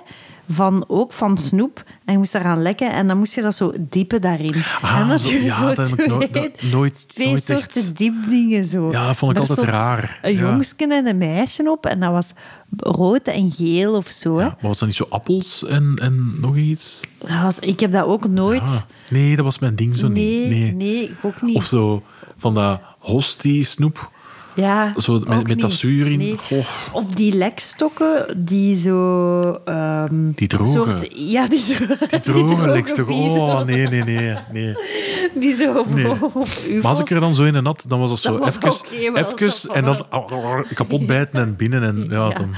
Van, ook van snoep. En je moest daaraan lekken. En dan moest je dat zo diepen daarin. Ah, en dat zo- je ja, dat heb ik twee- nooit- dat- nooit- twee nooit echt. soorten diepdingen zo. Ja, dat vond ik Daar altijd stond raar. Een Ja. jongsken en een meisje op en dat was rood en geel of zo. Hè? Maar was dat niet zo appels en, en nog iets? Dat was, ik heb dat ook nooit. Ah, nee, dat was mijn ding zo nee, niet. nee, Nee. ik ook niet. Of zo van dat hostie-snoep. Ja, Zo met, ook met dat niet. zuur in. Nee. Goh. Of die lekstokken die zo... ehm, Die droge. soort- ja, die, dro- [laughs] [laughs] die Droge lekste. vies- Oh, nee, nee, nee. nee. Die zo op, Nee. op Oh, uw Maar als ik er dan zo in en had, dan was dat zo Dat was even, oké, maar dat was even en dan ah, kapot bijten en binnen. En, ja, Ja. dan,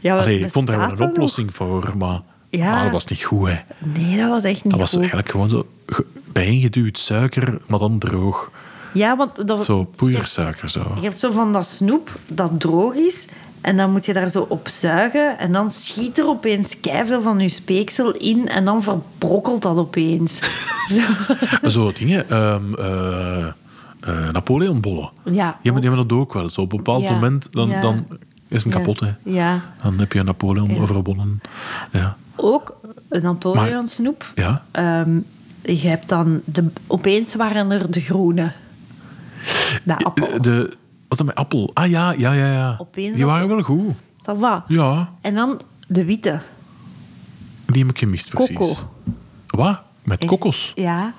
Ja, wat allee, ik vond er wel bestaat een dat nog? oplossing voor, maar Ja. maar dat was niet goed. Hè. Nee, dat was echt niet Dat was goed. eigenlijk gewoon zo ge- bijeengeduwd suiker, maar dan droog. Ja, want dat, Zo poeiersuiker zo. je hebt zo van dat snoep dat droog is. En dan moet je daar zo op zuigen. En dan schiet er opeens keiveel van je speeksel in. En dan verbrokkelt dat [laughs] opeens. zo. Zo dingen. ehm eh eh, Napoleonbollen. Ja, Je hebt, je hebt dat ook wel. Zo op een bepaald Ja. moment dan, Ja. dan is hem Ja. kapot. Hè. Ja. Dan heb je een Napoleon Ja. overwonnen. Ja. Ook een Maar- Napoleon-snoep. ja. Ehm, je hebt dan... De, opeens waren er de groene. De appel. De, wat dan met appel? Ah ja, ja, ja. ja. Opeens die dat- waren wel goed. Ça va. Ja, En dan de witte. die heb ik gemist precies. Coco. Wat? Met kokos? Ja.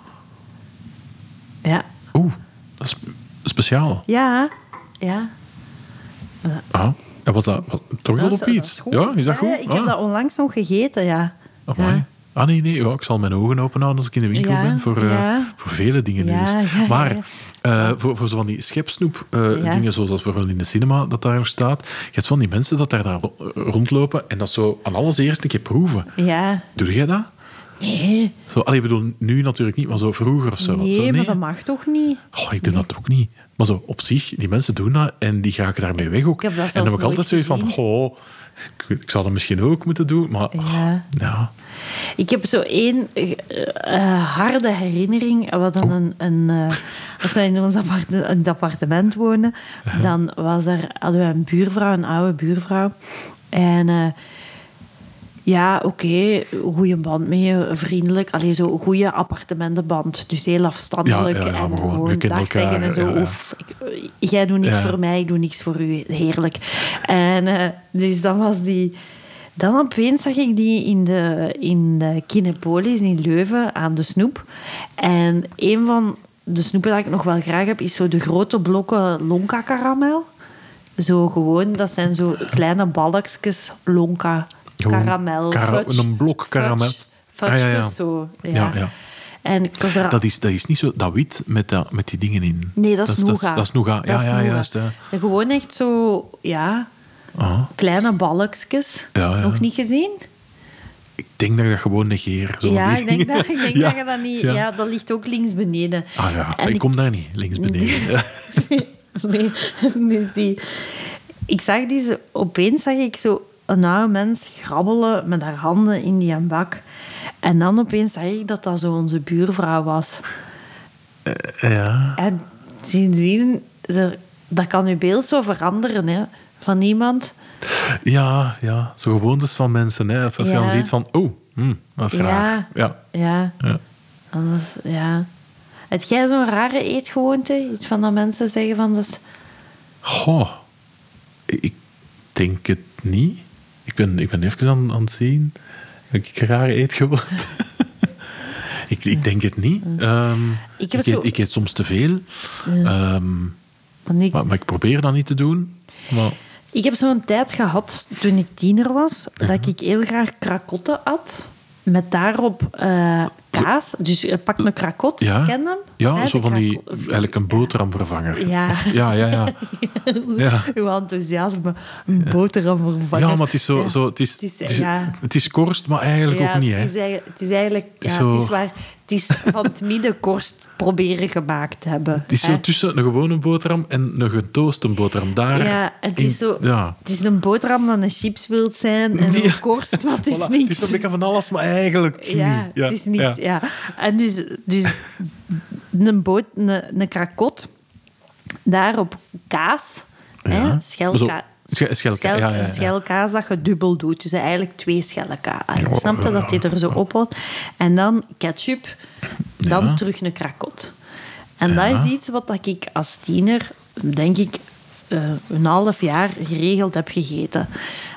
Ja. Oeh, dat is speciaal. Ja. Ja. Ah, en was dat was, toch wel iets. op iets? Ja, is dat goed? ik ah, heb dat onlangs nog gegeten, ja. amai. Ja. Ah nee, nee, ja, ik zal mijn ogen open houden als ik in de winkel Ja, ben voor, eh, ja. voor vele dingen nu. Ja, ja, ja, maar ja. eh, voor, voor zo van die schepsnoep eh, Ja. dingen zoals dat bijvoorbeeld in de cinema dat daar staat, je hebt van die mensen dat daar, daar ro- rondlopen en dat zo aan alles eerst een keer proeven. Ja. Doe jij dat? Nee, Zo, allee, ik bedoel, nu natuurlijk niet, maar zo vroeger of zo. nee, Zo, maar dat mag toch niet? Oh, ik doe dat ook niet. Maar zo, op zich, die mensen doen dat en die raken daarmee weg ook. Ik heb dat en zelfs dan heb ik altijd nooit zoiets van, oh, ik, ik zou dat misschien ook moeten doen, maar... oh, Ja. ja. Ik heb zo één eh, eh, harde herinnering. We hadden Oh. een, een, eh, als wij in ons aparte- in het appartement woonden, Uh-huh. dan was er, hadden we een buurvrouw, een oude buurvrouw. En eh, ja, oké, goede band mee, vriendelijk. Alleen zo goede appartementenband. Dus heel afstandelijk Ja, ja, ja, en maar gewoon, gewoon je kent dag elkaar, zeggen en zo. ja, ja. Oef, ik- jij doet niks Ja. voor mij, ik doe niks voor u. Heerlijk. En eh, dus dan was die... Dan opeens zag ik die in de, in de Kinepolis in Leuven aan de snoep. En een van de snoepen dat ik nog wel graag heb, is zo de grote blokken lonka karamel. Zo gewoon, dat zijn zo kleine balkjes lonka Gewoon karamel. kara- fudge. een blok karamel. Fudge, fudge dus Ah, ja, ja. zo. Ja. Ja, ja. En ik was er Dat, is, dat is niet zo... Dat wit met, dat, met die dingen in. Nee, dat is Dat nougat. dat is nougat. Ja, Dat is ja, nougat. juist. Ja. En Gewoon echt zo, ja, Ah, kleine balkjes. Ja, ja. Nog niet gezien? ik denk dat ik dat gewoon negeer. Zo ja, die ik denk, dingen. dat, ik denk [laughs] Ja, dat je dat niet... Ja. dat ligt ook links beneden. Ah ja, En ik kom daar niet, [laughs] links beneden. Ja. nee, nee, nee, die. Ik zag die zo, opeens zag ik zo een oude mens grabbelen met haar handen in die bak. En dan opeens zag ik dat dat zo onze buurvrouw was. ja. En sindsdien, er- dat kan je beeld zo veranderen, hè. Van iemand... Ja, ja. Zo gewoontes van mensen. Hè. Als als je Ja. dan ziet van, oh, hm, dat is raar. Ja. Ja, ja. anders, ja. Heb jij zo'n rare eetgewoonte? Iets van dat mensen zeggen van... Dat is- Goh, ik denk het niet. Ik ben, ik ben even aan, aan het zien. Heb ik raar eet geworden? [laughs] ik, ik denk het niet. Ehm, Ik ik, heb eet, zo- ik eet soms te veel. Ehm, van niks. maar, maar ik probeer dat niet te doen. Maar, Ik heb zo'n tijd gehad, toen ik tiener was, Mhm. dat ik heel graag krakotten at. Met daarop eh, kaas. Dus je pakt een krakot, ja, ken je hem? ja Hè, zo de van die, krako- eigenlijk een boterhamvervanger. Ja. Of- ja, ja, [laughs] ja. [laughs] Ja. Uw enthousiasme, een boterham vervangen. Ja, maar het is zo... zo het, is, Het is- het, is, ja. het is korst, maar eigenlijk Ja, ook niet. Hè. Het is, eigenlijk- het is eigenlijk, ja, Zo- het is waar, het is van het middenkorst proberen gemaakt te hebben. Het is zo hè. tussen een gewone boterham en een getooste boterham. Daar Ja, het in- is zo. Ja. Het is een boterham dat een chips wilt zijn en Ja. een korst, [laughs] maar het is Voilà, niks. Het is een beetje van alles, maar eigenlijk ja, niet. het is niks. Ja. En dus, dus een boot, een, een krakot, daarop kaas, hè, Ja. schelka, Zo, sche- schelka- schel- ja, ja, ja. schelkaas dat je dubbel doet. Dus eigenlijk twee schellekaas. Ja, Snap je dat dit er zo op wordt? En dan ketchup, dan Ja. terug een krakot. En dat is iets wat dat ik als tiener, denk ik, eh, een half jaar geregeld heb gegeten.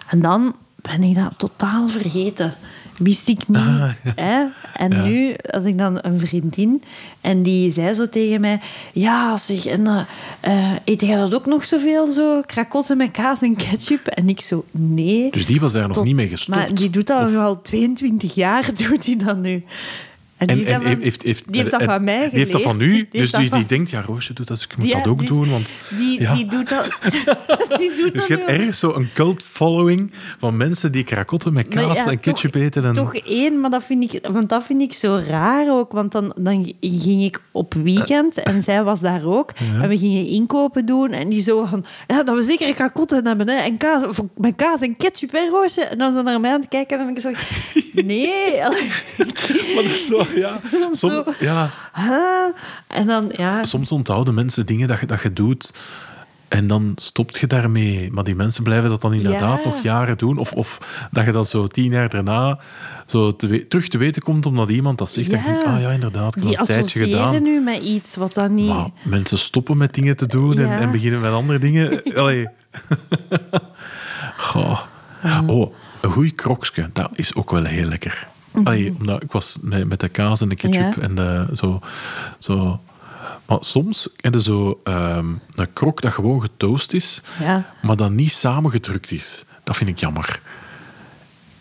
En dan ben ik dat totaal vergeten. Wist ik niet. hè? En Ah, Ja. nu had ik dan een vriendin en die zei zo tegen mij: Ja, zeg, en, eh, eh, eet jij dat ook nog zoveel? Zo, krakotten met kaas en ketchup? En ik zo: Nee. Dus die was daar nog Tot- niet mee gestopt. Maar die doet dat nu al 22 jaar, [laughs] doet hij dat nu. En, En, die, zijn en van- heeft, heeft, die heeft dat en- van mij geleerd. Die heeft dat van [laughs] nu. heeft Dus dat die, van- die denkt, ja, Roosje doet dat, dus ik moet Ja, dat ook dus doen. Want, Die, ja. die doet dat... [laughs] die doet dat dus je nu hebt al. ergens zo'n cult following van mensen die krakotten met Maar kaas ja, en ketchup toch, eten. En, Toch één, maar dat vind ik, want dat vind ik zo raar ook. Want dan, dan ging ik op weekend en zij was daar ook. En we gingen inkopen doen. En die zo van, ja, dat we zeker krakotten hebben. Hè, en kaas, voor- met kaas en ketchup, hè, Roosje? En dan zo naar mij aan het kijken. En ik zo, [laughs] nee. [laughs] maar dat is zo, [laughs] ja. Zo. Som- ja. Huh? En dan, ja... Soms onthouden mensen dingen dat je, dat je doet en dan stopt je daarmee. Maar die mensen blijven dat dan inderdaad Ja. nog jaren doen. Of, of dat je dat zo tien jaar daarna zo te we- terug te weten komt omdat iemand dat zegt. En Ja. je denkt, ah ja, inderdaad, ik heb Die dat een tijdje associëren gedaan. nu met iets wat dan niet... Maar mensen stoppen met dingen te doen en, Ja. en beginnen met andere [laughs] dingen. Allee. [laughs] Goh. Oh, een goed kroksje, dat is ook wel heel lekker. Allee, omdat ik was met, met de kaas en de ketchup Mhm. Ja. en de, zo, zo. Maar soms heb je zo ehm, een krok dat gewoon getoast is, Ja. maar dan niet samengedrukt is. Dat vind ik jammer.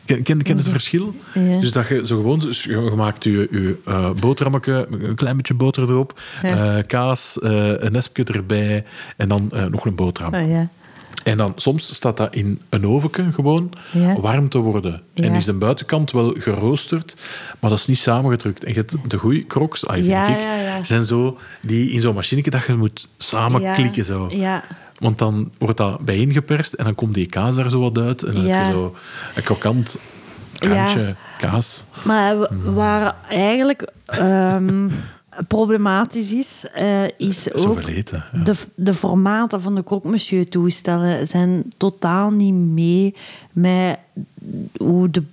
Ken, ken, ken het verschil? Mhm. Ja. Dus dat je zo gewoon, dus je je maakt je, je eh, boterhammetje, een klein beetje boter erop, Ja. eh, kaas, eh, een nespje erbij en dan eh, nog een boterham. Oh, ja. En dan soms staat dat in een ovenken gewoon Ja. warm te worden. En Ja. is de buitenkant wel geroosterd, maar dat is niet samengedrukt. En je hebt de goeie crocs, ah, vind Ja, ik, ja, ja. zijn zo die in zo'n machineke dat je moet samen Ja. Ah, klikken zo. Ja. Want dan wordt dat bijeengeperst en dan komt die kaas daar zo wat uit. En dan Ja. heb je zo een krokant Ja. randje kaas. Maar we- Mhm. waar eigenlijk ehm, problematisch is, eh, is ook Zoveel eten. Ja. de, de formaten van de croque-monsieur toestellen zijn totaal niet mee met hoe de,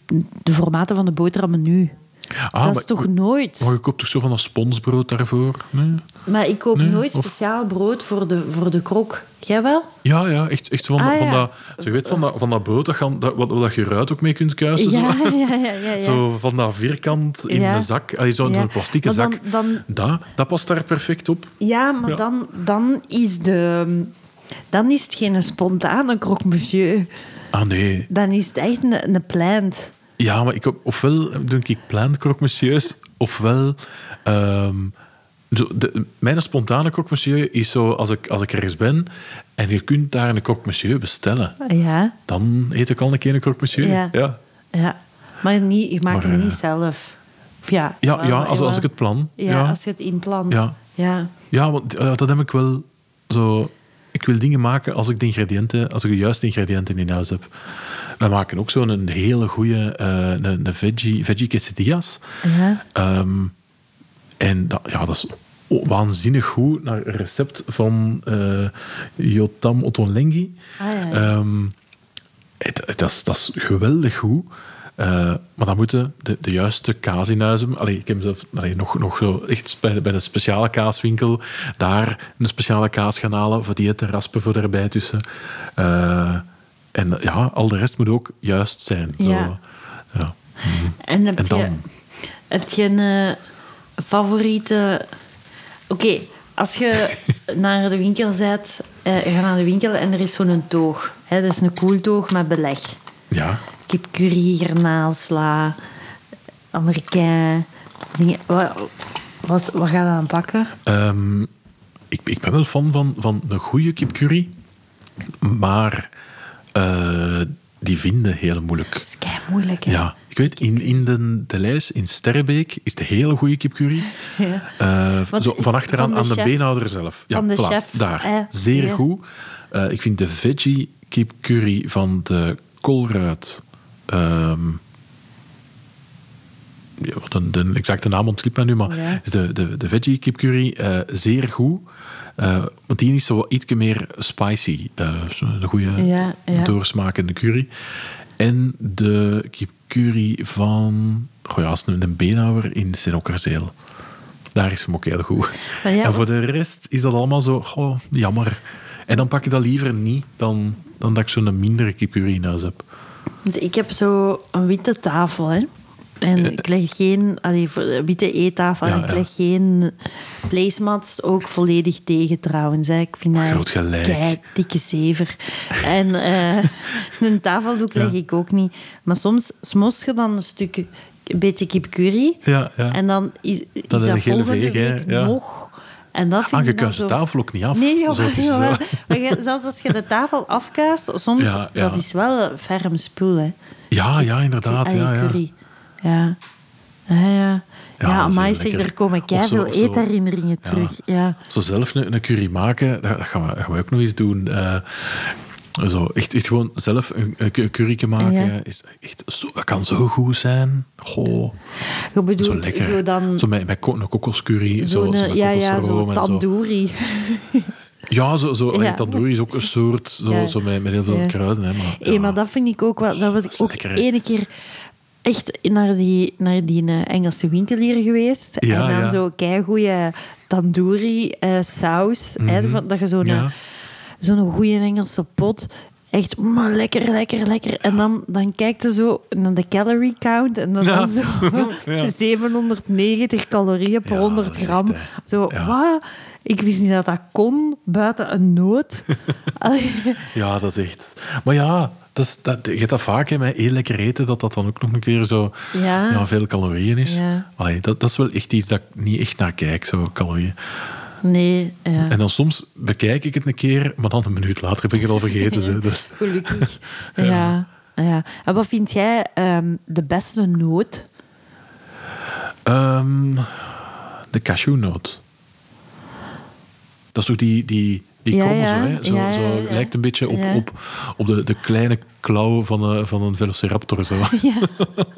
de formaten van de boterhammen nu. Ah, dat maar- is toch nooit? Maar je koopt toch zo van dat sponsbrood daarvoor? Nee? Maar ik koop Nee, nooit of- speciaal brood voor de, voor de krok. Jij wel? Ja, ja, echt, echt zo van, Ah, dat- van, ja. dat, zo, je weet, van, dat, van dat brood dat, gaan, dat, wat, wat je eruit ook mee kunt kuisen. Ja, [laughs] zo. ja, ja, ja, ja. Zo van dat vierkant in Ja. een zak, allee, zo in Ja. zo'n plastieke Maar dan- zak. dan- dat, dat past daar perfect op. Ja, maar Ja. Dan, dan is de... Dan is het geen spontane croque-monsieur. Ah nee, Dan is het echt een, een plant. Ja, maar ik, ofwel doe ik plant croque monsieur's, ofwel... ehm, zo, de, mijn spontane croque monsieur is zo, als ik, als ik ergens ben en je kunt daar een croque monsieur bestellen, Ja. dan eet ik al een keer een croque monsieur. Ja. ja. ja. Maar niet, je maakt Maar, het eh, niet zelf. Of ja, Ja, jawel, ja, als, jawel. als ik het plan. Ja, als je het inplant. Ja. ja. Ja, want eh, dat heb ik wel zo... Ik wil dingen maken als ik de ingrediënten, als ik de juiste ingrediënten in huis heb. We maken ook zo'n een hele goede een, een veggie, veggie quesadillas. Ja. Ehm, en dat, ja, dat is o- waanzinnig goed naar een recept van eh, Jotam Ottolenghi. Ah, ja, ja. Ehm, het, het- dat, is, dat is geweldig goed. Eh, maar dan moeten de, de juiste kaas in huis hebben. Allee, ik heb zelf allee, nog, nog zo echt bij de, bij de speciale kaaswinkel daar een speciale kaas gaan halen voor die het te raspen voor daarbij tussen. Eh, en ja, al de rest moet ook juist zijn. Zo, Ja. ja. En heb En je, dan? heb je een eh, favoriete... Oké, als [laughs] je naar de winkel bent, eh, je gaat naar de winkel en er is zo'n toog. Hè, dat is een koeltoog met beleg. ja. kipcurry, garnaalsla, Amerikaan. Dingen. Wat, wat, wat ga je dan pakken? Ehm, ik, ik ben wel fan van, van een goede kipcurry, maar eh, die vinden heel moeilijk. Dat is kei moeilijk, hè? Ja, ik weet, in, in de, de lijst in Sterrebeek is de hele goede kipcurry. Ja. Eh, Want zo, van van achteraan de aan de chef- beenhouder zelf. van de voilà, chef, Daar, eh, zeer ja. goed. Eh, ik vind de veggie kipcurry van de Kolruit... ehm, ja, wat een, de exacte naam ontliep mij nu, maar Ja. is de, de, de veggie kipcurry eh, zeer goed. Eh, want die is zo wat iets meer spicy. eh, zo een goede Ja, ja. doorsmakende curry. En de kipcurry van... Goh ja, als een een beenhouwer in Senokkerzeel. Daar is hem ook heel goed. Maar ja, en voor de rest is dat allemaal zo... Goh, jammer. En dan pak ik dat liever niet dan, dan dat ik zo'n mindere kipcurry in huis heb. Want ik heb zo een witte tafel, hè? En ik leg geen, allee, voor de witte eettafel, Ja, en ik ja. leg geen placemats ook volledig tegen trouwens. Hè. Ik vind dat Groot gelijk. kei dikke zever. En eh, [laughs] een tafeldoek leg ik ook niet. Maar soms smost je dan een stuk, een beetje kipcurry. Ja, ja. En dan is, is is dat, een gele volgende veeg, hè. week Ja. nog. En dat vind Ah, je ik dan kuist zo- de tafel ook niet af. Nee, jawel, Zo, het is, jawel. eh, Maar je- zelfs als je de tafel afkuist, soms, Ja, ja. dat is wel een ferm spul, hè. Ja, ja, inderdaad. Allee, Ja, ja. curry. Ja. Ja, ja. Ja, Ja, dat is amai, heel zeg, lekker. er komen Of zo- keiveel of zo. eetherinneringen Ja. terug. Ja. Zo zelf een, een curry maken, dat, dat gaan, we, dat gaan we ook nog eens doen. Eh, zo, echt, echt gewoon zelf een, een cu- curryke maken, Ja. is echt zo, dat kan zo goed zijn. Goh, Je zo bedoelt lekker. zo, dan... zo met, met ko- een kokoscurry, zo, zo'n, eh, zo met ja, ja, kokosroom zo'n en zo. tandoori. Ja, zo, zo, allee, Ja. tandoori is ook een soort, zo, Ja. zo met, met heel veel Ja. kruiden. Hè, maar, Hé, ja. maar dat vind ik ook wel... Dat was ik is ook lekker, hè. ene keer echt naar die, naar die eh, Engelse winkel hier geweest. Ja, en dan ja. zo keigoeie tandoori eh, saus. hè, van- dat je zo'n Mhm. Ja. eh, zo'n goeie Engelse pot... Echt, maar lekker, lekker, lekker. En dan, dan kijkt je zo naar de calorie count. En dan, Ja. dan zo [laughs] [laughs] Ja. 790 calorieën per Ja, 100 dat is gram. echt, hè. zo, Ja. wat? Ik wist niet dat dat kon, buiten een [laughs] nood. Allee. Ja, dat is echt. Maar ja, dat is, dat, je hebt dat vaak hè, met heel lekker eten, dat dat dan ook nog een keer zo Ja. veel calorieën is. Ja. Allee, dat, dat is wel echt iets dat ik niet echt naar kijk, zo calorieën. nee, ja. En dan soms bekijk ik het een keer, maar dan een minuut later heb ik het al [laughs] vergeten. zo. Dus, Gelukkig. [laughs] ja. ja. En wat vind jij ehm, de beste noot? Ehm, de cashewnoot. Dat is toch die, die, die Ja, kromme ja. zo, hè? Zo, Ja, ja, zo ja. lijkt een beetje op, Ja. op, op de, de kleine klauw van, eh, van een velociraptor. Zo. [laughs] Ja. [laughs]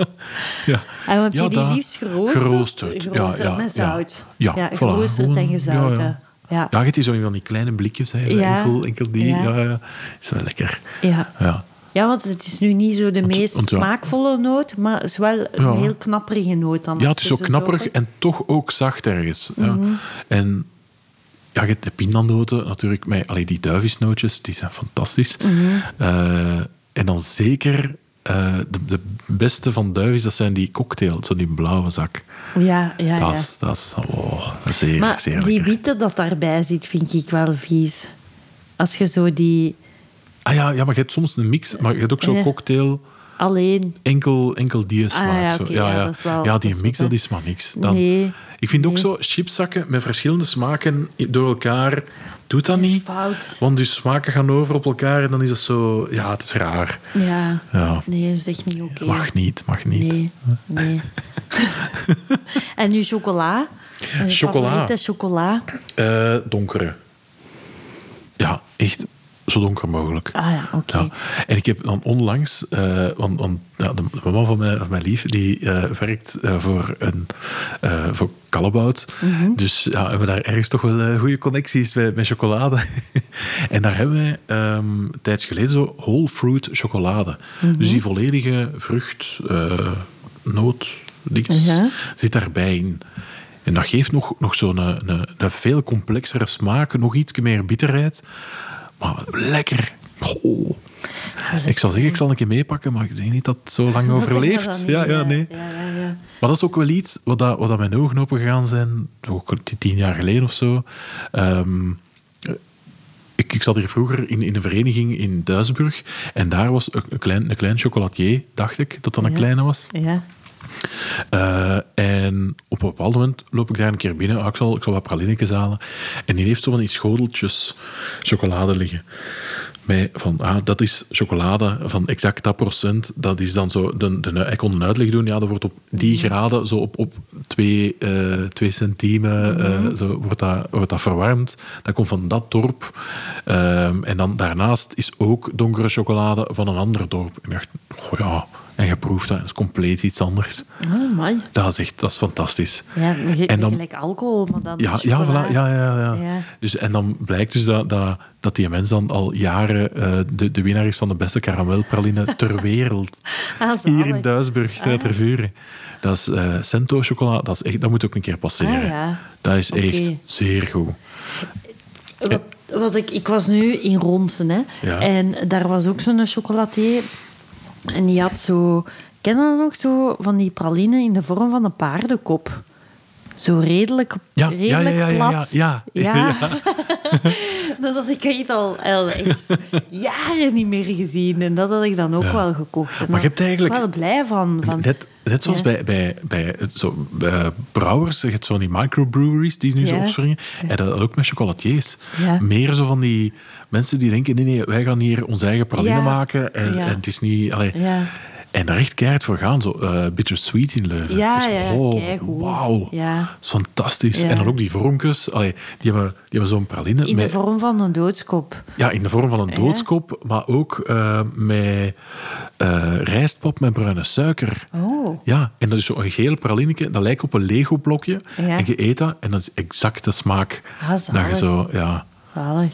Ja. En heb je Ja, die dat- liefst geroosterd? geroosterd. Ja, Geroosterd ja, met ja. zout. Ja, voilà. geroosterd en Gewoon, gezouten. Ja, Ja, je hebt die zo in van die kleine blikjes. Hè. Ja. Enkel, enkel die. Ja. Ja. Ja, Is wel lekker. Ja. Ja. Ja, want het is nu niet zo de meest want ja. smaakvolle noot, maar het is wel een Ja. heel knapperige noot. dan ja, als het is je zo ze knapperig koopt. en toch ook zacht ergens. Ja. Mhm. En ja, je hebt de pindandoten natuurlijk. Met, allee, die duivisnootjes, die zijn fantastisch. Mhm. Eh, en dan zeker... eh, de, de beste van duivis, dat zijn die cocktail, zo die blauwe zak. Ja, ja, ja. dat, is, dat is oh, zeer, Maar zeer lekker. die witte dat daarbij zit, vind ik wel vies. Als je zo die Ah ja, ja, maar je hebt soms een mix, maar je hebt ook zo'n Ja. cocktail... alleen... enkel, enkel die smaak. Ah, ja, zo. oké, ja, ja, ja. dat is wel- Ja, dat die is mix, wel- dat is maar niks. Dan, Nee, ik vind ook nee. zo chipszakken met verschillende smaken i- door elkaar. Doet dat Dat is niet? fout. Want die smaken gaan over op elkaar en dan is het zo. Ja, het is raar. Ja, Ja. nee, dat is echt niet oké. Mag niet, mag niet. Nee, nee. [laughs] en nu chocola. Wat is je Chocola. favoriete chocola. Eh, donkere. Ja, echt zo donker mogelijk. Ah ja, oké. Ja. En ik heb dan onlangs, eh, want, want ja, de de man van mijn, van mijn lief, die eh, werkt eh, voor, een, eh voor Callebaut. Dus ja, hebben we daar ergens toch wel eh, goede connecties met, met chocolade. [laughs] en daar hebben we ehm een tijdje geleden zo whole fruit chocolade. Dus die volledige vrucht, eh noot, niks, Ja. zit daarbij in. En dat geeft nog, nog zo'n een, een, een veel complexere smaak, nog iets meer bitterheid. Maar lekker. Goh. Ik zou zeggen, ik zal een keer meepakken, maar ik denk niet dat het zo lang [laughs] Dat zeggen overleeft. we ja, dan niet, ja, nee. Ja, ja, ja. Maar dat is ook wel iets wat, dat, wat dat mijn ogen open gegaan zijn, toch ook die tien jaar geleden of zo. Ehm, ik, ik zat hier vroeger in, in een vereniging in Duisburg en daar was een, een klein, een klein chocolatier, dacht ik, dat dat een Ja. kleine was. Ja. Eh, en op een bepaald moment loop ik daar een keer binnen. Ah, ik, zal, ik zal wat pralinnetjes halen. En die heeft zo van die schoteltjes chocolade liggen. Met van, ah, dat is chocolade van exact dat procent. Dat is dan zo... De, de, ik kon een uitleg doen. Ja, dat wordt op die graden, zo op, op twee, eh twee centimen, eh, zo wordt dat, wordt dat verwarmd. Dat komt van dat dorp. Ehm, en dan daarnaast is ook donkere chocolade van een ander dorp. En ik dacht, oh ja... En je proeft dat, dat is compleet iets anders. Oh, man. Dat is echt, dat is fantastisch. Ja, maar je- En dan- gelijk alcohol, maar dan Ja, ja, chocola. voilà, ja, ja, ja. Ja. Dus, en dan blijkt dus dat, dat, dat die mens dan al jaren eh, de, de winnaar is van de beste [laughs] karamelpraline ter wereld. Ah, zalig. Ah. Hier in Duisburg, eh, ter vuren. Dat is eh Cento chocola, dat, is echt, dat moet ook een keer passeren. Ah, ja. Dat is echt Oké. zeer goed. Wat, wat ik, ik was nu in Ronsen, hè. Ja. En daar was ook zo'n chocolatier. En die had zo Ken je dat nog zo van die praline in de vorm van een paardenkop? Zo redelijk, Ja, ja, redelijk ja, ja, ja, plat. ja, ja. [laughs] [laughs] dat had ik echt al, al echt jaren niet meer gezien. En dat had ik dan ook wel gekocht. En Maar je hebt daar eigenlijk- wel blij van. van Net, net zoals Ja. bij, bij, bij, het- zo, eh, brouwers, je hebt zo van die microbreweries die nu zo Ja. opspringen. En dat ook met chocolatiers. Ja. Meer zo van die mensen die denken, nee, nee, wij gaan hier onze eigen praline Ja. maken. En, Ja. en het is niet... allee. Ja. En daar echt keihard voor gaan, zo eh bittersweet in Leuven. Ja, Dus, ja, oh, keigoed. Wauw, Ja. dat is fantastisch. Ja. En dan ook die vormkes, allee, die hebben, die hebben zo'n praline. in de met- vorm van een doodskop. ja, in de vorm van een doodskop, maar ook eh, met eh, rijstpap met bruine suiker. Oh. Ja, en dat is zo'n geel pralineke, dat lijkt op een Lego-blokje. Ja. En je eet dat en dat is exact de smaak. Ah, dat je zalig. zo, ja. Zalig.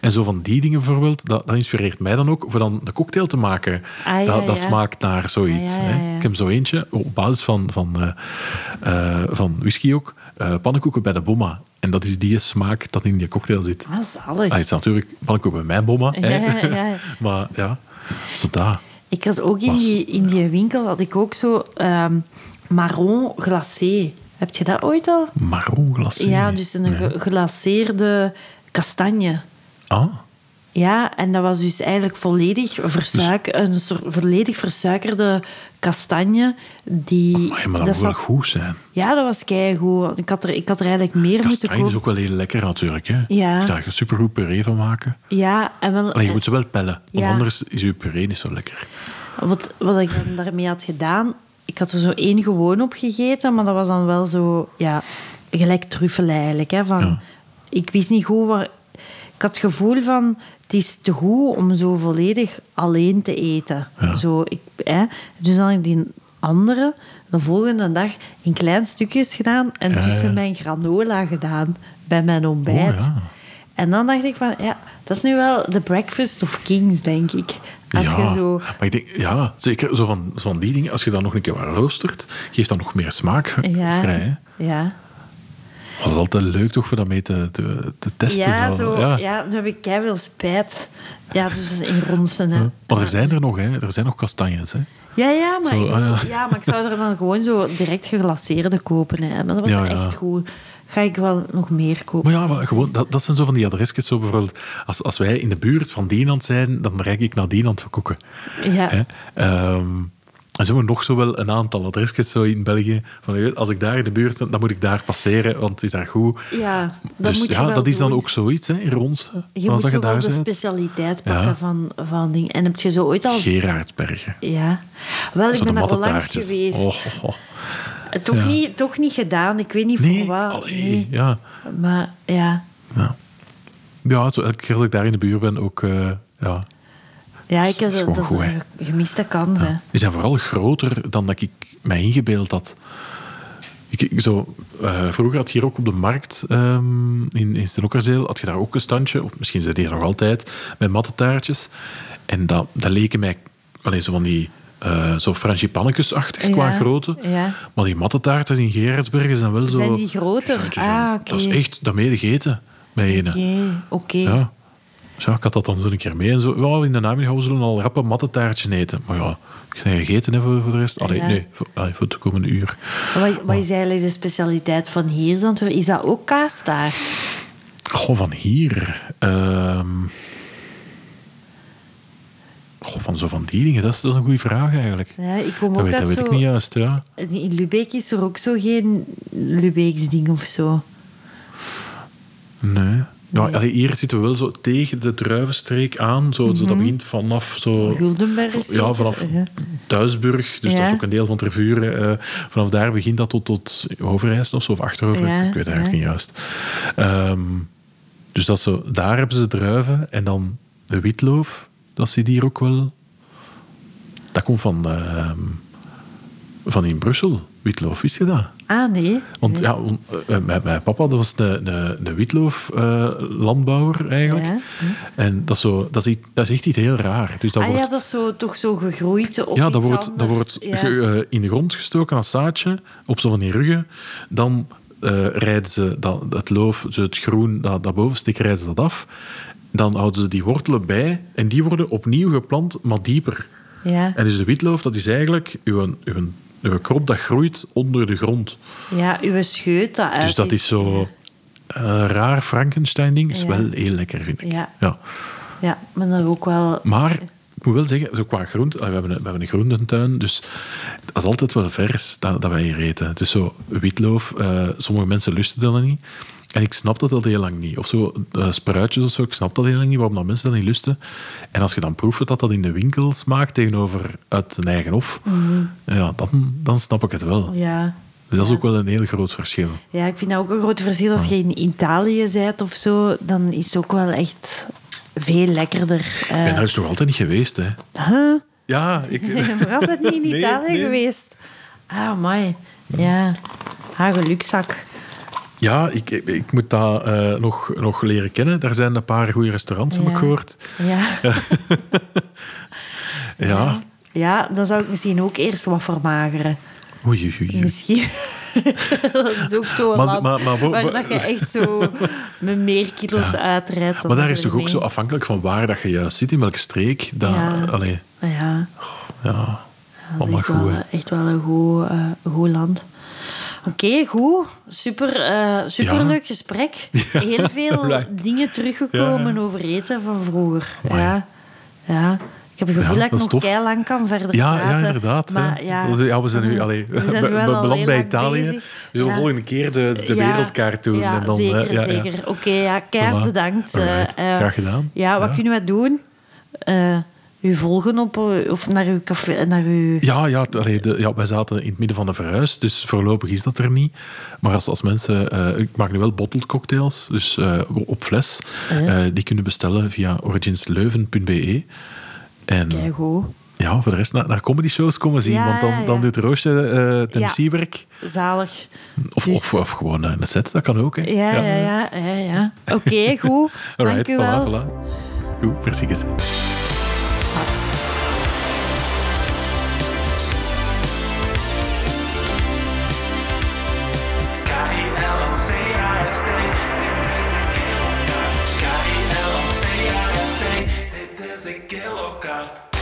En zo van die dingen bijvoorbeeld, dat, dat inspireert mij dan ook voor dan de cocktail te maken. Ah, ja, dat, dat ja. smaakt naar zoiets. Ah, ja, ja, hè. ja. Ik heb zo eentje, oh, op basis van, van, eh, eh, van whisky ook, eh, pannenkoeken bij de bomma. En dat is die smaak dat in die cocktail zit. Ah, zalig. Ah, het is natuurlijk pannenkoeken bij mijn bomma. hè. Ja, ja, ja. [laughs] maar ja, zo daar. Ik had ook in Was- die, in die winkel had ik ook zo ehm, marron glacé. Heb je dat ooit al? Marron glacé. Ja, dus een ge- glaceerde kastanje. Ah, Ja, en dat was dus eigenlijk volledig versuik, Dus- een soort volledig versuikerde kastanje. Die, Oh, maar, maar dat moet wel zat- goed zijn. Ja, dat was keigoed. want Ik had er, ik had er eigenlijk meer moeten Kastanje is kopen. ook wel heel lekker natuurlijk. Hè? Ja. Je kan er supergoed puree van maken. Ja, en wel, Alleen je moet ze wel pellen, want Ja. anders is je puree niet zo lekker. Wat, wat ik dan daarmee had gedaan, ik had er zo één gewoon op gegeten, maar dat was dan wel zo, ja, gelijk truffel eigenlijk. Hè, van, Ja. Ik wist niet goed waar. Ik had het gevoel van, het is te goed om zo volledig alleen te eten. Ja. Zo, ik, hè, dus dan had ik die andere de volgende dag in klein stukjes gedaan en Ja, tussen ja. mijn granola gedaan bij mijn ontbijt. Oh, ja. En dan dacht ik van, ja, dat is nu wel de breakfast of kings, denk ik. Als ja, je zo... Maar ik denk, ja, zeker zo van, zo van die dingen. Als je dan nog een keer wat roostert, geeft dat nog meer smaak Ja. vrij. Hè? Ja. Maar Dat is altijd leuk toch, voor dat mee te, te, te testen. Ja, zo. zo, ja. nu heb ik veel spijt. Ja, dus in ronsen. Hè. Maar er zijn er nog, hè. er zijn nog kastanjes. Hè. Ja, ja, maar, Zo, ik, ah, ja. ja, maar ik zou er dan gewoon zo direct geglaceerde kopen. Hè. Maar dat was Ja, ja. echt goed. Ga ik wel nog meer kopen. Maar ja, maar gewoon, dat, dat zijn zo van die adresjes. Zo bijvoorbeeld, als, als wij in de buurt van Dienand zijn, dan reik ik naar Dienand voor koeken. Ja. Hè? Ehm, en zo hebben we nog zo wel een aantal adresjes zo in België. Van, je weet, als ik daar in de buurt ben, dan moet ik daar passeren, want het is daar goed. Ja, dat dus moet je ja, wel dat is dan doen. ook zoiets, hè, in Ronsen. je moet als dat zo wel daar de bent. specialiteit pakken Ja. van, van dingen. En heb je zo ooit al... Gerardbergen. Ja. Wel, ik Zo de ben daar matte onlangs taartjes. geweest. Eh, Oh, oh, oh. Toch, Ja. niet, toch niet gedaan. Ik weet niet Nee, voor wat. allee, Nee. ja. Maar ja... Ja, ja zo, elke keer als ik daar in de buurt ben, ook... eh, ja. Ja, Dat ik is- heb dat is dat, gewoon is goed, een gemiste kans. Hè. Die zijn vooral groter dan dat ik mij ingebeeld had. Ik, ik zo, eh, vroeger had je hier ook op de markt ehm, in, in Stenokkerzeel, had je daar ook een standje, of misschien zijn die er nog altijd, met mattetaartjes. En dat, dat leken mij alleen zo van die eh zo frangipannetjes-achtig qua Ja, grootte. ja. Maar die mattetaarten in Gerardsbergen zijn wel zo... Zijn die groter? Schuintjes Ah, en- oké. Dat is echt, dat mede gegeten, met ene. Oké, oké. Ja. Dus ja, ik had dat dan zo een keer mee. En zo, ja, in de namiddag we zullen al rap een matte taartje eten. Maar ja, geen gegeten hè, voor, voor de rest. Allee, Ja. nee, voor, allee, voor de komende uur. Wat, Oh. wat is eigenlijk de specialiteit van hier dan? Is dat ook kaastaart? Goh, van hier. ehm, goh, van zo van die dingen. Dat is, dat is een goede vraag eigenlijk. Ja, ik kom dat ook weet, dat uit weet zo... ik niet juist, ja. In Lubeek is er ook zo geen Lubeeks ding of zo. Nee. Ja, allee, hier zitten we wel zo tegen de druivenstreek aan. Zo, zo, dat begint vanaf zo... Mhm. Guldenberg, Ja, zeker? vanaf Ja. Duisburg. Dus dat is Ja. ook een deel van Trevuren. eh, vanaf daar begint dat tot, tot Overijssel of zo, of Achterover. Ja, ik weet eigenlijk ja. niet juist. Ehm, dus dat zo, daar hebben ze druiven. En dan de witloof, dat zit hier ook wel... Dat komt van, ehm, van in Brussel, witloof. Wist je dat? Ah, nee. Want ja, on- eh, mijn, mijn papa dat was een, een, een witlooflandbouwer eh, eigenlijk. Ja. En dat is, zo, dat, is, iets- dat is echt iets heel raar. Dus dat ah wordt, ja, dat is zo, toch zo gegroeid op ja, iets dat wordt, dat anders. wordt Ja. ge- eh, in de grond gestoken als zaadje, op zo van die ruggen. Dan eh, rijden ze dat, het loof, zo het groen dat, dat boven stikt, rijden ze dat af. Dan houden ze die wortelen bij en die worden opnieuw geplant, maar dieper. Ja. En dus de witloof, dat is eigenlijk uw, uw, uw krop dat groeit onder de grond. Ja, uw scheut dat uit Dus dat is zo eh, raar Frankenstein-ding. Is Ja. wel heel lekker, vind ik. Ja. Ja, maar dan ook wel... Maar ik moet wel zeggen, zo qua groente, we hebben, een- we hebben een groententuin, dus dat is altijd wel vers dat, dat wij hier eten. Dus zo witloof, eh, sommige mensen lusten dat niet. En ik snap dat al heel lang niet. Of zo eh, spruitjes of zo, ik snap dat heel lang niet, waarom dat mensen dat niet lusten. En als je dan proeft dat dat in de winkel smaakt tegenover uit een eigen hof, ja, dan, dan snap ik het wel. Mhm. Ja. Dus dat is ook wel een heel groot verschil. ja, ik vind dat ook een groot verschil. Ah. Als je in Italië bent of zo, dan is het ook wel echt veel lekkerder. Ik ben eh. daar dus nog altijd niet geweest, hè. Huh? Ja, ik... Waarom ben [laughs] je niet in Nee, Italië nee. geweest? Ah, mooi. Ja. Ha, gelukzak. Ja, ik, ik, ik moet dat eh, nog, nog leren kennen. Daar zijn een paar goede restaurants, heb Ja. ik gehoord. [laughs] Ja. Ja. ja, dan zou ik misschien ook eerst wat vermageren. Oei, oei, oei. Misschien. [laughs] dat is ook zo'n Maar- land maar- maar wo- waar wo- dat je echt [laughs] zo met meer kilo's uitrijdt. dan Maar daar dat is je toch ook mee- zo afhankelijk van waar dat je juist zit, in welke streek. Dat, Ja. Allee, Ja, ja. dat is Allemaal echt wel, goed, hè. echt wel een goed, eh, goed land. Oké, goed. Super, eh superleuk [laughs] gesprek. Heel veel right. dingen teruggekomen over eten van vroeger. Ja. ja. Ik heb het gevoel Ja, dat dat ik is nog tof. keilang lang kan verder Ja, praten. ja, inderdaad. hè. Maar, ja, Dat is- ja, [laughs] we zijn nu allee, [laughs] We zijn be- wel be- al beland heel bij lang Italië. bezig. We zullen Ja. volgende keer de, de Ja, wereldkaart doen. Ja, en dan, eh, zeker, ja, ja. zeker. Oké, ja, keihard Voilà. bedankt. eh, Alright, eh, graag gedaan. Ja, wat Ja. kunnen we doen? Eh, u volgen op, eh, of naar uw café, naar uw... Ja, ja, t- allee, de- ja, wij zaten in het midden van de verhuis, dus voorlopig is dat er niet. Maar als, als mensen... eh, ik maak nu wel bottled cocktails, dus eh, op fles. Ah Eh, die kunnen bestellen via originsleuven.be. En Keigoed. ja, voor de rest naar, naar comedy shows komen zien, Ja, want dan, ja, ja. dan doet Roosje eh het Ja. MC-werk. Zalig. Of, Dus- of, of gewoon eh, een set, dat kan ook. Hè. Ja, ja, ja. ja, ja. Oké, goed. Dank [laughs] Alright, u wel. voilà, voilà. Goed, precies gezegd. K-E-L-O-C-I-S-T. Dit is de Kilokast. K-E-L-O-C-I-S-T. Dit is de Kilokast.